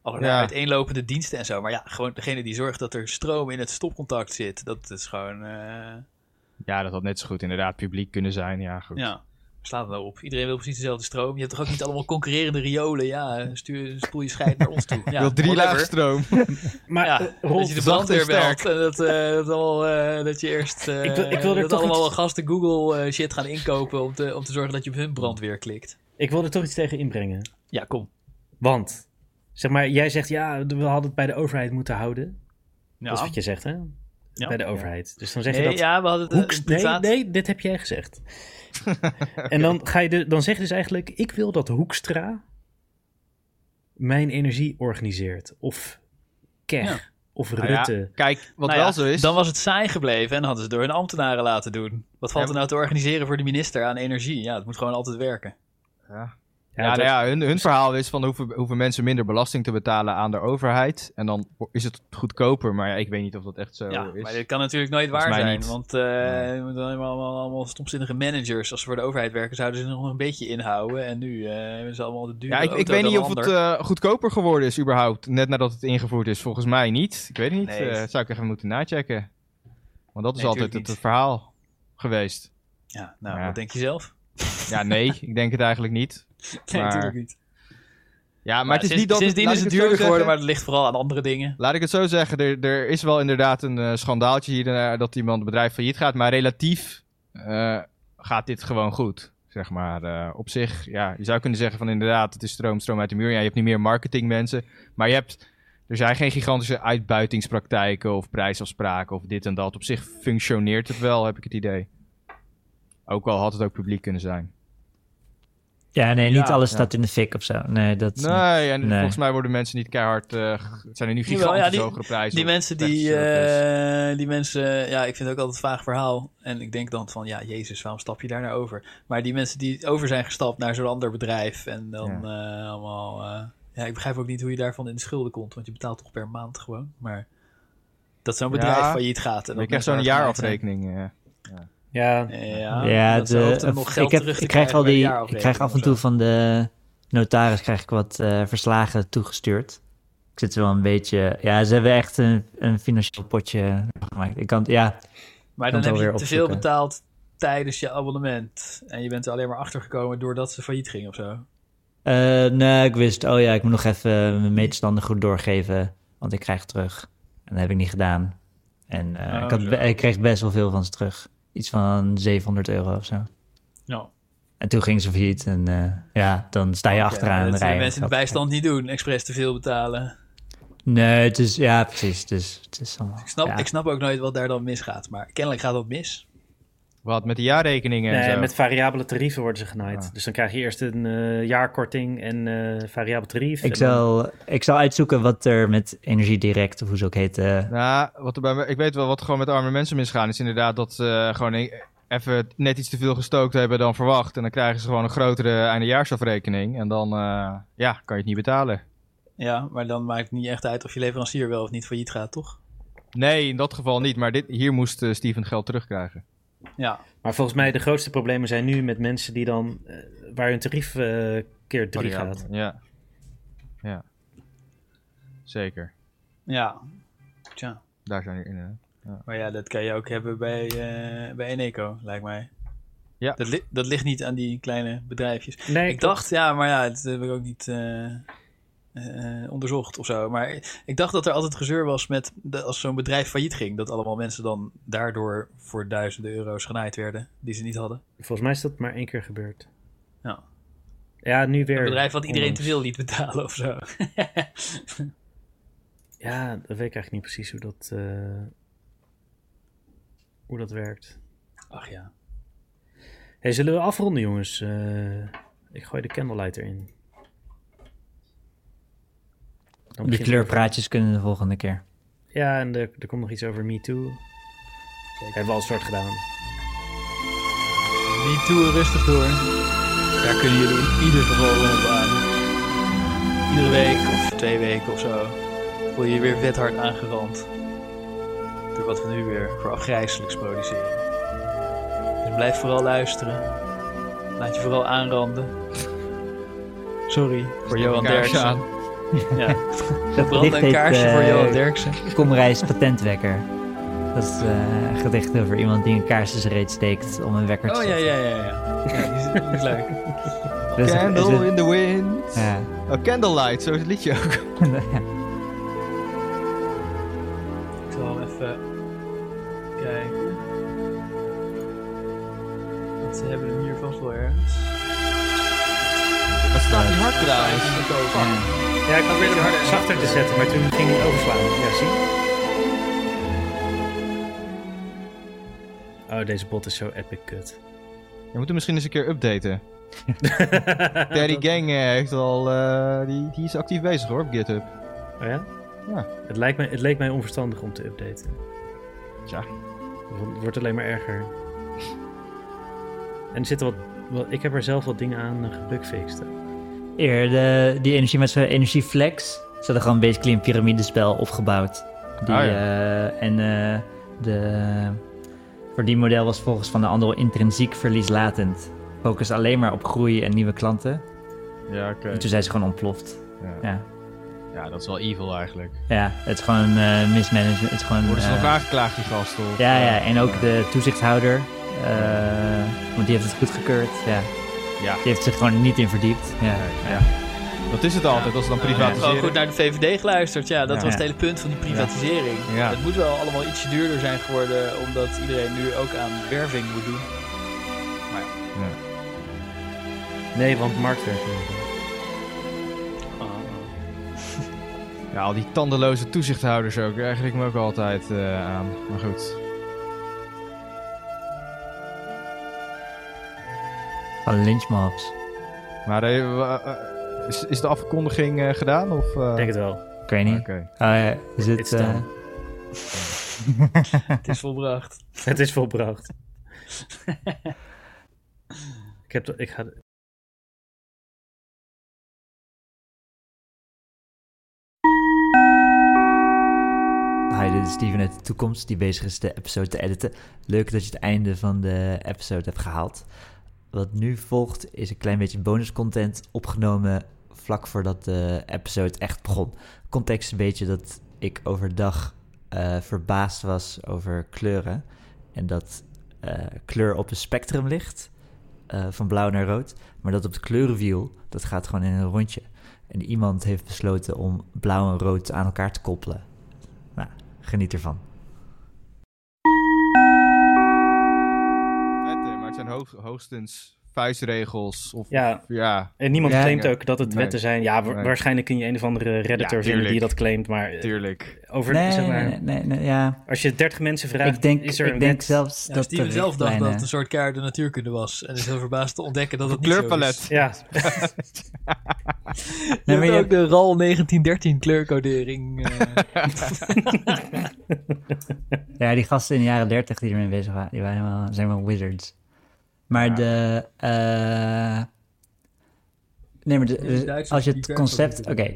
S4: allerlei
S2: Ja.
S4: uiteenlopende diensten en zo. Maar ja, gewoon degene die zorgt dat er stroom in het stopcontact zit. Dat is gewoon. eh,
S2: Ja, dat had net zo goed inderdaad publiek kunnen zijn. Ja, goed.
S4: ja. Slaat het nou op. Iedereen wil precies dezelfde stroom. Je hebt toch ook niet allemaal concurrerende riolen. Ja, stuur, spoel je scheid naar ons toe.
S2: <laughs>
S4: Ja,
S2: Wil drie
S4: whatever.
S2: laag stroom.
S1: Maar
S4: Ja,
S1: eh,
S4: dat
S1: Rolf,
S4: je de
S2: Zand
S4: brandweer
S2: is sterk.
S4: belt en dat, eh, dat, allemaal, eh, dat je eerst eh,
S1: Ik wil- ik wil er
S4: dat
S1: toch
S4: allemaal
S1: iets-
S4: gasten Google eh, shit gaan inkopen om te, om te zorgen dat je op hun brandweer klikt.
S1: ik wil er toch iets tegen inbrengen.
S4: Ja, kom.
S1: Want, zeg maar, jij zegt ja, we hadden het bij de overheid moeten houden.
S4: Ja,
S1: Dat is wat je zegt, hè?
S4: Ja.
S1: Bij de overheid. Dus dan zeg je
S4: nee,
S1: dat...
S4: ja we hadden het, eh,
S1: Hoeks-
S4: in
S1: nee,
S4: staat-
S1: nee, dit heb jij
S4: <laughs>
S1: gezegd. En dan, ga je de, dan zeg je dus eigenlijk, ik wil dat Hoekstra mijn energie organiseert. Of Keg,
S4: Ja.
S1: of
S2: <laughs> Nou ja,
S1: Rutte.
S2: kijk, wat
S4: Nou
S2: wel
S4: ja,
S2: zo is.
S4: Dan was het saai gebleven en dan hadden ze het door hun ambtenaren laten doen. Wat valt
S2: Ja,
S4: er nou te organiseren voor de minister aan energie? Ja, het moet gewoon altijd werken.
S2: ja, nou ja, hun, hun verhaal is van hoeven, hoeven mensen minder belasting te betalen aan de overheid. En dan is het goedkoper. Maar ja, ik weet niet of dat echt zo
S4: ja,
S2: is.
S4: maar dit kan natuurlijk nooit
S2: Volgens
S4: waar
S2: mij
S4: zijn.
S2: niet.
S4: Want eh we moeten allemaal, allemaal stomzinnige managers. Als ze voor de overheid werken, zouden ze nog een beetje inhouden. En nu eh, hebben ze allemaal de duur.
S2: Ja, ik, ik weet niet of het eh, goedkoper geworden is überhaupt. Net nadat het ingevoerd is. Volgens mij niet. Ik weet het niet.
S4: Nee.
S2: Eh, zou ik even moeten nachecken. Want dat is
S4: Nee,
S2: altijd
S4: tuurlijk
S2: het,
S4: niet.
S2: verhaal geweest.
S4: Ja, nou,
S2: Ja.
S4: wat denk je zelf?
S2: Ja, nee, ik denk het eigenlijk niet. Maar-
S4: Nee, <laughs> natuurlijk niet.
S2: Ja,
S4: <laughs>
S2: maar,
S4: Maar
S2: het is
S4: sinds-
S2: niet dat...
S4: Sindsdien
S2: laat
S4: is
S2: ik
S4: het
S2: zo
S4: duurder geworden,
S2: zeggen.
S4: maar het ligt vooral aan andere dingen.
S2: Laat ik het zo zeggen, er, er is wel inderdaad een eh, schandaaltje hier en daar dat iemand een bedrijf failliet gaat, maar relatief eh, gaat dit gewoon goed. Zeg maar, eh, op zich, ja, je zou kunnen zeggen van inderdaad, het is stroom, stroom uit de muur. Ja, je hebt niet meer marketingmensen, maar je hebt, er zijn geen gigantische uitbuitingspraktijken of prijsafspraken of dit en dat. Op zich functioneert het wel, heb ik het idee. Ook al had het ook publiek kunnen zijn.
S3: Ja, nee, niet
S4: Ja,
S3: alles
S2: ja.
S3: staat in de fik of zo. Nee, dat...
S2: Nee, en
S3: Hm. Nee.
S2: volgens mij worden mensen niet keihard, eh, g- zijn er nu
S4: Jawel,
S2: gigantisch
S4: ja, die-
S2: hogere prijzen.
S4: Die
S2: op
S4: mensen die,
S2: taxis. dus.
S4: eh, die mensen, ja, ik vind het ook altijd een vaag verhaal. En ik denk dan van, ja, jezus, waarom stap je daar nou over? Maar die mensen die over zijn gestapt naar zo'n ander bedrijf en dan eh, allemaal... eh, ja, ik begrijp ook niet hoe je daarvan in de schulden komt, want je betaalt toch per maand gewoon. Maar dat zo'n bedrijf
S2: Ja.
S4: failliet gaat. En
S2: je
S4: dat
S2: krijgt
S4: mensen
S2: zo'n
S4: hard gemaakt zijn.
S2: jaarafrekening. eh.
S1: Ja,
S4: Ja,
S3: Ja,
S4: dat ze
S3: de-
S4: hopen dan nog geld
S3: ik, heb,
S4: terug te
S3: ik krijg
S4: krijgen
S3: wel
S4: bij de
S3: die. Ik
S4: jaarafrekening
S3: krijg af en
S4: of
S3: toe
S4: zo.
S3: van de notaris krijg ik wat eh, verslagen toegestuurd. Ik zit wel een beetje. Ja, ze hebben echt een, een financieel potje gemaakt. Ik kan, ja,
S4: Maar
S3: Kan
S4: dan
S3: het
S4: heb je
S3: alweer
S4: te veel
S3: opzoeken.
S4: betaald tijdens je abonnement. En je bent er alleen maar achter gekomen doordat ze failliet ging of zo.
S3: eh, nee, ik wist. Oh ja, ik moet nog even mijn meetstanden goed doorgeven, want ik krijg terug. En dat heb ik niet gedaan. En eh,
S4: Oh,
S3: ik, had,
S4: zo.
S3: be- ik kreeg best wel veel van ze terug. Iets van 700 euro of zo.
S4: Nou,
S3: En toen ging ze failliet. En eh, ja, dan sta je achteraan.
S4: dat
S3: de
S4: zullen
S3: rij.
S4: mensen in de bijstand niet doen, expres te veel betalen.
S3: Nee, het is, ja, precies. Het is, het is allemaal,
S4: Ik snap,
S3: ja.
S4: ik snap ook nooit wat daar dan misgaat, maar kennelijk gaat dat mis.
S2: Wat, met de jaarrekeningen en
S1: nee,
S2: zo?
S1: met variabele tarieven worden ze genaaid.
S2: Ah.
S1: Dus dan krijg je eerst een eh, jaarkorting en eh variabel tarief.
S3: ik,
S1: En dan-
S3: zal, ik zal uitzoeken wat er met Energie Direct, of hoe ze ook heet, eh,
S2: Nou, wat er bij me, ik weet wel wat er gewoon met arme mensen misgaan. Is inderdaad dat ze eh, gewoon e- even net iets te veel gestookt hebben dan verwacht. En dan krijgen ze gewoon een grotere eindejaarsafrekening. En dan eh, ja, kan je het niet betalen.
S4: Ja, maar dan maakt het niet echt uit of je leverancier wel of niet failliet gaat, toch?
S2: Nee, in dat geval niet. Maar dit, hier moest eh, Steven geld terugkrijgen.
S4: Ja,
S1: Maar volgens mij de grootste problemen zijn nu met mensen die dan, eh, waar hun tarief eh, keer drie
S2: Variabel.
S1: gaat.
S2: Ja. Ja. Zeker.
S4: ja. Tja.
S2: Daar zijn er in.
S4: Maar ja, dat kan je ook hebben bij, eh bij Eneco, lijkt mij.
S2: Ja.
S4: Dat, li- dat ligt niet aan die kleine bedrijfjes.
S1: Nee,
S4: Ik dacht, ja, maar ja, dat heb ik ook niet eh, eh, onderzocht of zo. Maar ik dacht dat er altijd gezeur was met de, als zo'n bedrijf failliet ging. Dat allemaal mensen dan daardoor voor duizenden euro's genaaid werden die ze niet hadden.
S1: Volgens mij is dat maar één keer gebeurd.
S4: Ja.
S1: Ja, nu weer.
S4: Een bedrijf wat iedereen te
S1: onlangs.
S4: veel liet betalen of zo. <laughs>
S1: Ja, dat weet ik eigenlijk niet precies hoe dat, eh, hoe dat werkt.
S4: Ach ja.
S1: Hey, zullen we afronden, jongens? Eh, ik gooi de candlelight erin. Dan
S3: Die
S1: begint-
S3: kleurpraatjes kunnen de volgende keer.
S1: Ja, en er, er komt nog iets over Me Too. Hebben we al een soort gedaan.
S4: Niet toe rustig door. Daar kunnen jullie in ieder geval wel op aan. Iedere week of twee weken of zo voel je je weer vet hard aangerand. Door wat we nu weer voor afgrijzelijks produceren. Dus blijf vooral luisteren. Laat je vooral aanranden. Sorry voor Johan
S2: Kaarsje
S4: Derksen.
S2: aan.
S4: Ja. Brand
S3: gedicht
S4: een
S3: heet,
S4: kaarsje voor
S3: eh,
S4: Johan Derksen.
S3: Komreis patentwekker. Dat is eh, een gedicht over iemand die een kaars in zijn reet steekt om een wekker te
S4: Oh ja,
S3: zetten.
S4: ja, ja. ja. ja die, is, die is leuk.
S3: Dat is- is
S2: Candle
S3: het-
S2: in the wind.
S3: ja.
S2: Oh, candlelight, zo is het liedje ook.
S4: Ik zal hem even kijken. Want ze hebben hem hier vast wel ergens.
S2: Wat staat die hard trouwens?
S1: Ja, ik probeerde hem harder- zachter te zetten, maar toen ging hij overslaan. Ja, zie. Oh, deze bot is zo epic kut.
S2: Je moet hem misschien eens een keer <laughs> updaten. Daddy Gang eh, heeft al, eh, die, die is actief bezig hoor op GitHub.
S1: Oh ja?
S2: Ja.
S1: Het, lijkt mij, het leek mij onverstandig om te updaten.
S2: Tja.
S1: Het wordt alleen maar erger. En er zitten wat, wel- Ik heb er zelf wat dingen aan eh, gebugfixed. hè.
S3: Eer, de, die energie met zijn energieflex. Ze hadden gewoon basically een piramidespel opgebouwd. Die,
S2: Ah, ja.
S3: eh, en eh, de, voor die model was volgens Van de Andel intrinsiek verlieslatend. Focus alleen maar op groei en nieuwe klanten.
S2: Ja, oké.
S3: En toen zijn ze gewoon ontploft.
S2: Ja.
S3: Ja,
S2: Ja, dat is wel evil eigenlijk.
S3: ja het is gewoon eh, mismanagement. Het is gewoon,
S2: Worden ze
S3: eh,
S2: nog aangeklaagd, die gasten? of-
S3: ja, ja, en ook de toezichthouder. eh, want die heeft het goedgekeurd. Ja.
S2: Ja.
S3: Die heeft zich gewoon niet in verdiept. Ja.
S2: Ja. Dat is het altijd, als ze dan
S4: Gewoon
S2: privatiseren.
S4: goed naar de VVD geluisterd. Ja, dat
S2: Ja.
S4: was het hele punt van die privatisering.
S2: Ja.
S4: Het moet wel allemaal ietsje duurder zijn geworden, omdat iedereen nu ook aan werving moet doen.
S1: Nee, want marktwerking.
S4: Oh,
S2: Ja, al die tandeloze toezichthouders ook. Daar erger ik me ook altijd eh, aan. Maar goed.
S3: Van lynchmobs.
S2: Maar eh, w- eh, is, is de afkondiging eh, gedaan? Of, eh,
S1: Ik denk het wel.
S3: Ik weet niet.
S2: Oké.
S3: Oh ja, is
S1: It's
S3: het... eh,
S1: done.
S4: Het is volbracht.
S1: <laughs> Het is
S2: <laughs>
S1: volbracht. ik heb... de- Ik ga...
S3: Hi, dit is Steven uit de toekomst die bezig is de episode te editen. Leuk dat je het einde van de episode hebt gehaald. Wat nu volgt is een klein beetje bonuscontent opgenomen vlak voordat de episode echt begon. Context een beetje dat ik overdag eh, verbaasd was over kleuren. En dat eh, kleur op een spectrum ligt, eh, van blauw naar rood. Maar dat op het kleurenwiel, dat gaat gewoon in een rondje. En iemand heeft besloten om blauw en rood aan elkaar te koppelen. Nou, geniet ervan.
S2: Wetten, maar het zijn hoog- hoogstens vuistregels. Of,
S1: Ja,
S2: ja,
S1: En niemand
S3: Ja.
S1: claimt ook dat het
S2: Nee.
S1: wetten zijn. Ja, wa-
S2: Nee.
S1: waarschijnlijk kun je een of andere
S2: Ja,
S1: redditor vinden
S2: tuurlijk.
S1: die dat claimt. Maar eh,
S2: tuurlijk.
S1: over,
S3: Nee,
S1: zeg maar,
S3: nee, nee, nee, ja.
S1: als je 30 mensen vraagt,
S3: ik denk,
S1: is er een
S3: ik denk
S1: wet.
S3: zelfs
S4: Ja,
S3: dat
S4: Steven
S3: de
S4: zelf dacht dat
S3: richtlijnen-
S4: het een soort kaart de natuurkunde was. En is heel verbaasd te ontdekken dat het niet
S2: Kleurpalet.
S1: Ja,
S2: <laughs>
S4: Zo is. Je
S3: Nee, maar
S4: hebt
S3: je-
S4: ook de RAL 1913
S3: <laughs>
S4: kleurcodering. eh,
S3: Ja, die gasten in de jaren 30 die ermee bezig waren, die waren helemaal, zijn wel wizards. Maar de... eh, nee, maar de- als je het concept... Oké,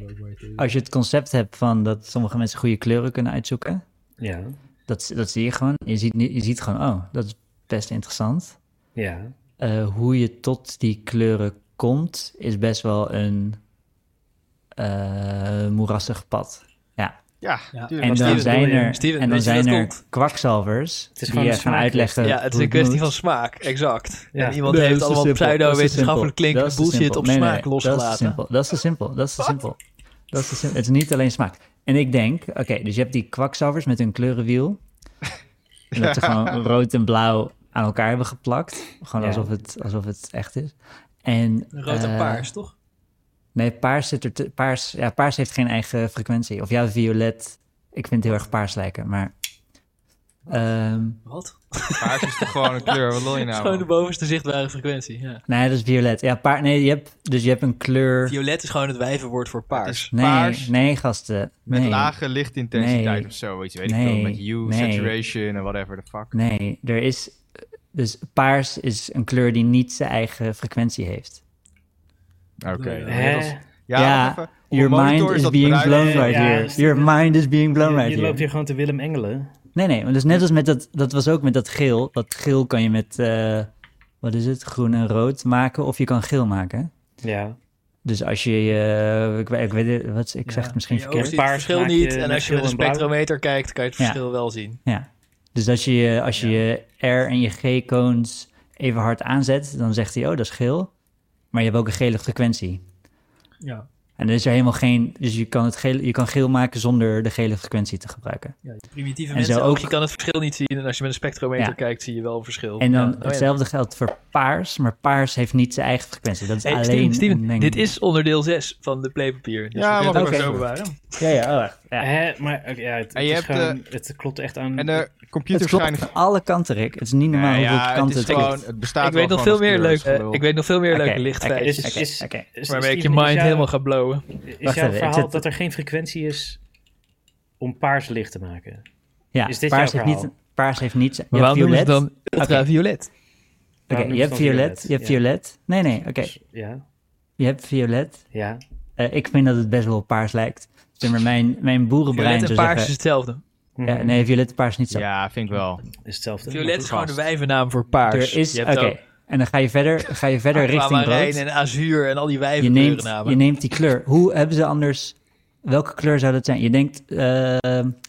S3: als je het concept hebt van dat sommige mensen goede kleuren kunnen uitzoeken...
S1: ja,
S3: Dat, dat zie je gewoon. Je ziet, niet- je ziet gewoon, oh, dat is best interessant.
S1: ja.
S3: eh, hoe je tot die kleuren komt, is best wel een eh, moerassig pad. Ja,
S2: Ja,
S4: Ja.
S2: natuurlijk.
S3: En
S4: Steven,
S3: dan
S4: bedoel
S3: zijn
S4: je?
S3: er,
S4: Steven,
S3: en dan
S4: weet je wie
S3: zijn
S4: dat
S3: er
S4: komt?
S3: kwakzalvers
S1: is
S3: die
S1: gewoon
S3: je
S1: een
S3: gaan
S1: smaak.
S3: uitleggen
S4: Ja, het is
S3: hoe
S4: een kwestie
S3: moet.
S4: van smaak, exact.
S1: Ja.
S4: En iemand
S3: Nee,
S4: heeft
S3: dat is
S4: allemaal
S3: te simpel.
S4: pseudo-wetenschappelijk
S3: Dat is te
S4: klinkende
S3: simpel.
S4: bullshit op
S3: Nee, nee,
S4: smaak
S3: Dat is te
S4: losgelaten.
S3: simpel. Dat is te simpel. Dat is te simpel. Dat is te simpel. Het is niet alleen smaak. En ik denk, oké, dus je hebt die kwakzalvers met hun
S4: <laughs>
S3: kleurenwiel. En dat ze gewoon rood en blauw aan elkaar hebben geplakt. Gewoon
S1: Ja.
S3: alsof, het, alsof het echt is. En,
S4: Rood en
S3: eh,
S4: paars, toch?
S3: Nee, paars, zit er te- paars, ja, paars heeft geen eigen frequentie. Of ja, violet. Ik vind het heel erg paars lijken, maar... ehm,
S4: Wat?
S2: Paars is toch gewoon een kleur? Wat wil je nou?
S4: Gewoon de
S2: man?
S4: bovenste zichtbare frequentie. Ja.
S3: nee, dat is violet. Ja, paar, nee, je hebt, dus je hebt een kleur...
S4: Violet is gewoon het wijvenwoord voor
S2: Het
S4: paars.
S2: is
S3: Nee,
S2: paars
S3: nee, gasten.
S2: met
S3: nee.
S2: lage lichtintensiteit
S3: Nee.
S2: of zo. Weet je, weet ik
S3: Nee.
S2: veel. Met hue,
S3: Nee.
S2: saturation en whatever the fuck.
S3: Nee, er is. Dus paars is een kleur die niet zijn eigen frequentie heeft.
S2: Oké.
S1: Hè?
S2: Dat is-
S3: Ja,
S2: Ja, wacht even. Op
S3: your
S2: een monitor
S3: mind is,
S2: dat
S3: being
S2: bruin.
S3: blown
S1: Ja,
S3: right
S1: ja,
S3: here.
S1: dus-
S3: Your mind is being blown
S1: Je,
S3: right
S1: je
S3: here.
S1: loopt hier gewoon te Willem Engelen.
S3: Nee, nee, maar dus net als met dat. Dat was ook met dat geel. Dat geel kan je met. eh, wat is het? Groen en rood maken. Of je kan geel maken.
S1: Ja.
S3: Dus als je. eh, ik, weet- ik weet het. Wat, ik zeg
S4: Ja.
S3: het misschien
S4: En je
S3: verkeerd.
S4: oog ziet
S1: Paars
S4: het verschil
S1: maak je
S4: niet.
S1: met
S4: En als je
S1: geel
S4: met een
S1: en blauw.
S4: spectrometer kijkt, kan je het
S3: Ja.
S4: verschil wel zien.
S3: Ja. Dus als je je- als je, je R en je G-cones even hard aanzet, dan zegt hij, oh, dat is geel. Maar je hebt ook een gele frequentie.
S4: Ja.
S3: En er is er helemaal geen... Dus je kan, het geel, je kan geel maken zonder de gele frequentie te gebruiken.
S4: De primitieve
S3: En
S4: mensen
S3: zo
S4: ook.
S3: ook-
S4: Je kan het verschil niet zien. En als je met een spectrometer
S3: Ja.
S4: kijkt, zie je wel een verschil.
S3: En dan
S4: Ja. Oh ja.
S3: hetzelfde geldt voor paars, maar paars heeft niet zijn eigen frequentie. Dat is
S4: Hey,
S3: alleen
S4: Steven, Steven,
S3: een menging.
S4: dit is onderdeel 6 van de playpapier. Dus
S2: Ja,
S4: we
S2: maar
S4: kunnen het
S2: oké.
S4: ook zo bewaren.
S3: Ja, ja, oh, echt. ja.
S1: Hè, maar oké, ja, het,
S2: En je
S1: het is
S2: hebt, eh,
S1: gewoon, het klopt echt aan.
S2: En eh, de
S3: Het
S2: computers
S3: klopt
S2: schijnen...
S3: aan alle kanten, Rick. Het is niet normaal
S2: Nee,
S3: hoeveel
S2: het,
S3: kanten
S2: is
S3: het
S2: gewoon,
S3: heeft.
S2: het bestaat
S4: Ik weet,
S2: wel
S4: nog veel
S2: gewoon
S4: meer
S2: als
S4: leuke,
S2: kleur, dus is gelul.
S4: ik weet nog veel meer
S3: Oké,
S4: leuke
S3: oké,
S4: lichtfeitjes.
S2: dus-
S3: oké,
S1: is-
S3: oké.
S1: Is-
S4: Waarmee ik je
S1: Steven, is
S4: mind
S1: jou-
S4: helemaal gaat blowen.
S1: Is
S3: Wacht
S1: jouw
S3: even, ik
S1: verhaal
S3: zet-
S1: dat er geen frequentie is om paars licht te maken?
S3: Ja,
S1: Is dit
S3: paars,
S1: jouw
S3: heeft niet,
S1: verhaal?
S3: paars heeft niet... zijn-
S4: Maar
S3: je hebt
S4: waarom noemen ze
S3: violet.
S4: dan ultraviolet?
S3: Oké,
S1: Waarom
S3: je hebt
S1: noemen ze dan
S3: violet, je
S1: Ja.
S3: hebt violet. Nee, nee, oké.
S1: Ja,
S3: Je hebt violet.
S1: ja.
S3: Eh, ik vind dat het best wel op paars lijkt. Zeg maar, mijn, mijn boerenbrein
S4: Violet en
S3: zou
S4: paars is
S3: zeggen...
S4: hetzelfde.
S1: Hm,
S3: Ja, nee, violet en paars is niet zo.
S2: Ja, vind ik wel.
S1: Is hetzelfde.
S4: Violet is gewoon de
S2: vast.
S4: wijvennaam voor paars.
S3: er is...
S4: Je
S3: Oké,
S4: hebt ook
S3: en dan ga je verder, ga je verder richting
S4: aquamarijn
S3: rood.
S4: en azuur en al die
S3: Je neemt, je
S4: wijvenkleurnamen.
S3: neemt die kleur. Hoe hebben ze anders... Welke kleur zou dat zijn? Je denkt... eh,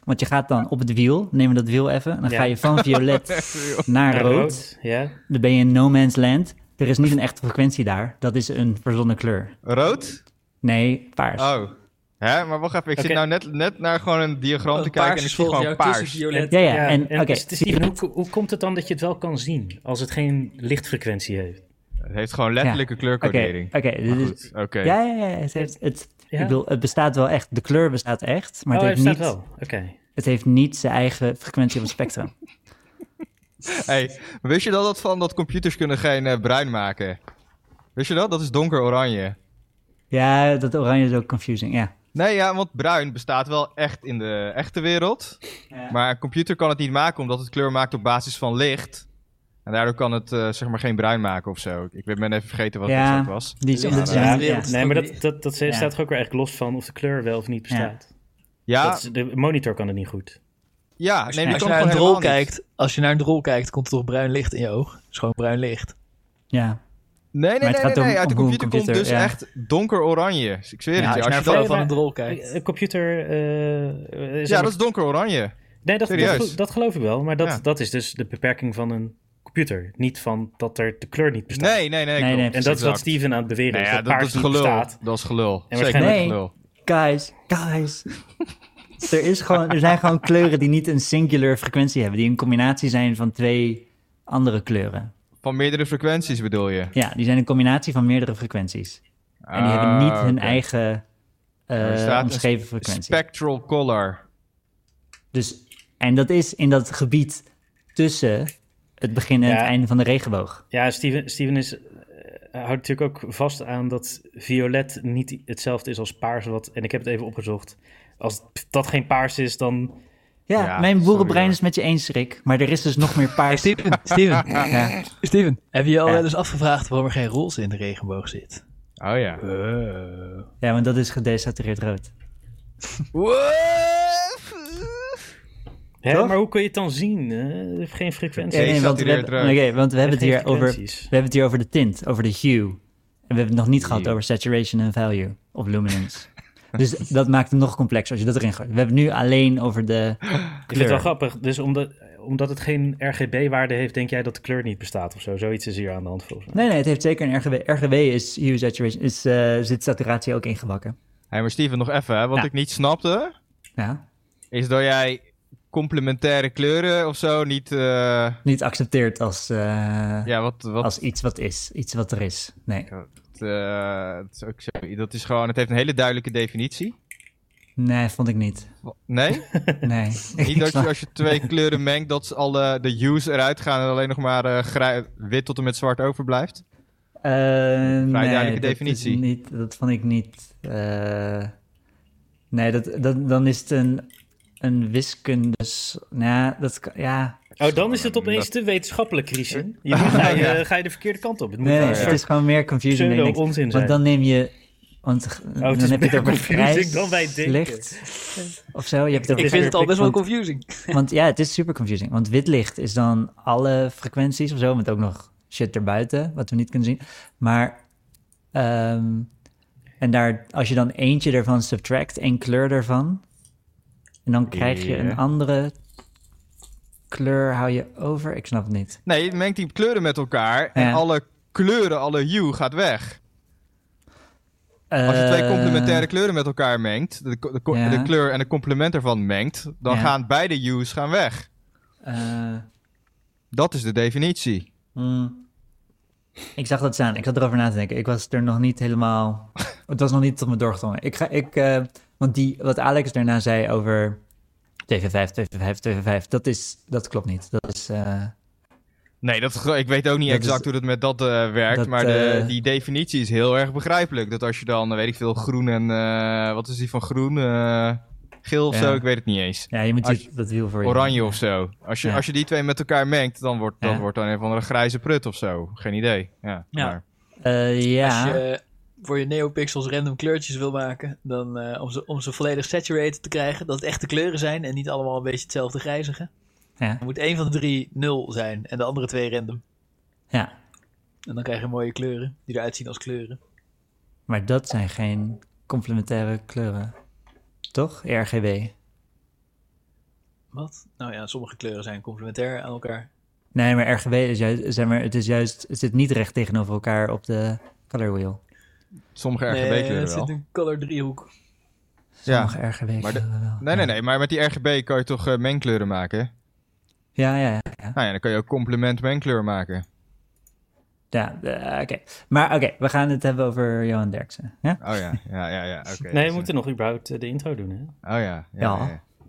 S3: want je gaat dan op het wiel. Neem dat wiel even. En dan
S1: Ja.
S3: ga je van
S1: <laughs>
S3: violet naar
S1: Ja,
S3: rood.
S1: Ja.
S3: Dan ben je in no man's land. Er is niet een echte frequentie daar. Dat is een verzonnen kleur.
S2: Rood?
S3: Nee, paars.
S2: Oh. Hè, maar wacht even. Ik zit
S1: Oké.
S2: nou net, net naar gewoon een diagram te
S4: Want
S2: kijken
S4: Paars
S2: en ik
S4: is
S2: zie
S4: volgens
S2: gewoon
S4: jou
S2: paars.
S4: tussen violet
S3: Ja, ja.
S1: Ja,
S3: en,
S1: en dus
S3: oké.
S1: Steven, hoe, hoe komt het dan dat je het wel kan zien als het geen lichtfrequentie heeft?
S2: Het heeft gewoon letterlijke
S3: Oké,
S2: kleurcodering.
S3: oké, dit is-
S2: Goed, Oké.
S3: Ja, ja, ja. Het, heeft, het,
S1: Ja?
S3: Ik bedoel, het bestaat wel echt. De kleur bestaat echt, maar
S1: oh, hij
S3: het,
S1: staat
S3: heeft
S1: wel.
S3: niet,
S1: Oké.
S3: het heeft niet zijn eigen frequentie op het
S1: <laughs>
S3: spectrum.
S2: Hey, wist je dat, dat van dat computers kunnen geen eh, bruin maken? Wist je dat? Dat is donker oranje.
S3: ja, dat oranje is ook confusing, ja.
S2: Nee, ja, want bruin bestaat wel echt in de echte wereld. Maar een computer kan het niet maken omdat het kleur maakt op basis van licht. En daardoor kan het eh, zeg maar geen bruin maken of zo. Ik ben net even vergeten wat het
S3: Ja.
S2: exact was.
S3: Die is,
S4: Ja,
S3: dat is
S4: maar-
S1: Ja,
S3: een- ja.
S4: wereld.
S1: Nee, maar
S4: ook
S1: dat,
S4: niet.
S1: dat, dat
S3: Ja.
S1: staat er ook weer echt los van of de kleur wel of niet bestaat.
S2: Ja,
S1: Dat is, de monitor kan het niet goed.
S2: ja. Nee, die
S4: als je
S2: kan
S4: naar
S2: gewoon
S4: een drol
S2: helemaal niet.
S4: kijkt, als je naar een drol kijkt, komt er toch bruin licht in je oog? Het is gewoon bruin licht.
S3: ja.
S2: Nee, nee,
S3: het
S2: nee, nee,
S3: gaat om-
S2: nee, Uit de
S3: om hoe een
S2: computer, komt
S3: computer-
S2: dus
S3: ja.
S2: echt donker oranje. Ik zweer
S4: Ja,
S2: het je.
S4: als je naar een
S2: dat-
S4: foto van
S1: maar-
S4: een drol kijkt.
S1: Een computer... eh, eh, zeg
S2: ja,
S1: maar-
S2: dat is donker oranje.
S1: nee, dat, dat,
S2: serieus.
S1: gelo- dat geloof ik wel. Maar dat,
S2: Ja.
S1: dat is dus de beperking van een computer. Niet van dat er de kleur niet bestaat.
S2: Nee, nee, nee.
S3: Nee,
S2: klopt.
S3: nee,
S1: en dat is wat
S2: Exact.
S1: Steven aan het beweren
S2: Nou
S1: is.
S2: ja,
S1: dat,
S2: dat, dat
S1: paars
S2: is
S1: niet
S2: gelul.
S1: bestaat.
S2: Dat is gelul.
S1: En
S2: Zeker
S1: waarschijnlijk-
S2: dat is
S3: Nee.
S2: gelul.
S3: Guys, guys. <laughs> er, is gewoon, er zijn gewoon kleuren die niet een singular frequentie hebben. Die een combinatie zijn van twee andere kleuren.
S2: Van meerdere frequenties bedoel je?
S3: Ja, die zijn een combinatie van meerdere frequenties. En die hebben niet
S2: Ah,
S3: hun
S2: oké.
S3: eigen eh,
S2: Er staat een
S3: omschreven frequentie.
S2: Spectral color.
S3: Dus, en dat is in dat gebied tussen het begin en
S1: Ja.
S3: het einde van de regenboog.
S1: Ja, Steven, Steven is, eh, houdt natuurlijk ook vast aan dat violet niet hetzelfde is als paars. Wat, en ik heb het even opgezocht. Als dat geen paars is, dan...
S3: Ja,
S2: Ja,
S3: mijn
S2: sorry,
S3: boerenbrein
S2: hoor.
S3: is met je eens, Rick. Maar er is dus nog meer paars.
S4: Steven, Steven,
S3: <laughs> Ja.
S4: Steven, heb je je al
S3: Ja.
S4: wel eens afgevraagd waarom er geen roze in de regenboog zit?
S2: Oh ja.
S3: ja, want dat is gedesatureerd rood.
S1: Hè,
S3: Toch?
S1: maar hoe kun je het dan zien? hè? geen frequentie.
S3: Ja, nee, want we,
S2: Gedesatureerd
S3: hebben,
S2: rood.
S3: oké, want we hebben, het
S1: Geen
S3: hier over, we
S1: frequenties.
S3: hebben het hier over de tint, over de hue. En we hebben het nog niet gehad
S2: Hue.
S3: over saturation en value of luminance. Dus dat maakt het nog complexer als je dat erin gooit. We hebben het nu alleen over
S2: <laughs>
S3: de...
S1: Ik vind het wel grappig. Dus omdat, omdat het geen RGB-waarde heeft, denk jij dat de kleur niet bestaat of zo. Zoiets is hier aan de hand volgens mij.
S3: Nee, nee, het heeft zeker een RGB. RGB is hue saturation, is, eh, zit saturatie ook ingebakken.
S2: Hey, maar Steven, nog even. hè. Wat
S3: Ja.
S2: ik niet snapte,
S3: Ja,
S2: is dat jij complementaire kleuren of zo niet... eh,
S3: niet accepteerd als, eh,
S2: ja, wat... wat
S3: als iets wat is, iets wat er is. Nee,
S2: eh, dat, is ook zo- dat is gewoon... Het heeft een hele duidelijke definitie.
S3: nee, vond ik
S2: <laughs>
S3: niet.
S2: Wa-
S3: <laughs>
S2: Nee?
S3: Nee,
S2: niet
S3: Ik
S2: dat
S3: snap-
S2: je, als je twee kleuren mengt, dat ze alle de hues eruit gaan en alleen nog maar eh, grij- wit tot en met zwart overblijft.
S3: Eh, nee,
S2: duidelijke
S3: dat is
S2: definitie.
S3: Niet, dat vond ik niet. eh, nee, dat, dat, dan is het een, een wiskunde. Nou, dat kan- ja.
S1: Oh, dan is het opeens te wetenschappelijk, Christian. Je moet- ga, je, ga je de verkeerde kant op. Het moet
S3: Nee,
S1: wel een
S3: het
S1: soort
S3: is gewoon meer confusing. dan ik denk.
S1: pseudo-onzin zijn. Oh,
S3: Want dan neem je. Want dan
S1: is
S3: heb je het
S1: meer
S3: over
S1: confusing
S3: prijs,
S1: dan wij denken.
S3: licht of zo. Je hebt het over
S4: Ik vind het al best wel
S3: want-
S4: confusing.
S3: Want ja, het is super confusing. Want wit licht is dan alle frequenties of zo, met ook nog shit erbuiten, wat we niet kunnen zien. Maar, ehm, en daar, als je dan eentje ervan subtract, één kleur ervan, en dan krijg je
S2: Ja.
S3: een andere kleur, hou je over? Ik snap het niet.
S2: Nee, je mengt die kleuren met elkaar en
S3: Ja.
S2: alle kleuren, alle hue gaat weg. Als je twee
S3: Eh,
S2: complementaire kleuren met elkaar mengt, de, co- de, co-
S3: Ja.
S2: de kleur en de complement ervan mengt, dan
S3: Ja.
S2: gaan beide hues gaan weg.
S3: eh,
S2: Dat is de definitie.
S3: mm.
S2: Hmm.
S3: ik zag dat staan, ik zat erover na te denken. Ik was er nog niet
S2: <laughs>
S3: helemaal, het was nog niet tot me doorgedrongen. Ik ga, ik, eh, want die, wat Alex daarna zei over... 2v5, 2v5, 2v5. Dat, is, dat klopt niet. Dat is, eh,
S2: Nee, dat, is ge- ik weet ook niet
S3: Dat
S2: exact
S3: is-
S2: hoe dat met dat eh, werkt,
S3: dat,
S2: maar de,
S3: eh,
S2: die definitie is heel erg begrijpelijk. Dat als je dan, eh, weet ik veel, groen en, eh, wat is die van groen? Eh, geel of
S3: Ja.
S2: zo, ik weet het niet eens.
S3: ja, je moet
S2: Als-
S3: die- dat wiel voor je.
S2: Oranje of zo. Als je,
S3: Ja.
S2: als je die twee met elkaar mengt, dan wordt, dan
S3: Ja.
S2: wordt dan een van een grijze prut of zo. Geen idee. Ja,
S4: Ja.
S2: maar-
S3: Eh, ja,
S4: Als je voor je neopixels random kleurtjes wil maken, dan, eh, om, ze, om ze volledig saturated te krijgen, dat het echte kleuren zijn en niet allemaal een beetje hetzelfde grijzige.
S3: ja,
S4: Dan moet één van de drie nul zijn en de andere twee random.
S3: ja.
S4: En dan krijg je mooie kleuren, die eruit zien als kleuren.
S3: Maar dat zijn geen complementaire kleuren. Toch? RGB.
S4: Wat? Nou ja, sommige kleuren zijn complementair aan elkaar.
S3: Nee, maar RGB is juist, zeg maar, het is juist, het zit niet recht tegenover elkaar op de color wheel.
S2: Sommige
S4: nee,
S2: RGB-kleuren
S4: het
S2: wel.
S4: zit een color driehoek.
S2: Ja.
S3: Sommige RGB
S2: Maar de-
S3: kleuren wel.
S2: Nee, nee, nee. Maar met die RGB kan je toch eh, mengkleuren maken?
S3: Ja, ja, ja.
S2: Nou ja, dan kan je ook complement mengkleur maken.
S3: ja eh, oké. Maar oké, we gaan het hebben over Johan Derksen. Ja?
S2: Oh <laughs> ja, ja, ja, ja. Oké.
S1: Nee, we
S2: Dus,
S1: moeten nog überhaupt eh, de intro doen, hè?
S2: eh, Oh ja. Ja.
S3: Ja.
S2: ja, ja.